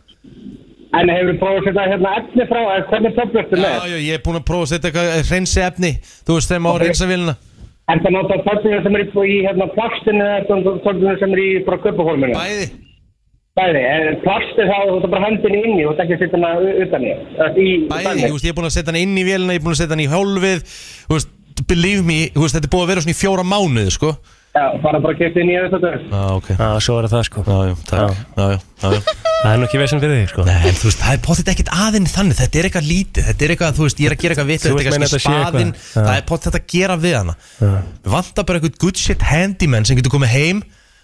Speaker 17: En hefur þú prófað að setja hérna efni frá, eða hvernig töflustu
Speaker 2: Já,
Speaker 17: með?
Speaker 2: já, ég er búin að prófa að setja eitthvað reynsi efni Þú veist þeim á reynsavélina
Speaker 17: Er það nota töflunum sem er í, í hérna, plastinu eða töflunum sem er í bara köpuhólminu?
Speaker 2: Bæði.
Speaker 17: Bæði, en plastið þá, þú ert bara hendin inni, þú ert ekki að setja hana u- utan í. Bæði,
Speaker 2: Bæði, þú veist, ég er búin að setja hana inn í vélina Ég er búin að setja hana í hálfið Þú veist, believe me, þú veist, þetta er búið að vera svona í fjóra mánuði, sko
Speaker 17: Já, bara bara kiptið nýja þetta töflunum.
Speaker 2: Já, ok
Speaker 3: Já, svo er það sko
Speaker 2: Já, já, takk Já, já, já, já
Speaker 3: Það er nú ekki vesen fyrir þig sko
Speaker 2: Nei, en þú veist, það er potið ekkert aðeins þannig Þetta er eitthvað lítið, þetta er eitthvað, þú veist, ég er að gera eitthvað vitt
Speaker 3: Þú
Speaker 2: Þetta er
Speaker 3: veist, meina þetta
Speaker 2: kannski
Speaker 3: sé eitthvað.
Speaker 2: spaðinn,
Speaker 3: Já.
Speaker 2: það er potið þetta að gera við hana Við vantar bara eitthvað good shit handyman sem getur komið heim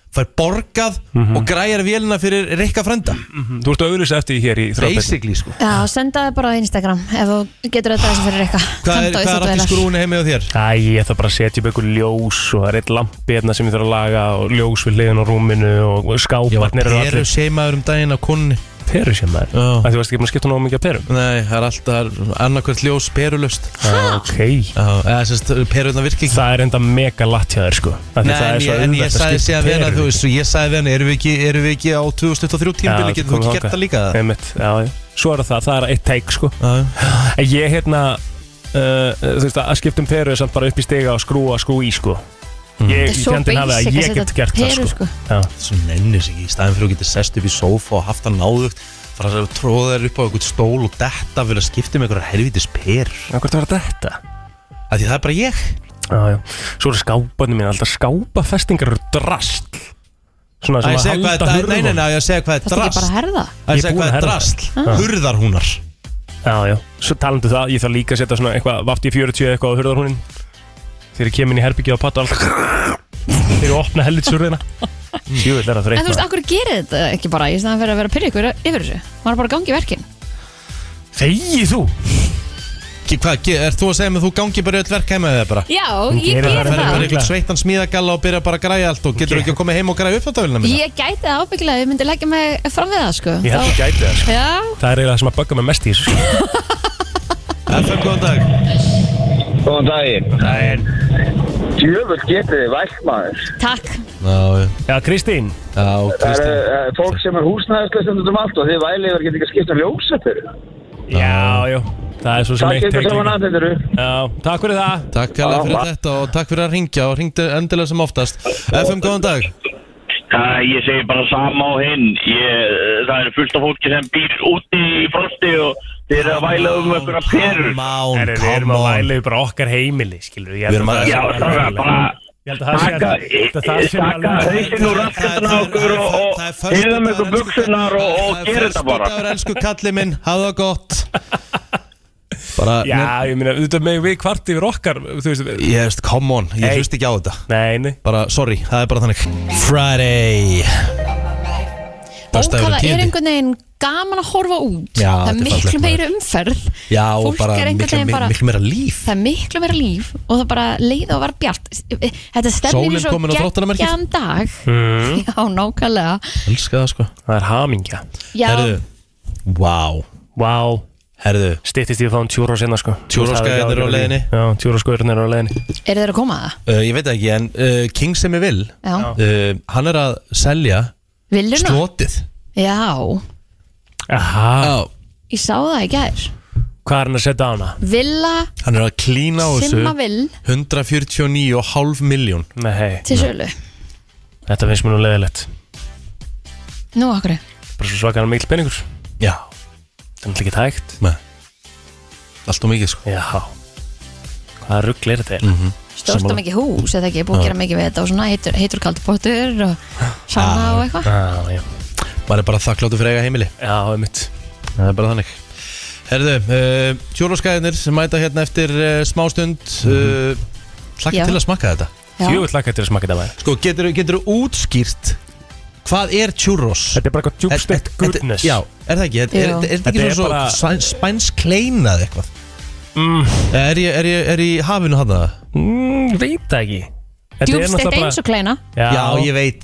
Speaker 2: Fær borgað og græjar vélina fyrir Rikka frenda
Speaker 3: Mhm. Þú ert auðvitað eftir því hér í þráðbeinni.
Speaker 2: Basically, sko
Speaker 4: Já, senda það bara á Instagram ef þú getur þetta þessi fyrir eitthvað
Speaker 2: skrúinu heimi á þér?
Speaker 3: Æ, ég þarf bara að setja upp einhver ljós og það er eitt lampi hérna sem ég þarf að laga og ljós við hliðin á rúminu og skáparnir
Speaker 2: Peru seimaður um daginn á konni
Speaker 3: Peru seimaður?
Speaker 2: Já
Speaker 3: Þú varst ekki búin að skipta nógu mikið að perum?
Speaker 2: Nei, það er alltaf annarkvært ljós perulust
Speaker 3: Ok Já,
Speaker 2: sérst, perurna virking
Speaker 3: Það er enda mega latt hjá þér sko Af því
Speaker 2: Nei,
Speaker 3: það
Speaker 2: en
Speaker 3: er svo
Speaker 2: ég, en ég
Speaker 3: auðvelt að
Speaker 2: sagði
Speaker 3: skipta
Speaker 2: síðan við hana,
Speaker 3: perur
Speaker 2: þú
Speaker 3: líka.
Speaker 2: veist, ég sagði við hana, erum við ekki, erum við ekki á 2023 tímbili, getum við
Speaker 3: komum
Speaker 2: ekki gert
Speaker 3: þangað.
Speaker 2: það líka það?
Speaker 3: sko, Einmitt, já, já. Svo er það, það er eitt teik sko En Ég hérna uh, Þú veist að skipta um peru er samt bara upp í stiga og skrúa skrú í sko Ég,
Speaker 4: Mm. Þetta er svo
Speaker 3: fjandinn hafi
Speaker 4: basic
Speaker 3: að
Speaker 4: að
Speaker 3: ég get
Speaker 4: setja
Speaker 3: gert það
Speaker 4: peru, sko.
Speaker 3: sko Já.
Speaker 2: Svo nennir sig ekki, í staðin fyrir að geta sest upp í sófa og haft það náðugt fara að tróða þær upp á einhvern stól og detta fyrir að skipta um með einhverja helvitis per
Speaker 3: Akkur það var þetta?
Speaker 2: Af því það er bara ég
Speaker 3: Já, já. Svo eru skápanir mín alltaf skápafestingar eru drast Svona
Speaker 2: Að ég
Speaker 3: sem
Speaker 2: segja
Speaker 3: að
Speaker 2: hvað
Speaker 3: halda
Speaker 2: er-
Speaker 3: hurðum
Speaker 2: nei, nei, nei, að ég segja hvað er
Speaker 4: Það er ekki
Speaker 2: drast
Speaker 4: bara að herða
Speaker 2: Að ég segja hvað er drast Hurðarhúnar
Speaker 3: Ah. Já, já Svo talandu það, ég þarf líka að setja svona eitthvað Vaft í 40 eitthvað á hurðarhúnin Þegar ég kem inn í herbyggja og patta alltaf Þegar ég opna helvitsurðina
Speaker 2: Mm.
Speaker 3: Sjúvill er það
Speaker 4: En þú
Speaker 3: þreytt
Speaker 4: veist, akkur gerir þetta ekki bara í staðan fyrir að vera að pyrra ykkur yfir þessu maður er bara að gangi verkin
Speaker 3: Þegi þú
Speaker 2: Ge- Hvað, ge- er þú að segja mig að þú gangi bara í öll verk heima eða bara?
Speaker 4: Já, Hún ég gerir geri það
Speaker 2: Það er
Speaker 4: það.
Speaker 2: bara einhvern sveittan smíðagalla og byrja bara að græja allt og getur ekki að koma heim og græja uppfattavélina mína?
Speaker 4: Ég gæti það ábyggilega, ég myndi leggja mig fram við það sko.
Speaker 3: Ég held þú gæti það, sko.
Speaker 4: Já,
Speaker 3: Það er eiginlega það sem að bögga mig mest í þessu
Speaker 2: FM, góðan dag
Speaker 14: Góðan daginn Daginn Djöfull getið þið vælt maður
Speaker 4: takk
Speaker 2: Já,
Speaker 3: já Kristín
Speaker 2: Já,
Speaker 14: Það er uh, fólk sem er húsnæðislega út um allt og þið væli yfir getið ekki að skipta um ljósefur
Speaker 3: Já, já Það er svo sem
Speaker 14: Það
Speaker 3: eitt
Speaker 14: kemur
Speaker 3: teik
Speaker 14: saman
Speaker 3: líka.
Speaker 14: að þetta eru
Speaker 3: Já, takk fyrir það
Speaker 2: Takk hérlega
Speaker 3: Já.
Speaker 2: fyrir þetta og takk fyrir að ringja og ringdu endilega sem oftast FM, góðan dag
Speaker 19: Það, ég segi bara sama á hinn. Ég, það er fullt af fólki sem býr úti í frosti og þeir eru að væla um einhverja perur.
Speaker 2: Come
Speaker 3: Herri, Við erum að væla yfir bara okkar heimili, skilur við
Speaker 19: Við erum að- Já, það er bara-
Speaker 3: Ég held að það sé
Speaker 19: Taka-
Speaker 3: ég held að það sé
Speaker 19: taka
Speaker 3: alveg-
Speaker 19: hausinn úr raskatana á okkur og- og heiða með ykkur buksunar og, og gera þetta bara.
Speaker 2: Föstudagur, elsku kallið minn, hafa það gott
Speaker 3: [LAUGHS]
Speaker 2: Bara
Speaker 3: Já, ég meina, auðvitað með við kvart yfir okkar Þú veist,
Speaker 2: Ég veist, come on, ég
Speaker 3: Nei.
Speaker 2: hlust ekki á þetta
Speaker 3: Nei, nei
Speaker 2: Bara, sorry, það er bara þannig Friday Föstudagur
Speaker 4: ókvæða er
Speaker 2: tíundi.
Speaker 4: einhvern veginn gaman að horfa út
Speaker 2: Já,
Speaker 4: Það
Speaker 2: þetta
Speaker 4: er
Speaker 2: er
Speaker 4: miklu
Speaker 2: fallegt,
Speaker 4: meiri umferð
Speaker 2: Já, og
Speaker 4: Fólk
Speaker 2: bara
Speaker 4: er einhvern
Speaker 2: miklu-
Speaker 4: veginn
Speaker 2: mi-
Speaker 4: bara-
Speaker 2: miklu meira líf
Speaker 4: Það er miklu meira líf og það bara leið og var bjart Þetta stefnir
Speaker 2: Sólin
Speaker 4: í svo
Speaker 2: komin á þróttanamerkið.
Speaker 4: geggjaðan dag
Speaker 2: Mm.
Speaker 4: [LAUGHS] Já, nákvæmlega
Speaker 2: Elska það sko
Speaker 3: Það er hamingja
Speaker 4: Já. Herðu,
Speaker 2: Vá
Speaker 3: Vá
Speaker 2: Herðu
Speaker 3: Stittist ég að fá um tjúra sinna sko
Speaker 2: Churrosgæðarnir eru á leiðinni.
Speaker 3: Já, tjúraskæðarnir eru á leiðinni
Speaker 4: Er þeir að koma það?
Speaker 2: Uh, ég veit það ekki, en uh, King sem ég vil
Speaker 4: Já.
Speaker 2: uh, Hann er að selja
Speaker 4: Villuna?
Speaker 2: Slotið
Speaker 4: Já,
Speaker 3: Aha
Speaker 4: ég sá það í gær
Speaker 3: Hvað er hann að setja á hana?
Speaker 4: Villa
Speaker 2: Hann er að klína á þessu
Speaker 4: Simmavill
Speaker 2: 149,5 miljón
Speaker 3: Nei
Speaker 4: til sölu
Speaker 3: Þetta finnst mér nú leiðilegt
Speaker 4: Nú, akkur
Speaker 3: Bara svo svakar hann mikil peningur
Speaker 2: Já
Speaker 3: Það er náttúrulega ekki hægt
Speaker 2: Nei Allt og mikið sko Mhm.
Speaker 3: Já Hvaða rugl er þetta? Mm -hmm.
Speaker 4: Stórt og mikið hús, eða ekki, búið að
Speaker 2: Já.
Speaker 4: gera mikið við þetta og svona heitur, heitur kaldbóttur og sanna
Speaker 2: Ah.
Speaker 4: og eitthvað
Speaker 3: Já, já
Speaker 2: Maður er bara þakkláttu fyrir eiga heimili
Speaker 3: Já, einmitt
Speaker 2: Það er bara þannig Herðu, uh, tjólaskæðinir sem mæta hérna eftir uh, smástund uh,
Speaker 3: Já.
Speaker 2: Hlakka til að smakka þetta
Speaker 3: Já. Djöfull hlakka Mhm. til að smakka þetta maður.
Speaker 2: Sko, getur, getur útskýrt Hvað er churros?
Speaker 3: Þetta er bara eitthvað djúbstekt goodness
Speaker 2: Já, er það ekki? Er, er, er, er þetta
Speaker 3: Þetta
Speaker 2: ekki
Speaker 3: er
Speaker 2: svona
Speaker 3: bara-
Speaker 2: svo bara... spænsk kleinað eitthvað? Eh,
Speaker 3: mm.
Speaker 2: er, ég, er, ég, er ég í hafinu hann það?
Speaker 3: Mm, veit það ekki Þetta er
Speaker 4: Djúbstett
Speaker 3: náttúrulega bara-
Speaker 4: eins og kleina
Speaker 3: Já,
Speaker 2: ég veit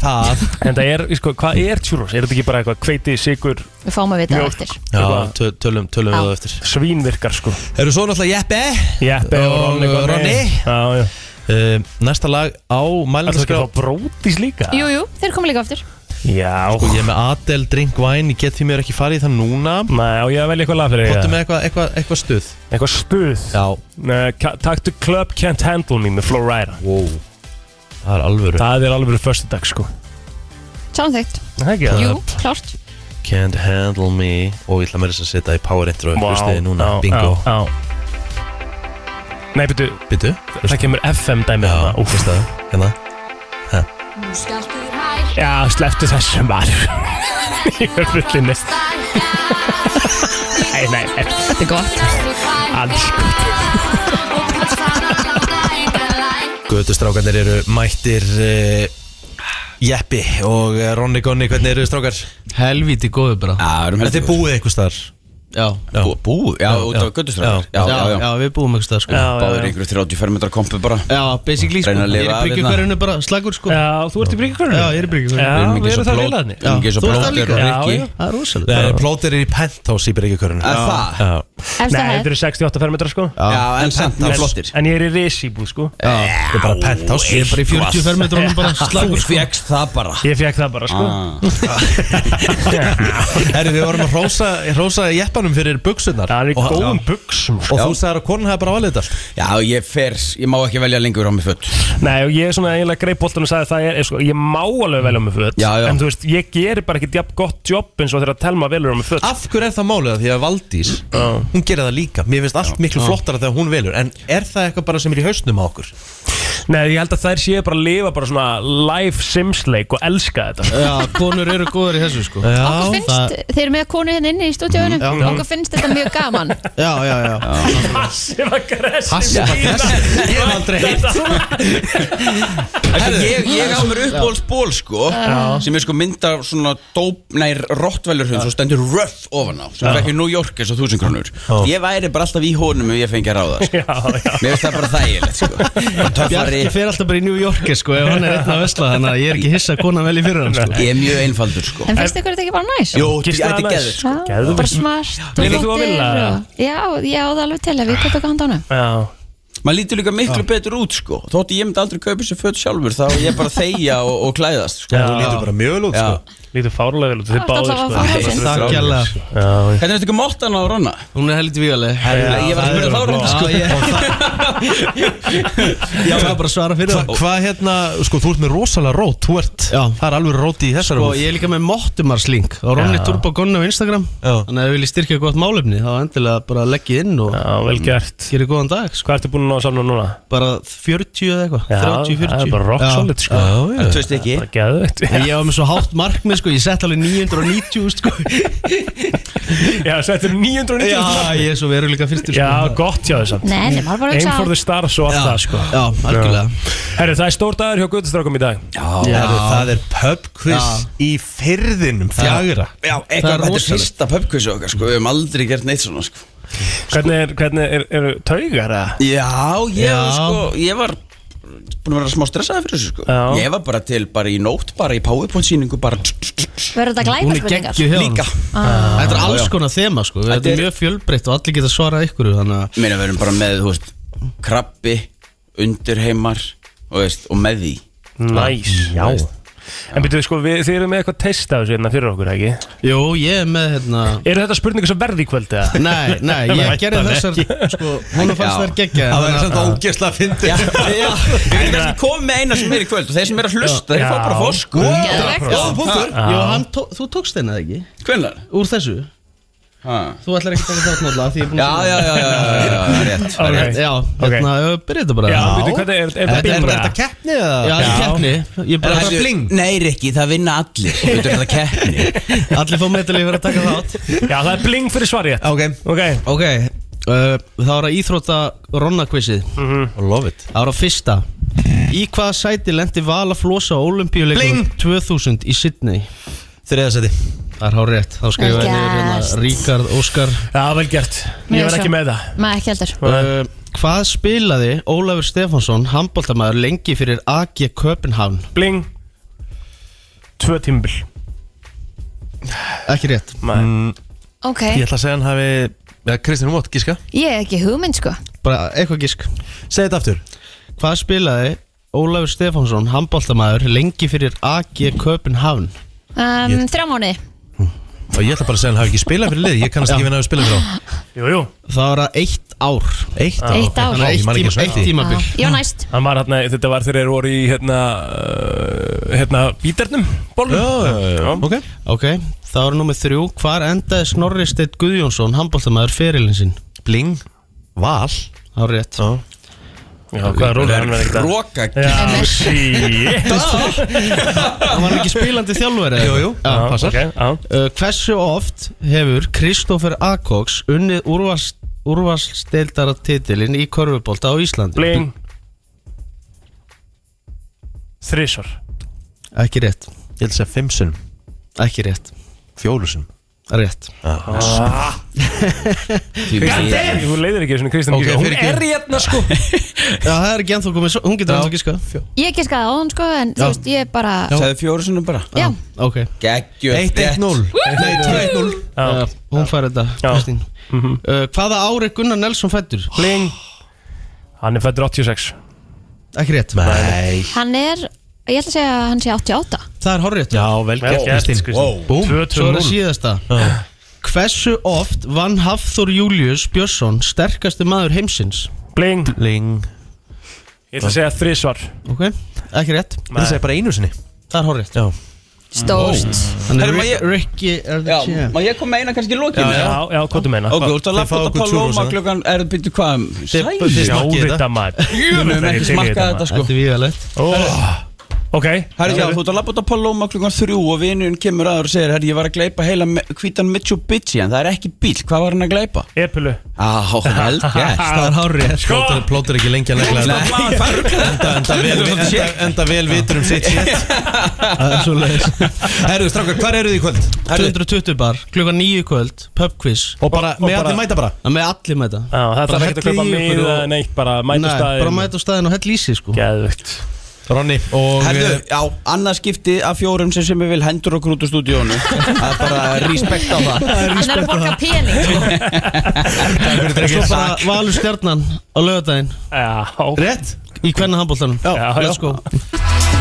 Speaker 3: [LAUGHS]
Speaker 2: það
Speaker 3: En það er, sko, hvað er churros? Er þetta ekki bara eitthvað hveiti, sigur,
Speaker 4: Við fáum að vita það
Speaker 3: mjölk?
Speaker 4: eftir
Speaker 2: Já, töl- tölum, tölum
Speaker 4: Já.
Speaker 2: við það eftir
Speaker 3: Svínvirkar sko
Speaker 2: Eru svo náttúrulega Jeppe
Speaker 3: Jeppe og Ronni
Speaker 2: og
Speaker 3: komið.
Speaker 2: Ronni
Speaker 3: Já, já
Speaker 2: Næsta lag á
Speaker 3: Ætlarðu
Speaker 2: mælingarskrá
Speaker 3: ekki að fá brótis líka?
Speaker 4: Jú, jú, þeir koma líka aftur
Speaker 3: Já
Speaker 2: Sko ég er með Adel, Drink Wine, ég get því mér ekki farið í það núna
Speaker 3: Nei, og ég er vel eitthvað lag fyrir
Speaker 2: Kottu
Speaker 3: það.
Speaker 2: með eitthvað eitthva, eitthva stuð
Speaker 3: Eitthvað stuð?
Speaker 2: Já
Speaker 3: Nei, ka- Taktu Club Can't Handle Me með Florida
Speaker 2: Wow Það er alvöru
Speaker 3: Það er alvöru förstu dag sko
Speaker 4: Samþygt
Speaker 3: Ekki það?
Speaker 4: Jú, klárt
Speaker 2: Can't handle me Og ég ætla mér þess að setja í power intro
Speaker 3: Vá,
Speaker 2: Hlustiði núna,
Speaker 3: já,
Speaker 2: bingo
Speaker 3: já, já. Nei, byrju
Speaker 2: Byrju
Speaker 3: Það kemur FM dæmið Já,
Speaker 2: fyrst það Hérna Ha.
Speaker 3: Já, slepptu þessum var [LAUGHS] Í
Speaker 4: [LAUGHS]
Speaker 3: fullinni Nei, nei, nei
Speaker 4: Þetta er gott
Speaker 3: Alls
Speaker 2: Götustrákarnir eru mættir uh, Jeppi og eh, Ronni Gonni, hvernig eru þið strákar?
Speaker 20: Helvíti góðu bara
Speaker 2: Já,
Speaker 20: erum helviti
Speaker 2: Þetta er
Speaker 20: góðir.
Speaker 2: búið einhvers staðar
Speaker 20: Já,
Speaker 2: já.
Speaker 20: búið, já, út á göttustræðar
Speaker 2: Já, já, já,
Speaker 20: við búum ekki stað sko
Speaker 2: Já, já,
Speaker 20: Báður
Speaker 2: já.
Speaker 20: ykkur 35 metrar kompu bara
Speaker 2: Já,
Speaker 20: basically, sko. Reyna að Ég er lifa í bryggjukverfinu
Speaker 2: bara slagur sko
Speaker 3: Já, þú ert í bryggjukverfinu
Speaker 20: Já, ég er í bryggjukverfinu.
Speaker 3: Já,
Speaker 20: Við erum ekki
Speaker 3: við
Speaker 20: svo
Speaker 3: erum það
Speaker 20: blót-
Speaker 3: félagarnir
Speaker 20: við erum ekki svo blótir og Rikki. Það
Speaker 3: Þú ert það líka. Já, já.
Speaker 20: er rosalega.
Speaker 2: Nei, plótir er í penthouse í Bryggjökörunum
Speaker 3: Er
Speaker 21: Ah.
Speaker 3: það?
Speaker 2: Já
Speaker 3: Nei, þetta eru 68 fermetrar sko
Speaker 2: Já, Já, en samt
Speaker 3: en-
Speaker 2: ná flottir.
Speaker 3: En ég er í resíbú sko
Speaker 2: Já, þetta er bara penthouse
Speaker 20: Ég er bara í 40 fermetrum
Speaker 2: [LAUGHS]
Speaker 20: bara slagur, sko.
Speaker 2: fegst það bara
Speaker 3: Ég fekk það bara sko
Speaker 2: Ah. Herri, við vorum að hrósa, hrósa jeppanum fyrir buksunar Það er
Speaker 20: í góðum
Speaker 3: buksum
Speaker 2: Og þú sagðir að konan hefði bara valið þetta
Speaker 20: Já, ég fer, ég má ekki velja lengur á mig föt
Speaker 3: Nei, og ég er svona eiginlega greið boltan og sagði það er, er, sko, ég má alveg velja um mig föt
Speaker 20: Já, já.
Speaker 3: En þú veist, ég gerir bara ekki jafn gott jobb eins og þegar að telma velur um mig föt
Speaker 2: Af hverju er það málið að því að Valdís Hún gerir það líka, mér finnst allt miklu
Speaker 3: Já.
Speaker 2: flottara þegar hún velur En er það eitthvað bara sem er í hausnum á okkur?
Speaker 3: Nei, ég held að þær séu bara að lifa bara svona live simsleik og elska þetta sko.
Speaker 20: Já, konur eru góður í þessu sko
Speaker 4: Okkur finnst, þeir eru með konu hérna inni í stúdíóinu
Speaker 3: Já.
Speaker 4: Okkur finnst þetta mjög gaman
Speaker 20: Já, já, já
Speaker 3: Passive aggressive
Speaker 20: Passive aggressive.
Speaker 3: Ég hef aldrei heitt
Speaker 20: Herðu, ég, ég á mér uppbólsból sko
Speaker 3: Já.
Speaker 20: sem er sko mynd af svona dóp nær rottvelurhund svo stendur rough ofan á sem
Speaker 3: Já.
Speaker 20: vekki New York eins og 1000 krónur ég væri bara alltaf í honum ef ég fengi að ráða sko. mér finnst það bara þægilegt sko Bara töffari
Speaker 21: Bjarki fer alltaf bara í New Yorki sko ef hann er einn að vesla þannig að ég er ekki hissa að konan velji fyrir hann sko
Speaker 20: ég er mjög einfaldur sko
Speaker 4: En finnst ykkur þetta ekki bara næs?
Speaker 20: Jú, Gist þetta er þetta geðveikt, sko.
Speaker 4: Já,
Speaker 20: Geðveikt.
Speaker 4: Bara smart
Speaker 20: Vilja þú að
Speaker 4: flottir
Speaker 20: vinna, eða?
Speaker 4: og- Já, ég á það alveg til að við kaupa ekki handa honum
Speaker 3: Já
Speaker 20: maður lítur líka miklu betur út sko þótti ég myndi aldrei kaupa sér föt sjálfur þá er ég bara að þegja og, og klæðast sko.
Speaker 3: Já, þú lítur bara
Speaker 2: mjög vel út
Speaker 20: sko
Speaker 3: Lítur fárulega vel út þið báðir sko
Speaker 20: Takk
Speaker 21: kærlega.
Speaker 20: Hvernig er þetta ekki móttan á Ronna?
Speaker 21: Hún er heldur vígaleg
Speaker 20: Herra, ég var að spyrja þá reyndar, sko.
Speaker 21: Já, það er bara að svara fyrir
Speaker 2: Hva- Hvað hérna, sko, þú ert með rosalega rót Þú ert, það er alveg rót í þessari
Speaker 21: Sko,
Speaker 2: húð.
Speaker 21: ég er líka með Mottumarslink og Ronni
Speaker 2: Já.
Speaker 21: Turbo Gonni á Instagram Þannig að ef við viljið styrkja gott málefni þá endilega bara leggja inn og
Speaker 3: Já, vel gert
Speaker 21: Gerir góðan dag sko.
Speaker 3: Hvað ertu búin að ná að samna núna?
Speaker 21: Bara 40 eða eitthvað, 30, 40
Speaker 3: Það er bara rock
Speaker 21: Já.
Speaker 3: solid sko
Speaker 21: Já, já.
Speaker 20: Það tvist ekki.
Speaker 3: Það er geðveikt.
Speaker 21: En Ég var með svo hátt markmið sko, ég sett alveg 990 sko
Speaker 3: Já, settur 990
Speaker 21: Já, ég er svo veruleika fyrstur
Speaker 3: Já, gott hjá þess að
Speaker 21: Nei, nei, maður bara að hugsa.
Speaker 3: Aim for the stars og allt
Speaker 21: Já,
Speaker 3: það sko
Speaker 21: já, algjörlega.
Speaker 3: Herru, það er stór dagur hjá Guðustrákum í dag Já,
Speaker 2: Herru, Það er pub quiz í fyrðinum fjagra
Speaker 20: Já,
Speaker 2: Það er
Speaker 20: eitthvað, þetta er
Speaker 2: rosalegt.
Speaker 20: fyrsta pubquizu okkar sko, við höfum aldrei gert neitt svona sko.
Speaker 3: Hvernig er, hvernig er, eru taugar að?
Speaker 20: Já, ég,
Speaker 3: Já.
Speaker 20: Sko, ég var búin að vera smá stressaði fyrir þessu sko.
Speaker 3: Já.
Speaker 20: Ég var bara til, bara í nót, bara í powerpoint síningu bara
Speaker 4: Verður þetta glæpa
Speaker 21: Hún er
Speaker 4: spurningar?
Speaker 21: geggju hjá hann
Speaker 20: Líka.
Speaker 4: Ah.
Speaker 21: Þetta er
Speaker 20: Já,
Speaker 21: alls
Speaker 20: já.
Speaker 21: konar þema sko,
Speaker 20: Þetta
Speaker 21: þetta
Speaker 20: er-
Speaker 21: er mjög fjölbreytt og allir geta svarað ykkur þannig að
Speaker 20: Meina, við erum bara með, þú veist, krabbi, undirheimar og, veist, og með því
Speaker 3: Næs Já En byrjuðu sko, við, þið eru með eitthvað test af þessu hérna fyrir okkur, ekki?
Speaker 21: Jú, ég er með hérna
Speaker 3: Eru þetta spurningar sem verði í kvöld eða?
Speaker 21: Nei,
Speaker 2: [LAUGHS]
Speaker 3: [LAUGHS]
Speaker 21: nei, ég gerði þessar sko, hún fannst þær geggja
Speaker 2: Það er samt ógeðslega fyndið
Speaker 20: Já,
Speaker 2: [LAUGHS]
Speaker 20: já Við erum kannski komið með eina sem er í kvöld og þeir sem er að hlusta, þeir fá bara
Speaker 21: sko.
Speaker 20: fósku
Speaker 21: Jó, hann tó- þú tókst þeirna ekki?
Speaker 20: Hvenær?
Speaker 21: Úr þessu Þú ætlar ekki að taka þátt náttúrulega því ég er búin að
Speaker 20: Já, já, já, já, já, já, já, rétt,
Speaker 21: Ok,
Speaker 20: rétt.
Speaker 21: Já,
Speaker 20: Ok.
Speaker 21: hérna, okay. byrja þetta bara
Speaker 20: Já, veitu hvernig er- er þetta
Speaker 21: Þetta
Speaker 20: bimra?
Speaker 21: þetta keppni eða? Já,
Speaker 20: Já.
Speaker 21: þetta er keppni Ég bara
Speaker 20: Herðu, Nei, Rikki, það vinna allir Þetta er það keppni
Speaker 21: Allir fá medalið fyrir að taka þátt
Speaker 3: Já, það er bling fyrir svarið
Speaker 21: Ok
Speaker 3: Ok,
Speaker 21: okay. Uh, Það var að íþróta ronnakvissið mm
Speaker 2: -hmm. Love it
Speaker 21: Það var að fyrsta Í hvaða sæti lendi Vala Flosa á olimpíuleikum 2000 í Sydney?
Speaker 2: Þriða sæti
Speaker 21: Það er hár rétt, þá skrifa
Speaker 4: Vel
Speaker 21: ég niður
Speaker 4: gert.
Speaker 21: hérna Ríkard Óskar
Speaker 3: Já, vel gert,
Speaker 4: Mjög svo. Nei, ekki heldur
Speaker 21: uh, Hvað spilaði Ólafur Stefánsson, handbóltamæður, lengi fyrir AG Köpenhavn?
Speaker 3: Bling Tvö tímbil
Speaker 21: Ekki rétt
Speaker 3: mm,
Speaker 4: Ok,
Speaker 2: Ég ætla að segja hann hafi ja, Kristján Vótt, gíska
Speaker 4: ég er ekki hugmynd sko
Speaker 21: Bara eitthvað gísk
Speaker 2: Segð þetta aftur
Speaker 21: Hvað spilaði Ólafur Stefánsson, handbóltamæður, lengi fyrir AG Köpenhavn?
Speaker 4: um, Þrjá mánu
Speaker 2: Og ég ætla bara að segja hann hafi ekki spilað fyrir lið Ég kannast ekki vinna að spila fyrir á
Speaker 3: Jú, jú
Speaker 21: Það var að eitt ár
Speaker 2: Eitt
Speaker 3: ár?
Speaker 4: Eitt ár.
Speaker 21: Þannig að
Speaker 2: Ég man
Speaker 21: eitt, tíma,
Speaker 2: ekki svona
Speaker 21: eitt
Speaker 2: eftir því.
Speaker 21: tímabil
Speaker 4: Já, næst
Speaker 3: Hann var hérna, þetta var þegar þeir voru í hérna, uh, hérna, bíternum bólum
Speaker 2: ok
Speaker 21: Ok, þá er nummið þrjú Hvar endaði Snorri Steinn Guðjónsson, handbóltamæður, ferilinn sinn?
Speaker 2: Bling, val
Speaker 21: Hár rétt
Speaker 2: Já,
Speaker 3: hvað er rólega hann verið ekki það?
Speaker 20: Hroka
Speaker 3: Já, shit
Speaker 21: Hann var
Speaker 2: [LAUGHS]
Speaker 21: ekki spilandi þjálfari eða?
Speaker 2: Jú, jú,
Speaker 21: Já,
Speaker 2: já,
Speaker 21: passar
Speaker 2: ok,
Speaker 21: uh, Hversu oft hefur Kristófer Akoks unnið úrvast, úrvastdeildara titilinn í körfubólta á Íslandi?
Speaker 3: Bling Þrísvar
Speaker 21: Ekki rétt
Speaker 2: Ég ætla að segja fimsun
Speaker 21: Ekki rétt
Speaker 2: Fjólusun
Speaker 21: Rétt
Speaker 3: Ah. God damn, Hún leiðir ekki svona Kristján
Speaker 21: Ok,
Speaker 3: Gísla Hún
Speaker 21: fyrirgefðu.
Speaker 3: er hérna sko
Speaker 21: Já, það er ekki ennþá komið svo- Hún getur ennþá ekki sko
Speaker 4: Ég ekki skaða á hún sko En
Speaker 21: Já.
Speaker 4: þú veist, ég bara
Speaker 20: Sæði fjóru sinnum bara
Speaker 4: Já.
Speaker 21: Ok
Speaker 20: Gekkjöð
Speaker 21: 1-1-0
Speaker 4: Nei,
Speaker 21: 2-1-0 Hún fær þetta, Kristín uh, Hvaða ári Gunnar Nelson fættur?
Speaker 3: Mhm. Bling Hann er fættur 86
Speaker 21: Ekki rétt
Speaker 2: Nei
Speaker 4: Hann er, ég ætla að segja að hann sé 88
Speaker 21: Það er horrið
Speaker 2: Já, vel
Speaker 3: Vel gert, Kristín.
Speaker 21: Búm,
Speaker 3: 2-2-0.
Speaker 21: svo er það síðasta Hversu oft vann Hafþór Július Björnsson sterkasti maður heimsins?
Speaker 3: Bling
Speaker 2: Bling
Speaker 3: Ég ætla að segja þrísvar
Speaker 21: Ok, ekki rétt
Speaker 3: Ég ætla að segja
Speaker 2: bara einu sinni
Speaker 21: Það er horrið
Speaker 2: Já
Speaker 4: Stórt
Speaker 21: Þannig
Speaker 20: Herru, má
Speaker 21: Rick-
Speaker 20: ég-
Speaker 21: Ricky er the
Speaker 20: Já,
Speaker 21: champ.
Speaker 20: Má ég koma með eina kannski í lokinu?
Speaker 3: Já, já, já, hvað þú meina?
Speaker 20: Ok, þú ert að
Speaker 3: Þið
Speaker 20: lappa
Speaker 3: fáið
Speaker 20: út að
Speaker 3: okkur churros,
Speaker 20: Paloma
Speaker 3: eða?
Speaker 20: klukkan Er það byrtu hvað? Sæl?
Speaker 3: Já, þetta maður
Speaker 20: Jú, við höfum ekki smakkað þetta sko
Speaker 21: Þetta er víðalegt
Speaker 3: Ok
Speaker 20: Herri, já, þú ert að lappa út að Paloma klukkan þrjú og vinurinn kemur aður og segir Herri, ég var að gleypa heila me- hvítan Mitsubishi en það er ekki bíl, hvað var hann að gleypa?
Speaker 3: Epilu
Speaker 20: Ah, held,
Speaker 3: [LAUGHS]
Speaker 20: yes,
Speaker 21: það er hárið
Speaker 20: Sko
Speaker 2: Plótur, plótur ekki lengi að negla
Speaker 20: Nei.
Speaker 2: þetta. enda, enda, vel, enda, enda vel vitur um sitt shit
Speaker 21: Það er svo leiðis
Speaker 2: Herru, strákar, hvar eru þið í kvöld?
Speaker 21: 220 bar, klukkan 9 í kvöld, pub quiz
Speaker 2: Og bara, með allir mæta bara
Speaker 21: Já, með allir mæta
Speaker 3: Já,
Speaker 20: Ah,
Speaker 3: það þarf ekki að kaupa mig eða neitt bara mæta
Speaker 21: Nei,
Speaker 3: staðinn
Speaker 21: bara mæta á staðin og hell í sig sko
Speaker 3: Geðvögt
Speaker 2: Ronni og
Speaker 20: Herðu, já, annað skipti af fjórum sem sem ég vil hendur okkur út úr stúdíónu Það er bara respekt á það
Speaker 4: Hann er að borga pening sko.
Speaker 21: Og svo bara valur stjarnan á lögadaginn
Speaker 3: Já
Speaker 21: Rétt? Í hvernig handbóltanum
Speaker 3: Já, já.
Speaker 21: Let's go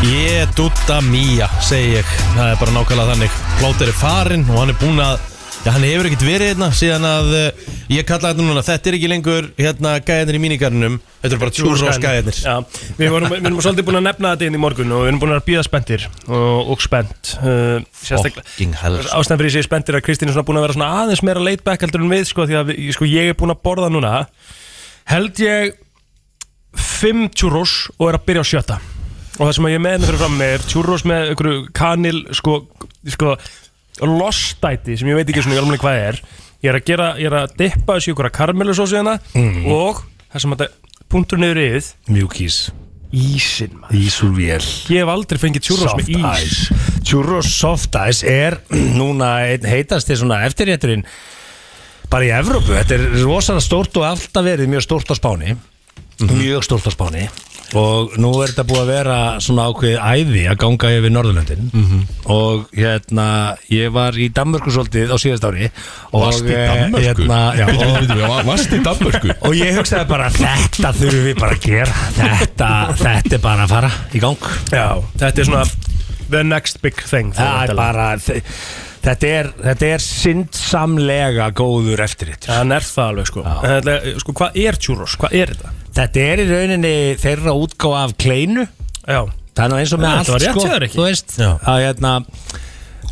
Speaker 2: Ég dutta mía, segi ég Það er bara nákvæmlega þannig Plóter er farinn og hann er búinn að Já, hann hefur ekkert verið hérna síðan að uh, Ég kalla þetta núna, þetta er ekki lengur hérna gæðinir í mínigarnum Þetta eru bara churros gæðinir
Speaker 3: Já, við vorum, við vorum svolítið búin að nefna þetta inn í morgun og við erum búin að bíða spenntir og, og spennt uh,
Speaker 2: Fucking hell.
Speaker 3: ástæðan fyrir ég segi spenntir að Kristín er svona búin að vera svona aðeins meira laid back heldur en við sko því að við, sko, ég er búin að borða núna held ég fimm churros og er að byrja á sjötta og það sem að ég er með með fyrir fram með er churros með einhverju kanil sko, sko lostæti sem ég veit ekki svona í alveg hvað er ég er að gera, ég er að dippa þessu í einhverja karmelusósu hérna
Speaker 6: Mm.
Speaker 3: og það sem að punktur niður yfir
Speaker 6: Mjúkís
Speaker 3: Ísinn
Speaker 6: Ís úr vél
Speaker 3: Ég hef aldrei fengið churros
Speaker 6: Soft
Speaker 3: með ís
Speaker 6: ice. Churros soft ice er [CLEARS THROAT] núna einn heitasti svona eftirrétturinn bara í Evrópu, þetta er rosalega stórt og alltaf verið mjög stórt á Spáni mjög stórt á Spáni og nú er þetta búið að vera svona ákveðið æði að ganga yfir Norðurlöndin
Speaker 4: Mhm.
Speaker 6: og hérna ég var í Danmörku svolítið á síðast ári og,
Speaker 22: Varstu í
Speaker 6: eh,
Speaker 22: Danmörku?
Speaker 6: Hérna, já,
Speaker 22: Bíddu,
Speaker 6: og-
Speaker 22: bíddu, bíddu, var- varstu í Danmörku?
Speaker 6: og ég hugsaði bara þetta þurfum við bara að gera þetta, þetta er bara að fara í gang
Speaker 3: Já, þetta er svona the next big thing
Speaker 6: það er bara þe- þetta er, þetta er sindsamlega góður eftir þetta
Speaker 3: hann er það alveg sko, þetta, er- sko hvað er churros, hvað er þetta?
Speaker 6: þetta er í rauninni þeirra útgáð af kleinu
Speaker 3: Já.
Speaker 6: það er nú eins og með
Speaker 3: Já,
Speaker 6: allt
Speaker 3: þetta var rétt
Speaker 6: sko,
Speaker 3: hjá þér ekki?
Speaker 6: þú veist
Speaker 3: Já.
Speaker 6: að hérna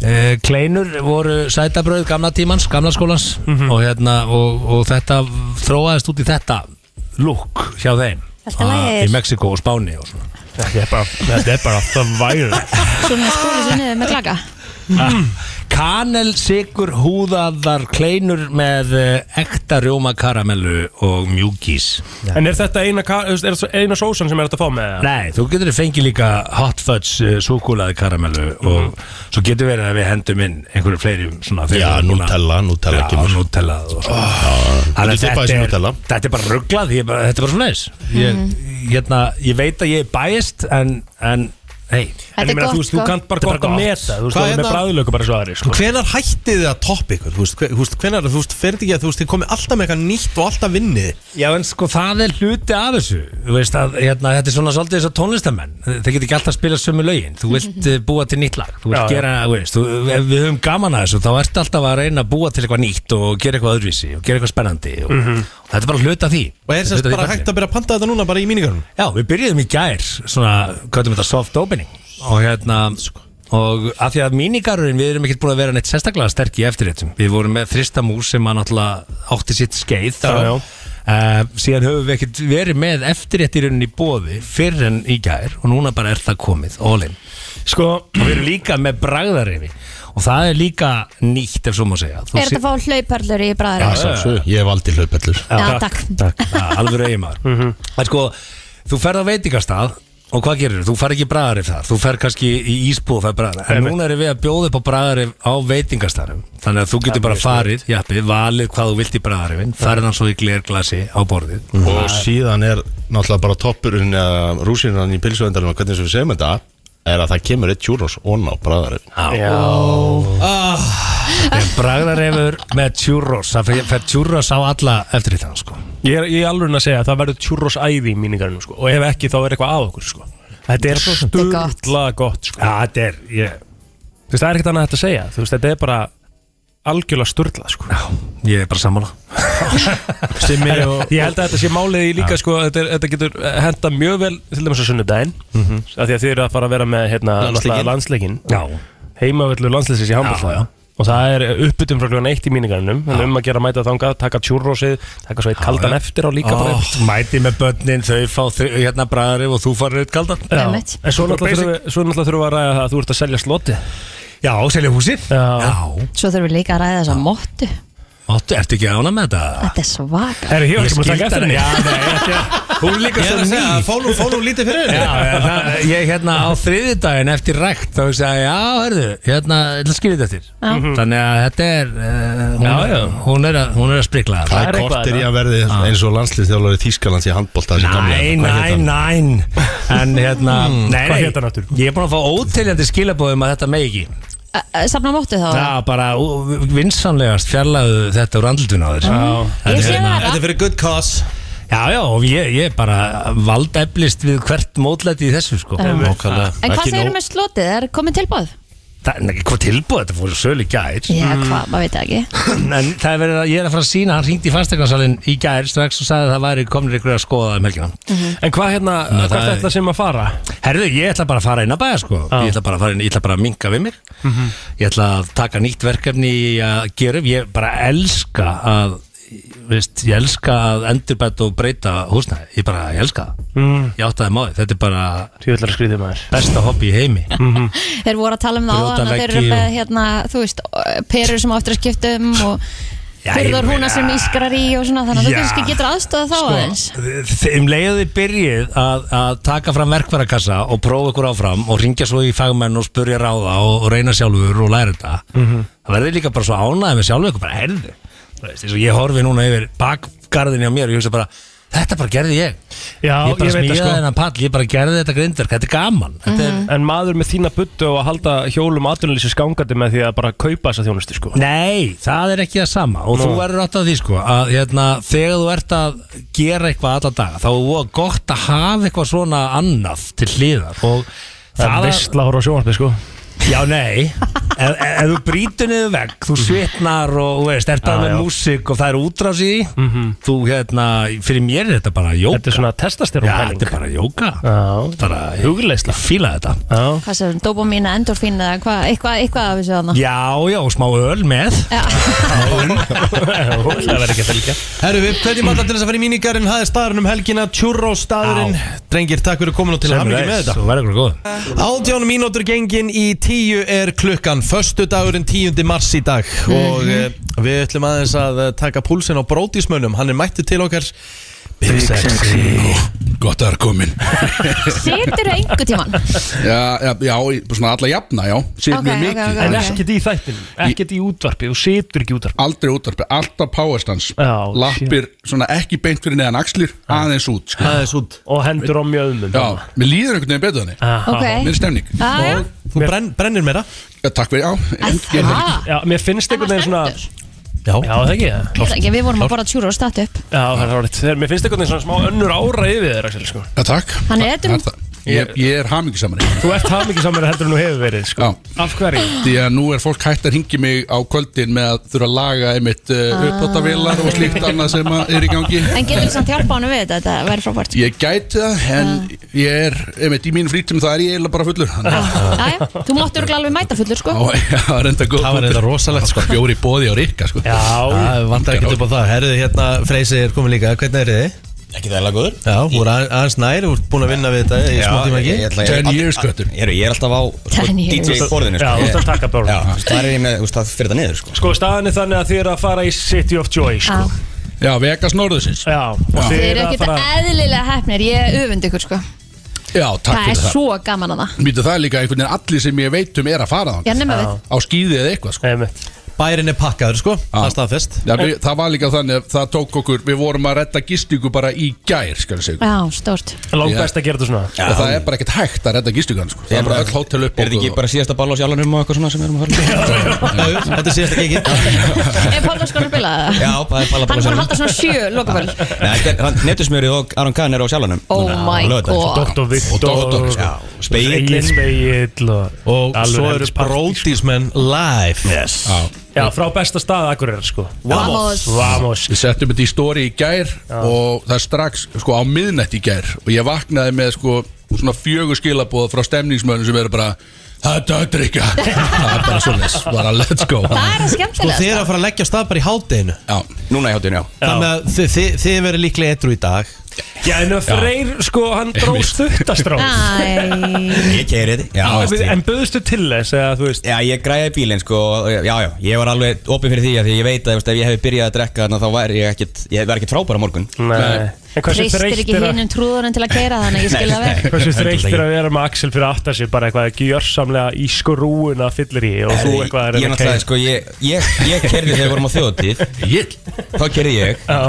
Speaker 6: Uh, kleinur voru sætabröð gamla tímans, gamla skólans og, hérna, og, og þetta þróaðist út í þetta lúk hjá þeim
Speaker 4: Allt í lagi.
Speaker 6: Ah, í Mexiko og Spáni og svona þetta er bara, þetta er bara það væri
Speaker 4: Svona skóli sinni með klaka
Speaker 6: Ah, [LAUGHS] Kanel, sigur, húðaðar, kleinur með eh, ekta rjóma karamellu og mjúkís
Speaker 3: En er þetta eina, ka- þú veist, er þetta eina sósan sem er þetta að fá með það?
Speaker 6: Nei, þú getur fengið líka hot fudge uh, súkulaði karamellu og svo getur verið að við hendum inn einhverju fleiri svona
Speaker 2: Já, Nutella, Nutella
Speaker 6: Já,
Speaker 2: kemur. Ah.
Speaker 6: Nutella og svona. Þannig
Speaker 2: getur
Speaker 6: að
Speaker 2: dippað þessu
Speaker 6: þetta,
Speaker 2: Nutella.
Speaker 6: er, þetta er bara rugglað, ég, er bara- þetta er bara svona eins ég, hérna, ég veit að ég er bæist en, en hei
Speaker 3: En ég meina, þú veist, þú kannt bara gott að meta Þú veist, þú er
Speaker 2: hérna?
Speaker 3: með bræðlöku bara svo aðri sko.
Speaker 2: Hvenar hættið þið að toppa ykkur? Þú veist, hve- þú veist, hvenar, þú veist, ferði ekki að þú veist, þið komið alltaf með eitthvað nýtt og alltaf vinnið
Speaker 6: Já, en sko, það er hluti af þessu Þú veist að, hérna, þetta er svona svolítið þess að tónlistamenn Þeir geta ekki alltaf að spila sömu lögin Þú
Speaker 2: [LAUGHS]
Speaker 6: vilt eh, búa til nýtt lag Þú vilt
Speaker 2: Já, já.
Speaker 6: gera, þú veist, þú, ef við höfum gaman að þessu Þá ertu alltaf að reyna að búa til eitthvað nýtt Og gera eitthvað öðruvísi og gera eitthvað spennandi og,
Speaker 2: Mhm.
Speaker 6: og þetta er bara hluti af því
Speaker 2: Og er semst bara hægt að byrja að panta þetta núna bara í mínigarunum?
Speaker 6: Já, við byrjuðum í gær Svona, hvað er þetta, soft opening Og hérna Og af því að mínigarurinn, við erum ekkert búin að vera neitt sérstaklega sterk í eftirréttum Við vorum með þristamús sem að náttúrulega átti sitt skeið
Speaker 3: Já, já.
Speaker 6: Uh, síðan höfum við ekkert verið með eftirrétt í rauninni í bóði fyrr en í gær og núna bara er það komið, all in sko, og við erum líka með bragðarreifi og það er líka nýtt ef svo má segja Þú
Speaker 4: Er
Speaker 6: sé-
Speaker 4: þetta að fá hlauparlur í bræðar?
Speaker 6: ég hef aldrei hlaupellur
Speaker 4: Já, takk.
Speaker 6: Alveg eiginmaður Það er sko, þú ferð á veitingastað og hvað gerir þú? Þú fer ekki bræðarif þar þú fer kannski í Ísbú og fer bræðarif en
Speaker 3: Einmitt.
Speaker 6: núna erum við að bjóða upp á bræðarif á veitingastaðnum þannig að þú getur bara farið jafnir, valið hvað þú vilt í bræðarifin ferð hann svo í glerglasi á borðið
Speaker 2: Mhm.
Speaker 23: Og síðan er náttúrulega bara toppurinn eða rúsinan í pilsuvendarum hvernig sem við segjum þetta er að það kemur eitt júrós onn á bræðarinn
Speaker 6: ah. Bragðarefur með tjúrós Það fer- fer tjúrós á alla eftir þetta sko.
Speaker 3: Ég er ég er alveg að segja að það verður churros æði í míningarinu sko. Og ef ekki, þá er eitthvað að okkur sko. Þetta er svo sturla gott sko.
Speaker 6: Já, þetta er ég...
Speaker 3: Þú veist, það er ekkert annað hægt að segja Þú veist, þetta er bara algjörlega sturla sko.
Speaker 6: Ég er bara sammála
Speaker 3: Sem er, Ég held að þetta sé málið í líka sko, þetta, er, þetta getur henda mjög vel Til dæmis á sunnudaginn
Speaker 6: Mhm.
Speaker 3: af Því að þið eru að fara að vera með hérna,
Speaker 6: Landsleikinn.
Speaker 3: landsleikin
Speaker 6: Já.
Speaker 3: Heimavöldu landsleisins í
Speaker 6: Já, já.
Speaker 3: handbólta Og það er uppbytum frá klugan eitt í míningarnum En um að gera mæta þangað, taka tjúrrósið Taka svo eitt kaldan eftir á líka bara.
Speaker 6: Mæti með börnin, þau fá þau, hérna bræðarif og þú farið eitt kaldan
Speaker 3: Já. En svo náttúrulega þurfum við- svo náttúrulega þurfum við að ræða það að þú ert að selja slotið
Speaker 6: Já, selja húsið
Speaker 3: Já,
Speaker 4: Svo þurfum við líka að ræða þess að móttu
Speaker 6: Máttu, ertu ekki ána með þetta?
Speaker 4: Þetta er svaka
Speaker 6: Herru, ég var ekki búin að taka eftir henni.
Speaker 4: [LAUGHS]
Speaker 6: Hún er
Speaker 2: Ég
Speaker 6: líka
Speaker 2: er
Speaker 6: svo
Speaker 2: að
Speaker 6: ný
Speaker 2: segja, fá nú- fá nú lítið fyrir henni.
Speaker 6: Já, já, það- Ég hérna á þriðjudaginn eftir rækt Þá hugsa ég, já, hörðu, hérna, hérna skilja þetta eftir
Speaker 2: Já. Mhm.
Speaker 6: Þannig að þetta er uh, hún,
Speaker 2: Já, já.
Speaker 6: Hún, er að, hún er að sprikla
Speaker 23: Það er kortir í að verði
Speaker 3: Ah.
Speaker 23: eins og landslýstjálfari Þískalands í handbólta
Speaker 6: Næ,
Speaker 23: hérna.
Speaker 6: næ, næ En hérna,
Speaker 23: Hmm,
Speaker 6: nei,
Speaker 23: hvað
Speaker 6: nei
Speaker 23: hét hann aftur?
Speaker 6: Ég er búin að fá óteljandi skilabóðum að þetta megi ekki
Speaker 4: Ö, ö, Safna móttu þá?
Speaker 6: Já, bara ú- vinsanlegast fjarlæðu þetta úr andlutun á þér
Speaker 4: Mm.
Speaker 6: Þetta
Speaker 4: Ég
Speaker 6: er
Speaker 4: sé
Speaker 6: hérna-
Speaker 4: það. Þetta er
Speaker 2: fyrir good cause
Speaker 6: Já, já, og ég, ég bara vald eflist við hvert mótlæti í þessu sko
Speaker 4: Já. En hvað segir með slotið? Er komið tilbúð?
Speaker 6: Það er ekki hvað tilbúið, þetta fór sölu í gær Mm.
Speaker 4: Já, hvað, maður veit það ekki
Speaker 6: En það er verið að, ég er að fara að sína, hann ringdi í fastegnarsalinn í gær strax og sagði að það væri komin ykkur að skoða um helgina
Speaker 3: En hvað
Speaker 6: Ná,
Speaker 3: hérna, hvað
Speaker 6: það
Speaker 3: er
Speaker 6: er-
Speaker 3: þetta sem að fara? Ah.
Speaker 6: Herðu, ég ætla bara að fara inn að bæja sko
Speaker 3: Já.
Speaker 6: Ég ætla bara að fara inn, ég ætla bara að minga við mig
Speaker 3: Hm. Mhm.
Speaker 6: Ég ætla að taka nýtt verkefni í að gera upp Ég bara elska að, veist, ég elska að endurbæta og breyta húsnæði Ég bara, ég elska það
Speaker 3: Mm.
Speaker 6: Ég áttaði máði, þetta er bara
Speaker 3: Tjóðlar skrýðið maður Mhm.
Speaker 6: Besta hobby í heimi
Speaker 4: Þeir voru að tala um það
Speaker 6: Brjóta
Speaker 4: áðan að þeir eru
Speaker 6: veggi
Speaker 4: með
Speaker 6: og-
Speaker 4: hérna, þú veist, perur sem áttur að skipta um og
Speaker 6: Já, ég
Speaker 4: hurðar húna
Speaker 6: meina-
Speaker 4: sem ískrar í og svona þannig að þú
Speaker 6: Já.
Speaker 4: kannski getur aðstoða þá
Speaker 6: Sko,
Speaker 4: aðeins
Speaker 6: Þ- Um leiðið byrjið að, að taka fram verkvarakassa og prófa ykkur áfram og ringja svo í fagmenn og spurja ráða og, og reyna sjálfur og læra þetta
Speaker 3: Mhm.
Speaker 6: það verður líka bara svo ánæðið með sjálfur ykkur bara herðu, þú veist, eins og ég horfi núna yfir bakgarðinni á mér og ég hugsa bara þetta bara gerði ég
Speaker 3: Já,
Speaker 6: ég bara
Speaker 3: ég veit það,
Speaker 6: smíðaði
Speaker 3: sko.
Speaker 6: þennan pall, ég bara gerði þetta grindverk, þetta er gaman þetta er,
Speaker 3: Mhm. En maður með þína buttu og að halda hjólum atvinnulísi skangandi með því að bara kaupa þessa þjónustu sko
Speaker 6: Nei, það er ekki það sama og þú
Speaker 3: Nú.
Speaker 6: verður átt að því sko að hérna, þegar þú ert að gera eitthvað alla daga þá er voða gott að hafa eitthvað svona annað til hlýðar og
Speaker 3: Það er veistla að horfa á sjónvarpið sko
Speaker 6: Já, nei ef, ef, ef þú brýtur niður vegg, þú svitnar og þú veist, ert
Speaker 3: Já,
Speaker 6: að með
Speaker 3: já.
Speaker 6: músík og það er útrás í því þú hérna, fyrir mér er þetta bara jóka Þetta er
Speaker 3: svona testastyrun
Speaker 6: Já, þetta er bara jóka bara,
Speaker 3: Hugleisla
Speaker 6: Fíla þetta Já,
Speaker 4: Hvað sem, dópamína, endorfín eða hvað, eitthvað, eitthvað af þessu þarna
Speaker 6: já, já og smá öl með
Speaker 2: [LAUGHS]
Speaker 3: Það verður ekki að fylgja
Speaker 2: Herru, við hverjum alla til þess að fara í mínigarinn, það er staðurinn um helgina, Churros staðurinn, Drengir, takk fyrir komin og til
Speaker 6: Sömuleiðis,
Speaker 2: hamingju með þetta
Speaker 6: þú verður ykkur
Speaker 2: góð Átján mínútur gengin í tíu er klukkan Föstu dagurinn 10. mars í dag Og eh, við ætlum aðeins að eh, taka púlsinn á brótismönnum Hann er mættu til okkar Big Sexy
Speaker 8: Gott að það er komin
Speaker 4: Setur það einhver tíman
Speaker 8: [LAUGHS] Já, já, já, í- svona alla jafna, já Sér
Speaker 4: Ok,
Speaker 8: mjög
Speaker 4: ok, ok,
Speaker 8: mikið
Speaker 4: ok. En
Speaker 3: ekkert í þættinum, ekkert í útvarpi Þú setur ekki í útvarpi
Speaker 8: Aldrei í útvarpi, alltaf powerstans Lappir, svona ekki beint fyrir neðan axlir Aðeins út, sko.
Speaker 2: aðeins út
Speaker 3: Og hendur á mjöðmum
Speaker 8: Já, mér líður einhvern veginn betur þannig
Speaker 3: Ok.
Speaker 8: Mér er stemning
Speaker 4: Ah, já.
Speaker 2: Þú brenn, brennir meira
Speaker 8: Já, takk fyrir, já
Speaker 4: ég- það?
Speaker 3: Já, mér finnst einhvern veginn svona
Speaker 2: Já,
Speaker 3: já það ekki
Speaker 4: Ég ætla ekki, Við vorum að borða tjúru og statu upp
Speaker 3: Já, það er orðið Mér finnst einhvern veginn svona smá önnur ára yfir þér, Axel, sko
Speaker 8: Já, takk
Speaker 4: Hann er edrum
Speaker 8: Ég, ég er hamingisamari
Speaker 3: Þú ert hamingisamari heldur en þú hefur verið sko. Af hverju?
Speaker 8: Því að nú er fólk hægt að ringi mig á kvöldin með að þurfa að laga einmitt uh, uppbótavélar og slíkt annað sem að er í gangi
Speaker 4: En getur þú samt hjálpa honum við þetta, þetta verður frábært
Speaker 8: Ég gæti það, en ég er einmitt í mínu frítum það er ég eiginlega bara fullur þannig
Speaker 4: Ah.
Speaker 8: að-
Speaker 4: Jæja, þú máttur alveg mæta fullur sko
Speaker 8: Já, já, Það var enda góð
Speaker 2: Það var enda rosalegt sko
Speaker 8: Bjóri bóði á rikka sko
Speaker 3: Já
Speaker 2: Það vantar ekkert upp á það Herðu hérna, Freysi er komin líka Hvernig er þið?
Speaker 7: Ekki það er góður
Speaker 2: Já, þú er aðeins nær Þú ert búin að vinna við þetta í smá tíma ekki
Speaker 7: köttur Ég er alltaf á sko,
Speaker 2: Ten years.
Speaker 7: DJ borðinu
Speaker 3: Já, þú ert að taka borðinu.
Speaker 7: Það er ég með, þú veist, það fyrir það niður sko.
Speaker 3: Sko, staðan er þannig að þið eru að fara í City of Joy sko.
Speaker 8: Já, Vegas Norðusins
Speaker 3: Já, og
Speaker 4: Þið
Speaker 3: þið
Speaker 4: eru
Speaker 3: eru að
Speaker 4: ekkert
Speaker 3: fara
Speaker 4: eðlilega hefnir, ég öfund ykkur sko
Speaker 8: Já, takk
Speaker 4: Það er
Speaker 8: fyrir það
Speaker 4: svo gaman að það
Speaker 8: Mýtu það er líka einhvern veginn allir sem ég veit um er að fara
Speaker 4: Já,
Speaker 8: þannig
Speaker 4: nema við.
Speaker 8: Á skýði eða eitthvað
Speaker 3: sko
Speaker 2: Bærin er pakkaður sko Það er staðfest
Speaker 8: Já, við, það var líka þannig að það tók okkur Við vorum að redda gistingu bara í gær skal ég segja
Speaker 4: Já, stórt
Speaker 3: Langbest að gera þetta svona
Speaker 8: Og það er bara ekkert hægt að redda gistingu sko. Það er bara öll hótel upp
Speaker 7: Er þetta ekki bara síðasta ball á sjálanum og eitthvað svona sem við erum að fara
Speaker 2: í? Þetta er síðasta
Speaker 7: gigi
Speaker 4: Er Pála skonur bilað það?
Speaker 7: Já, það er Palla
Speaker 4: Hann
Speaker 7: bara
Speaker 4: er búin að
Speaker 7: sjálfur.
Speaker 4: halda svona sjö lokaböl
Speaker 7: Nei, þetta er- hann- Netusmjöri og Aron Kahn eru á sjálanum
Speaker 4: Oh
Speaker 7: Núna, á
Speaker 4: my
Speaker 7: laugardaginn, sko.
Speaker 4: god. Doktor
Speaker 2: Viktor.
Speaker 7: Og Doktor, sko.
Speaker 3: Egil
Speaker 7: Spegill
Speaker 3: Spegill og,
Speaker 2: Og
Speaker 3: alveg
Speaker 2: svo eru
Speaker 3: helvits partí,
Speaker 2: brótismenn live
Speaker 3: Yes Já, frá besta stað Akureyrar sko
Speaker 8: Vamos.
Speaker 3: Vamos
Speaker 8: Við settum þetta í stóri í gær og það er strax sko á miðnætt í gær og ég vaknaði með sko svona fjögur skilabóð frá stemningsmönnum sem eru bara Þetta er drikja Það er bara svona bara let's go
Speaker 4: Það er að
Speaker 2: Sko
Speaker 4: skemmtilega
Speaker 2: þið eru að fara að leggja af stað bara í hádeginu
Speaker 8: Já,
Speaker 7: núna í hátinu, já
Speaker 2: Þannig að þið, þið, þið verður líklega etru í dag
Speaker 3: Já, en að Freyr, sko, hann dró stuttastráð
Speaker 7: Ég keiri þetta já,
Speaker 3: En-
Speaker 7: veist,
Speaker 3: En buðstu til þess eða þú veist
Speaker 7: Já, ég græði bílinn sko og- Já, já, ég var alveg opið fyrir því að Því ég veit að þú veist, ef ég hefði byrjað að drekka þarna Þá væri ég ekkit, ég væri ekkit frábæra morgun
Speaker 3: Nei. En hversu
Speaker 4: Treystir
Speaker 3: þreytt
Speaker 4: ekki
Speaker 3: er að
Speaker 4: hinum trúðunum til að keira það Þannig að ég skilja
Speaker 7: Nei,
Speaker 4: vel
Speaker 3: Hversu
Speaker 7: Heldur
Speaker 3: þreytt
Speaker 7: það
Speaker 3: er að vera með Axel fyrir aftar sig bara eitthvað gjörsamlega í skrúuna fyllir í og þú eitthvað er
Speaker 7: Ég náttúrulega, sko, ég, ég, ég kerði þegar við vorum á þjóðtíð Þá kerði ég
Speaker 3: Já.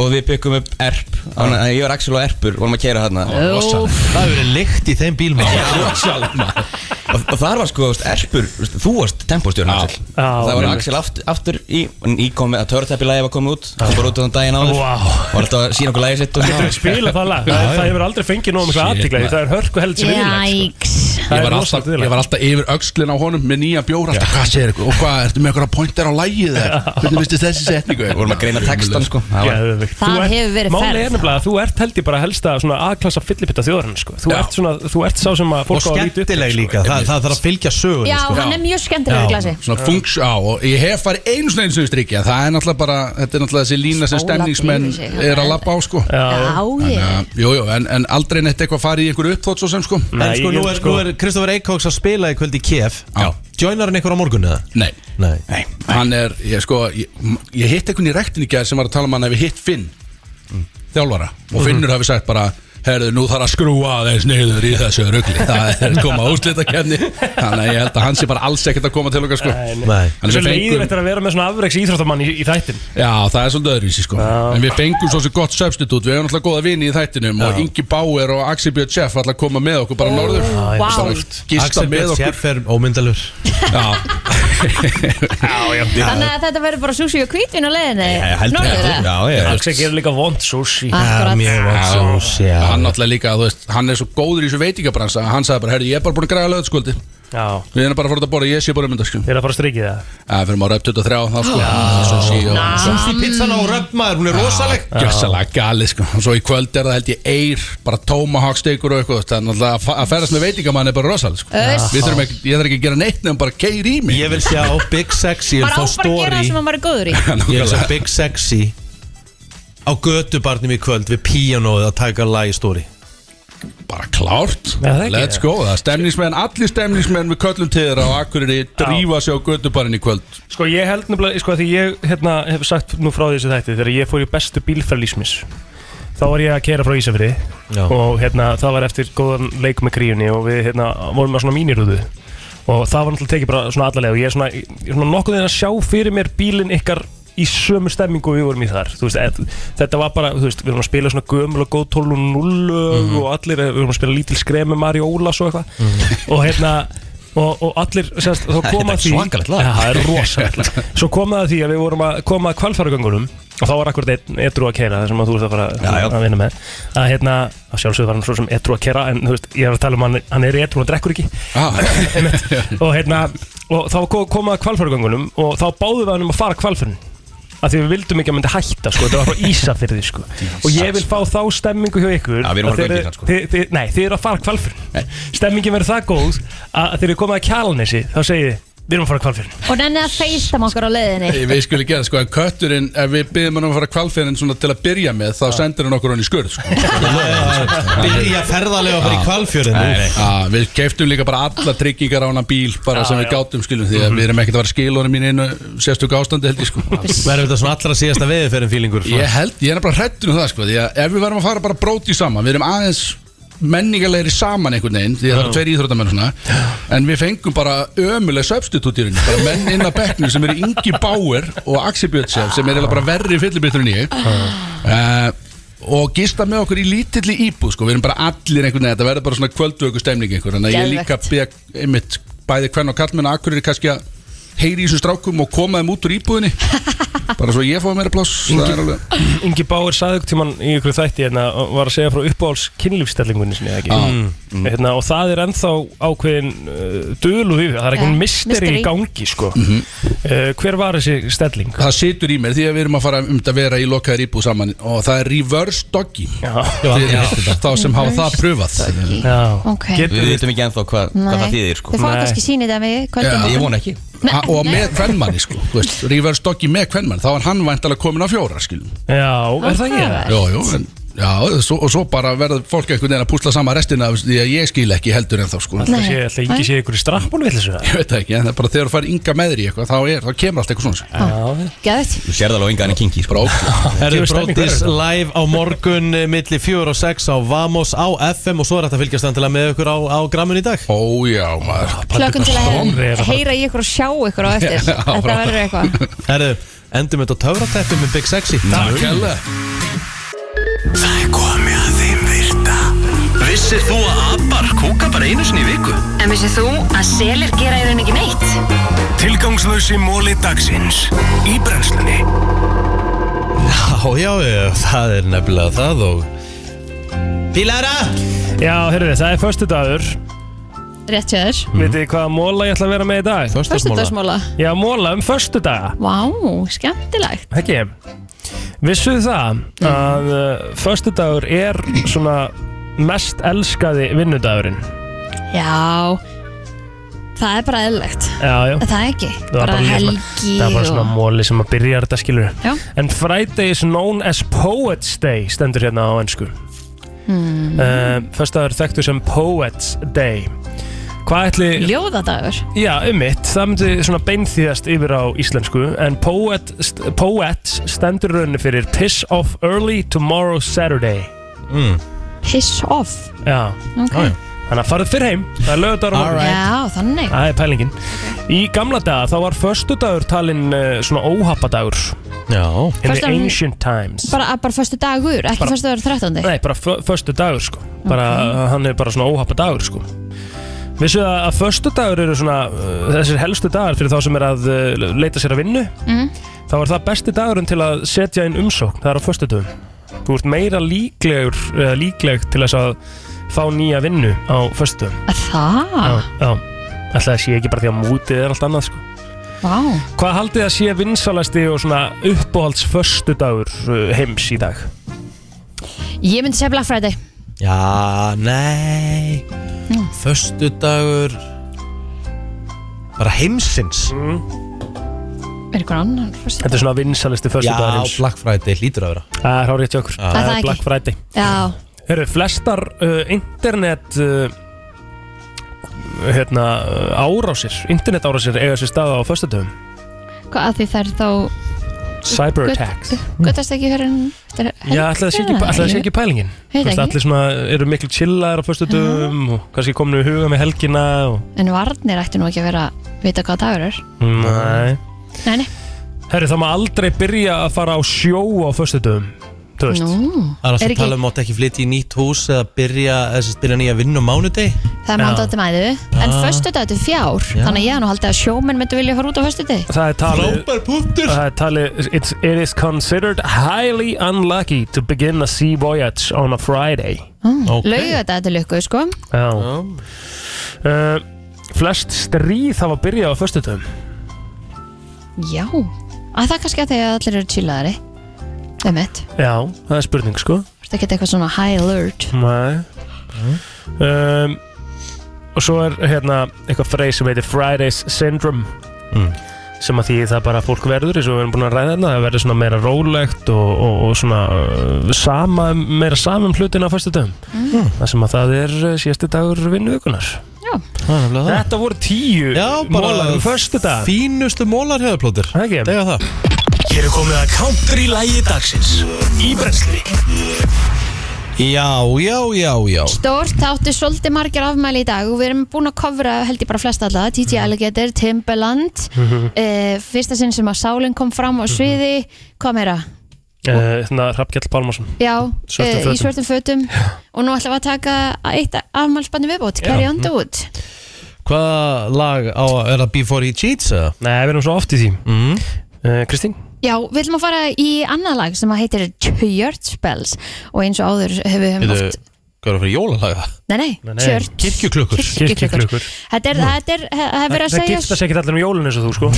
Speaker 7: Og við byggum upp erp Þannig að ég var Axel og erpur, vorum að keira þarna
Speaker 2: Rosalegt. Það hefur verið lykt í þeim bíl
Speaker 7: Rosalega Og og þar var sko, þú veist, erpur, þú veist, þú varst tempóstjórn Axel Það var
Speaker 2: einmitt.
Speaker 7: Axel aftur, aftur í, í komið, að törtæpilagi var komið út Það var út á þann daginn áður
Speaker 3: Vá.
Speaker 7: Var alltaf að sína okkur lagi sitt og
Speaker 3: Getur við spila það lag? Það, það hefur aldrei fengið nóg mikla
Speaker 7: Shit,
Speaker 3: aðtikla
Speaker 7: maður.
Speaker 3: Það er hörku held sem sko.
Speaker 4: Jæks
Speaker 8: Ég var, alltaf, ég var alltaf yfir öxlin á honum með nýja bjór alltaf, hvað segir ykkur, og hvað,
Speaker 2: [LAUGHS]
Speaker 8: ertu með ykkur að pointer á lægið eða? hvernig vistist þessi setningu
Speaker 7: Vorum að greina textan, sko. Það var-
Speaker 4: Það hefur verið
Speaker 3: Máli
Speaker 4: ferð.
Speaker 3: er nefnilega að þú ert held ég bara helsta svona A-klassa fyllipitta þjóðarinn sko. þú, ert svona, þú ert sá sem að
Speaker 2: Og
Speaker 3: fólk á að líti
Speaker 2: skemmtileg líka Það, það þarf að fylgja sögunni
Speaker 4: Já,
Speaker 2: sko.
Speaker 4: hann er mjög skemmtilega í glasi
Speaker 8: Svona funks á og ég hef farið einu svona eins og strikja Það er náttúrulega bara, þetta er náttúrulega þessi lína sem
Speaker 4: Stóla
Speaker 8: stemningsmenn
Speaker 4: yfir sig,
Speaker 8: er að labba á sko
Speaker 4: Já,
Speaker 8: Þannig
Speaker 4: ég
Speaker 8: að, Jú, jú, en, en aldrei neitt eitthvað farið í einhverju uppþótt svo sem sko
Speaker 2: En sko, nú er, sko. er Kristoffer Eikóks að spila í kvöld í KF Joinar hann einhver á morgun eða?
Speaker 8: Nei,
Speaker 2: Nei.
Speaker 8: hann er, ég sko, ég, ég hitt einhvern í rektin í gær sem var að tala um hann ef ég hitt Finn Þjálfara
Speaker 2: Mhm.
Speaker 8: Og Finnur hafi sagt bara Herðu, nú þarf að skrúa aðeins niður í þessu rugli [LAUGHS] Það er koma úslita kefni Þannig að ég held að hann sé bara alls ekkert að koma til okkar sko Hann er
Speaker 3: Svo
Speaker 8: með fengum-
Speaker 3: leiðir eftir að vera með svona afreiks íþróttamann í, í þættin
Speaker 8: Já, það er svolítið öðruvísi sko En við fengum svo sem gott substitut Við hefum alltaf góða vini í þættinum Og Ingi Bauer og Axel Björn Sjeff ætla að koma með okkur bara norður
Speaker 2: Vá.
Speaker 8: Bara að Gista
Speaker 2: Axel
Speaker 8: með
Speaker 2: Björn
Speaker 8: okkur
Speaker 2: Sjeff er ómyndalur
Speaker 8: [LAUGHS] Já,
Speaker 4: Þannig að þetta verður bara sushi og kvítvin á leiðinni Norður eða?
Speaker 3: Axel gerir líka vond sushi
Speaker 4: Akkurat. Já, mjög vond
Speaker 2: sushi, já.
Speaker 8: Hann náttúrulega líka, þú veist, hann er svo góður í þessu veitingabransa Hann sagði bara, herri, ég er bara búin að græða löðskvöldi
Speaker 3: Já
Speaker 8: Við erum bara að fara út að borða, ég sé bara um þetta sko
Speaker 3: Þeir að fara að strikið það
Speaker 8: Það fyrir maður upp 23 þá sko Sushi og-
Speaker 2: Sushi pizzan á röfmaður, hún er
Speaker 8: [LAUGHS]
Speaker 2: rosaleg
Speaker 8: Gjössalega galið sko Og svo í kvöld er það held ég eir Bara tomahawk steikur og eitthvað Það er náttúrulega að fa- að ferast með veitingamann er bara rosalega sko
Speaker 4: Uss.
Speaker 8: Við þurfum ekki, ég þarf ekki að gera neitt nefnum bara keir í mig
Speaker 2: Ég vil sjá Big Sexy
Speaker 4: Maður á
Speaker 2: fá
Speaker 4: bara að gera það sem maður er
Speaker 8: [LAUGHS]
Speaker 4: góður í
Speaker 2: Ég vil sjá Big Sexy Á götubarnum í kvöld Við píanóið að taka lag í stóri
Speaker 8: bara klárt
Speaker 3: Nei, það ekki.
Speaker 8: Let's go, það er stemningsmenn Allir stemningsmenn við köllum til þeirra á Akureyri drífa sig á gödubarinn í kvöld
Speaker 3: Sko ég held nefnilega, sko því ég hérna, hef sagt nú frá þessu þætti Þegar ég fór í bestu bílferðlísmis Þá var ég að kera frá Ísafriði
Speaker 2: Já.
Speaker 3: Og hérna, það var eftir góðan leik með kríunni Og við hérna, vorum með svona mínirúðu Og það var náttúrulega tekið bara svona allalega Og ég er svona, ég er svona nokkuð þeirra að sjá fyrir mér bílinn ykkar í sömu stemmingu og við vorum í þar Þú veist, eð, þetta var bara, þú veist, við vorum að spila svona gömul og góð 12 og 0 og allir, við vorum að spila lítil skremi Mari Ólas og eitthvað og hérna og, og allir, sérst, þá koma
Speaker 8: Þetta er
Speaker 3: því
Speaker 8: svakalegt lag.
Speaker 3: Já, það er rosalegt lag Svo koma það því að við vorum að koma að kvalfæragöngunum og þá var akkurat einn edru að keira það sem að þú ert að fara að vinna með að hérna, að sjálfsögðu var hann svo sem edru að keira en þú veist, ég er að tala um hann, hann er edru og drekkur ekki
Speaker 8: Ah.
Speaker 3: [LAUGHS] Einmitt. og hérna, og þá ko- koma að kvalfæragöngunum og þá báðum við hann um að fara kvalfærin að því við vildum ekki að hann myndi hætta sko, þetta var frá Ísafirði
Speaker 8: [LAUGHS]
Speaker 3: sko og ég vil fá
Speaker 8: sko.
Speaker 3: þá stemmingu hjá ykkur
Speaker 8: Já, við erum að fara
Speaker 3: þeir-
Speaker 8: göngin, sko.
Speaker 3: þið, þið, Nei, þið eru að fara kvalfyrin Stemmingin verður það góð að að þegar við komum að kjalanesi þá segið þið, við erum að fara kvalfyrin
Speaker 4: Og nenni að feistam okkur á leiðinni
Speaker 8: Nei, Við skulum gera sko en kötturinn ef við byggjum hann um að fara kvalfeyrinn svona til að byrja með þá sendir hann okkur hann í skurð sko.
Speaker 2: Byrja ferðalega bara í kvalfjörðin
Speaker 8: Nei, nei. Já, Við keiftum líka bara alla tryggingar á hann bíl bara
Speaker 2: Já,
Speaker 8: sem
Speaker 2: já.
Speaker 8: við
Speaker 2: Mhm.
Speaker 8: gátum skilum því að við erum ekkert að fara að skila honum í einu sérstök ástandi held ég sko
Speaker 2: Verður þetta svona allra síðasta veðurferðin fílingur
Speaker 8: Ég held, ég er bara hrættur um það sko Því að ef við verðum að fara bara bróti saman Við erum aðeins menningarlegri saman einhvern veginn Því að það eru tveir íþróttamenn og svona En við fengum bara ömuleg substitútirinn Bara menn inn á bekknum sem eru Ingi Bauer Og Axi Björnsef sem er eiginlega bara verri fyllibitturinn ég uh, Og gista með okkur í lítilli íbúð sko Við erum bara allir einhvern veginn Þetta verður bara svona kvöldvöku stemning einhver Þannig að ég líka beg, einmitt, bæði hvern og kallmenn Akkurir kannski að heyri í þessum strákum og koma þeim út úr íbúðinni
Speaker 4: [LAUGHS]
Speaker 8: bara svo ég fá meira pláss það er alveg-
Speaker 3: Ingi Báir sagði okkur tímann í ykkur þætti hérna, og var að segja frá uppáhalds kynlífstellingunni sinni, eða ekki?
Speaker 8: Já.
Speaker 3: hérna, og það er ennþá ákveðin uh, döl og við, það er
Speaker 8: Já,
Speaker 3: eitthvað misteri
Speaker 8: mystery.
Speaker 3: í gangi sko.
Speaker 8: Mhm.
Speaker 3: uh, hver var þessi stelling?
Speaker 8: Það situr í mér því að við erum að fara um þetta að vera í lokaðir íbúð saman og það er reverse doggy
Speaker 3: Já.
Speaker 8: fyrir þá sem hafa það pröfað
Speaker 3: Já.
Speaker 4: Ok.
Speaker 7: Við vitum ekki ennþá hvað, hvað það þýðir sko.
Speaker 4: Þið fá kannski sín í dag við kvöldum
Speaker 8: ég vona ekki
Speaker 4: Nei,
Speaker 8: Ha- og
Speaker 4: nei.
Speaker 8: með kvennmanni sko þú veist, reverse doggy með kvennmanni þá er hann væntalega komin á fjóra skilum
Speaker 3: Já,
Speaker 4: er það ekki það?
Speaker 8: Jó, jó, en Já, svo, og svo bara verður fólk einhvern veginn að púsla saman restina af því að ég skil ekki heldur en þá sko
Speaker 3: Ætli sé- ætli Ingi sé ykkur í strappun við þessu
Speaker 8: Ég veit það ekki, en það er bara þegar þú fær ynga með þér í eitthvað þá, er, þá kemur allt eitthvað svona
Speaker 3: Já,
Speaker 4: Gæðt
Speaker 7: Þú sér það alveg engan en kingi sko.
Speaker 2: Herðu
Speaker 7: Kemur stemning
Speaker 2: Brótis
Speaker 7: hverfur.
Speaker 2: live á morgun eh, milli 4 og 6 á Vamos á FM og svo er þetta að fylgjast endilega með ykkur á, á grammun í dag
Speaker 8: Ó já maður
Speaker 4: Klökkum til að heyra í ykkur og sjá ykkur á [LAUGHS]
Speaker 2: [LAUGHS]
Speaker 4: eftir
Speaker 2: Já,
Speaker 4: Þetta
Speaker 2: bara-
Speaker 4: verður eitthvað
Speaker 2: Herðu, endum þetta á töfratættum með Big Sexy
Speaker 1: Takk,
Speaker 8: hella
Speaker 1: Það er komið að þeim virta Vissir þú að abar kúka bara einu sinni í viku?
Speaker 9: En vissið þú að selir gera í raun ekki neitt?
Speaker 1: Tilgangslösi móli dagsins Í brennslunni
Speaker 2: Já, já, já, það er nefnilega það og Pílara
Speaker 3: Já, herruði, það er förstu dagur
Speaker 4: Rétt hjá þér
Speaker 3: Mhm. Vitið þið hvaða móla ég ætla að vera með í dag?
Speaker 4: Föstudagsmóla
Speaker 3: Já, móla um förstu daga
Speaker 4: Vá, skemmtilegt
Speaker 3: Ekki Vissuð það að uh, förstu dagur er svona mest elskaði vinnudagurinn
Speaker 4: Já Það er bara eðlilegt
Speaker 3: Já, já
Speaker 4: Það er ekki,
Speaker 3: Það var
Speaker 4: bara
Speaker 3: líka svona-
Speaker 4: helgi
Speaker 3: Það er bara svona
Speaker 4: og-
Speaker 3: móli sem að byrja þetta skilur
Speaker 4: Já.
Speaker 3: En Friday is known as Poets Day stendur hérna á ennsku
Speaker 4: Hmm.
Speaker 3: uh, Föstaður þekktu sem Poets Day Hvað ætli...
Speaker 4: Ljóðadagur
Speaker 3: Já, ummitt, það myndi svona beinþýðast yfir á íslensku en poet, st poet stendur raunni fyrir piss off early tomorrow Saturday mm.
Speaker 4: Piss off
Speaker 3: Já,
Speaker 4: Ok. Já, já.
Speaker 3: þannig að farið fyrr heim það er lögðar á morgun.
Speaker 4: Já, þannig
Speaker 3: Það er pælingin Í gamla daga þá var föstudagur talinn uh, svona óhappadagur
Speaker 2: Já
Speaker 3: In the
Speaker 4: Föstudagur-
Speaker 3: ancient times
Speaker 4: Bara, að- bara föstu dagur, ekki
Speaker 3: Bara-
Speaker 4: föstu dagur 13.
Speaker 3: Nei, bara fö- föstu dagur sko bara, Hann er bara svona óhappa dagur sko Vissu að, að föstu dagur eru svona uh, Þessir helstu dagar fyrir þá sem er að uh, leita sér að vinnu
Speaker 4: Mm.
Speaker 3: Þá er það besti dagurinn til að setja inn umsókn Það er á föstu dagum Þú ert meira líklegur, uh, líkleg til þess að fá nýja vinnu á föstu dagum
Speaker 4: Það?
Speaker 3: Já, já Alltaf það sé ekki bara því að mútið er allt annað sko
Speaker 4: Vá
Speaker 3: Hvað haldið að sé vinsalasti og svona uppáhalds föstu dagur heims í dag?
Speaker 4: Ég myndi segja Black Friday
Speaker 2: Já, nei Föstudagur Bara heimsins
Speaker 4: Er ykkur annan föstu
Speaker 3: Þetta er svona vinsalisti föstu
Speaker 2: Já,
Speaker 3: dagur heims
Speaker 2: Black Friday hlýtur að vera
Speaker 3: Það er hárið hjá okkur
Speaker 4: Það er það ekki.
Speaker 3: Black Friday
Speaker 4: Já,
Speaker 3: Herru, flestar uh, internet uh, hérna, uh, árásir, internet árásir eiga sér staða á föstudöfum
Speaker 4: Hvað að því þær þá
Speaker 3: Cyberattacks
Speaker 4: Göttast ekki um- hér en
Speaker 3: Já, ætla það sé ekki, ætli það sé ekki pælingin
Speaker 4: Veit
Speaker 3: Þú veist,
Speaker 4: ekki.
Speaker 3: Allir svona eru miklu chillar á föstudöfum og kannski komnum í huga með helgina og...
Speaker 4: En varnir ættu nú ekki að vera að vita hvað dagur er
Speaker 3: Nei
Speaker 4: Nei, nei,
Speaker 3: Herru, það má aldrei byrja að fara á sjó á föstudöfum Þú veist
Speaker 4: Nú.
Speaker 2: Það er alltaf
Speaker 4: Er
Speaker 2: að
Speaker 4: ekki-
Speaker 2: tala um að mátt ekki flytja í nýtt hús eða byrja, eða byrja nýja vinnu á mánudeg
Speaker 4: það er mándað til mæðu En
Speaker 2: Ah.
Speaker 4: föstu þetta er fjár
Speaker 2: Já.
Speaker 4: Þannig að ég hef nú haldið að sjómenn myndi vilja fara út á föstu þetta
Speaker 3: Það er talið Það er talið it's, It is considered highly unlucky to begin a sea voyage on a Friday
Speaker 4: Laugu þetta er lukku, sko
Speaker 3: Já uh, Flest stríð hafa byrjað á föstutum
Speaker 4: Já, að það kannski að þegar allir eru chillaðari Það er mitt,
Speaker 3: Já, það er spurning sko
Speaker 4: það geta eitthvað svona high alert
Speaker 3: Nei um, Og svo er hérna eitthvað freið sem heitir Fridays Syndrome sem að því það bara að fólk verður eins og við erum búin að ræða þarna, það verður svona meira rólegt og, og, og svona uh, sama, meira samum hlutin á fyrstu dögum
Speaker 1: Mm.
Speaker 3: það sem að það er uh, síðasti dagur vinnuðugunar Þetta voru tíu
Speaker 2: Já, bara
Speaker 3: mólar um föstu dag
Speaker 2: Fínustu mólar höfðplótir
Speaker 3: Það
Speaker 2: er það
Speaker 1: Hér er komið að country lægi dagsins Í brensli
Speaker 2: Já, já, já, já
Speaker 4: Stórt, það áttu svolítið margir afmæli í dag og við erum búin að kofra, held ég bara flest alla T.T. Alligator, Timbaland
Speaker 3: Mhm.
Speaker 4: uh, Fyrsta sinn sem að sálinn kom fram á sviði Hvað meira?
Speaker 3: [LAUGHS] Eh, Þannig að Rappgjall Pálmarsson
Speaker 4: Já,
Speaker 3: Svörtum
Speaker 4: eh, í
Speaker 3: fötum.
Speaker 4: svörtum fötum Og nú ætlum við að taka eitt afmælspannu viðbót Carry
Speaker 3: Mhm.
Speaker 4: on dude
Speaker 2: Hvaða lag á, er það Before He Cheats eða?
Speaker 3: Nei, við erum svo oft í því
Speaker 2: mm.
Speaker 3: Kristín?
Speaker 4: Já, við ætlum að fara í annað lag sem að heitir Church Bells og eins og áður hefur við höfum
Speaker 2: Bíddu,
Speaker 4: oft
Speaker 2: Hvað er það fyrir jólalaga?
Speaker 4: Nei, nei, Church
Speaker 2: Kirkjuklukkur
Speaker 4: Kirkjuklukkur. Þetta er, þetta er, það er verið að
Speaker 3: Það
Speaker 4: segja
Speaker 3: gifta sér ekki allir um jólun eins og
Speaker 4: [LAUGHS]
Speaker 3: þú sko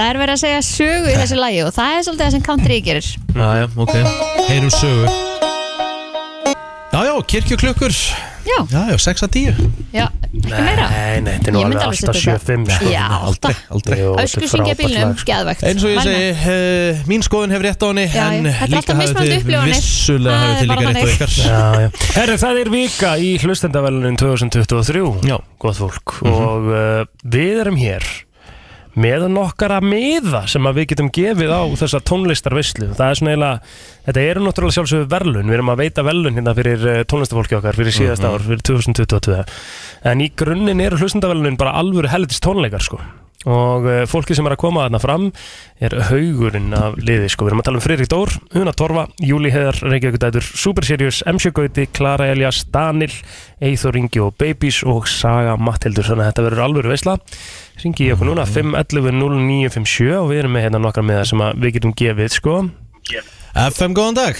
Speaker 4: Það er verið að segja sögu í þessu lagi og það er svolítið það sem country gerir
Speaker 2: Næja, ok Heyrum sögu Já, já, kirkjuklukkur Já, já, 6 að 10
Speaker 4: Já, ekki meira
Speaker 3: Nei, nei, þetta er nú
Speaker 4: Ég myndi
Speaker 3: alveg
Speaker 4: alveg
Speaker 3: alltaf
Speaker 4: setja
Speaker 3: 7-5
Speaker 4: þetta.
Speaker 3: sko.
Speaker 4: Já,
Speaker 3: Nei,
Speaker 4: alltaf.
Speaker 2: aldrei
Speaker 3: Jú, þetta er
Speaker 4: Ösku syngja
Speaker 3: frábært
Speaker 4: bílnum,
Speaker 3: lag, sko.
Speaker 4: geðvegt
Speaker 2: Eins og ég segi, uh, mín skoðun hef rétt á henni
Speaker 4: Já,
Speaker 2: En
Speaker 4: já, þetta er
Speaker 2: líka
Speaker 4: alltaf
Speaker 2: hafið
Speaker 4: mismunandi
Speaker 2: þið
Speaker 4: upplifanir.
Speaker 2: vissulega
Speaker 4: Það
Speaker 2: hafið
Speaker 4: er
Speaker 2: þið
Speaker 4: bara
Speaker 2: líka rétt á ykkar
Speaker 4: þannig.
Speaker 3: Já, já.
Speaker 2: [LAUGHS]
Speaker 3: Herru, það er vika í hlustendavælunin 2023 Já Góð fólk
Speaker 2: Mhm.
Speaker 3: Og uh, við erum hér með nokkara miða sem að við getum gefið á þessa tónlistarvislu það er svona eiginlega, þetta eru náttúrulega sjálfsögur verlun, við erum að veita verlun hérna fyrir eh, tónlistarfólki okkar, fyrir síðasta
Speaker 2: Mhm.
Speaker 3: ár fyrir 2022, en í grunninn eru hlustendavælunin bara alvöru helðist tónleikar sko og uh, fólki sem er að koma þarna fram er haugurinn af liði sko. við erum að tala um Friðrik Dór, Una Torfa Júli Heðar, Reykjavík Dætur, Super Sirius MC Gauti, Klara Elias, Danil Eithor Ingi og Babies og Saga Matthildur, þannig að þetta verður alvöru veisla ringi í okkur núna 511-0957 og við erum með hérna nokkra með það sem að við getum gefið sko
Speaker 2: FM, góðan dag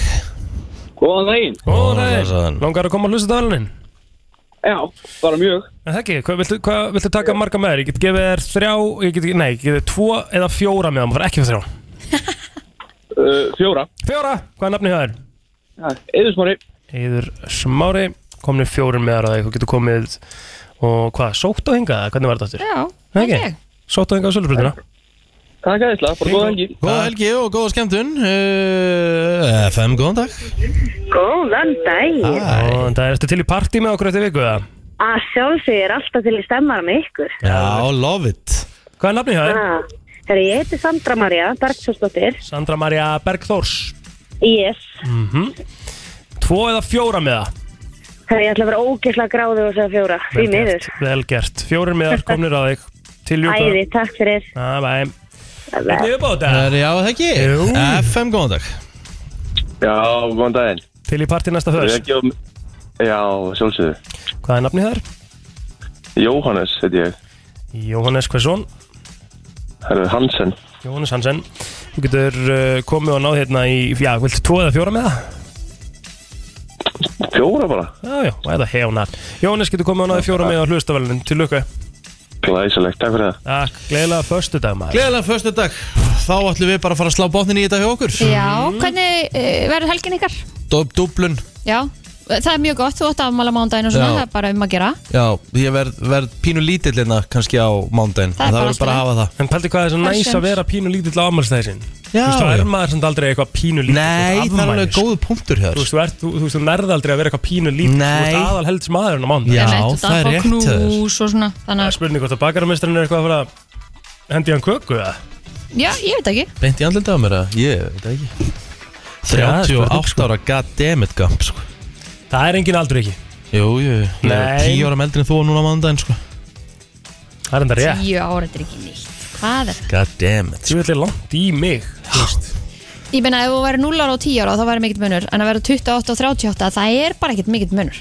Speaker 3: Góðan daginn Góðan daginn, langar að koma að hlusta dæluninn? Já, bara mjög En það ekki, hvað viltu, hvað viltu taka marga með þér? Ég get gefið þér þrjá, ég get, nei, ég get þér tvo eða fjóra með það, maður fær [LAUGHS] ekki fyrir þrjá
Speaker 16: Uh, fjóra
Speaker 3: Fjóra, hvað er nafnið það er?
Speaker 16: Eður smári
Speaker 3: Eður smári, komni fjórun með það, þú getur komið og hvað, sótt og hingað, eða hvernig var þetta aftur?
Speaker 4: Já,
Speaker 3: það ekki Sótt og hingað á sölubröðina
Speaker 16: Takk aðeinslega, bara góða helgi
Speaker 2: Góða helgi og góða skemmtun Eh, uh, FM, góðan dag
Speaker 10: Góðan daginn.
Speaker 3: Góðan dag, ertu til í partí með okkur eftir viku það?
Speaker 10: Að sjálfsög er alltaf til í stemmara með ykkur.
Speaker 2: Já, love it
Speaker 3: Hvað er nafnið það er?
Speaker 10: Ah, Herri, ég heiti Sandra Maria Bergsjónsdóttir.
Speaker 3: Sandra Maria Bergþórs
Speaker 10: Yes.
Speaker 3: mm Tvo eða fjóra með það?
Speaker 10: Herri, ég ætla að vera ógeðslega gráði og segja fjóra. Því miður.
Speaker 3: Vel gert, fjórir miðar komnir á þig Til ljúka
Speaker 10: Æði, takk fyrir.
Speaker 3: Bæ, bæ Þetta er upp á þetta
Speaker 2: Það er já, það ekki Eh,
Speaker 3: Jú.
Speaker 2: FM, góðan dag
Speaker 16: Já, góðan daginn
Speaker 3: Til í partí næsta
Speaker 16: Við
Speaker 3: höst
Speaker 16: ekki um Já, sjálfsögðu
Speaker 3: Hvað er nafnið það er?
Speaker 16: Jóhannes, heiti ég
Speaker 3: Jóhannes Hversson
Speaker 16: Herru, Hansen
Speaker 3: Jóhannes Hansen Þú getur uh, komið og náð hérna í Já, vilt tvo eða fjóra með það?
Speaker 16: Fjóra bara
Speaker 3: Já, já, og eða hefnar Jóhannes getur komið og náð í fjóra með á hlustavælunum Til ljúka
Speaker 16: Glæsilegt, takk fyrir það
Speaker 3: Takk, gleðilega förstu dag maður
Speaker 2: Gleðilega förstu dag Þá ætlum við bara að fara að slá botnin í þetta hjá okkur
Speaker 4: Já, hvernig uh, verður helgin eh, ykkar?
Speaker 2: Dub, Dublun
Speaker 4: Já, það er mjög gott, þú átt afmála mándaginn og svona,
Speaker 2: Já.
Speaker 4: það er bara um að gera
Speaker 2: Já, ég verð, verð pínu lítillina kannski á mándaginn
Speaker 4: Það
Speaker 2: En
Speaker 4: er bara
Speaker 2: verður bara að
Speaker 4: allt í
Speaker 2: hafa það
Speaker 3: En pældi hvað er svo
Speaker 2: Það er
Speaker 3: næs
Speaker 2: skemmt.
Speaker 3: að vera pínu lítill á afmælstæðisinn Þú
Speaker 2: Já,
Speaker 3: veist, þá er
Speaker 2: já.
Speaker 3: maður samt aldrei eitthvað pínu lítill
Speaker 2: Nei, það er alveg góður punktur hjá þér.
Speaker 3: Þú veist, þú, ert, þú, þú, veist, þú nærð aldrei að vera eitthvað pínu lítill Þú
Speaker 2: Nei.
Speaker 3: veist, aðal helds maðurinn á mánu
Speaker 2: Já, Einmitt, þú það er þarf að fá rétt hjá þér.
Speaker 4: knús og svona
Speaker 3: Það er spurning hvort að bakararmestrarinn er eitthvað að fara að hendi hann köku eða
Speaker 4: Já, ég veit ekki
Speaker 2: Beint í andlita á mér að ég veit það ekki
Speaker 3: Já,
Speaker 2: sko.
Speaker 3: spurning,
Speaker 2: 38 ára, goddammit gamp sko.
Speaker 3: Það er engin aldur ekki
Speaker 2: Jú, jú, ég
Speaker 3: Nei.
Speaker 2: er 10 ára meldri en þú á núna á mándaginn sko.
Speaker 3: Það er enda rétt
Speaker 4: Tíu ára, þetta er ekki nýtt Hvað er það?
Speaker 2: Goddammit
Speaker 3: Þú veitlega langt í mig þú veist.
Speaker 4: Ég meina, ef þú væri 0 ára og 10 ára þá væri mikill munur En að vera 28 og 38, það er bara ekkert mikill munur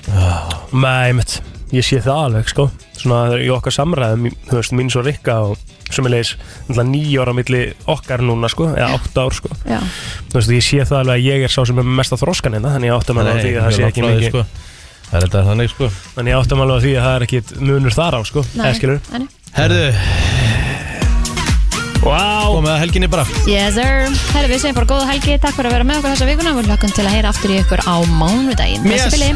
Speaker 3: Nei, mitt, ég sé það alveg sko Svona í okkar samræðum, í- þú veist, mín svo rikka og sem ég leis nýja ára milli okkar núna sko, eða átta ár sko
Speaker 4: Já.
Speaker 3: Þú veist, ég sé það alveg að ég er sá sem er með mesta þroskan hérna Þannig ég átta mig alveg á
Speaker 2: Nei,
Speaker 3: því að það
Speaker 2: ég
Speaker 3: sé
Speaker 2: er
Speaker 3: ekki
Speaker 2: langt frá því,
Speaker 3: mikið
Speaker 2: sko. Það er þetta þannig sko
Speaker 3: Þannig ég átta mig alveg á því að það er ekkit munur þar á sko
Speaker 4: Nei,
Speaker 3: Eða skilur
Speaker 4: nei.
Speaker 2: Herðu
Speaker 3: Vá
Speaker 2: Komið að helginni bara
Speaker 4: Yes sir Herri, við segjum bara góða helgi, takk fyrir að vera með okkur þessa vikuna Við hlökkum til að heyra aftur í ykkur á mánudaginn
Speaker 2: Yes.
Speaker 4: Bless í bili.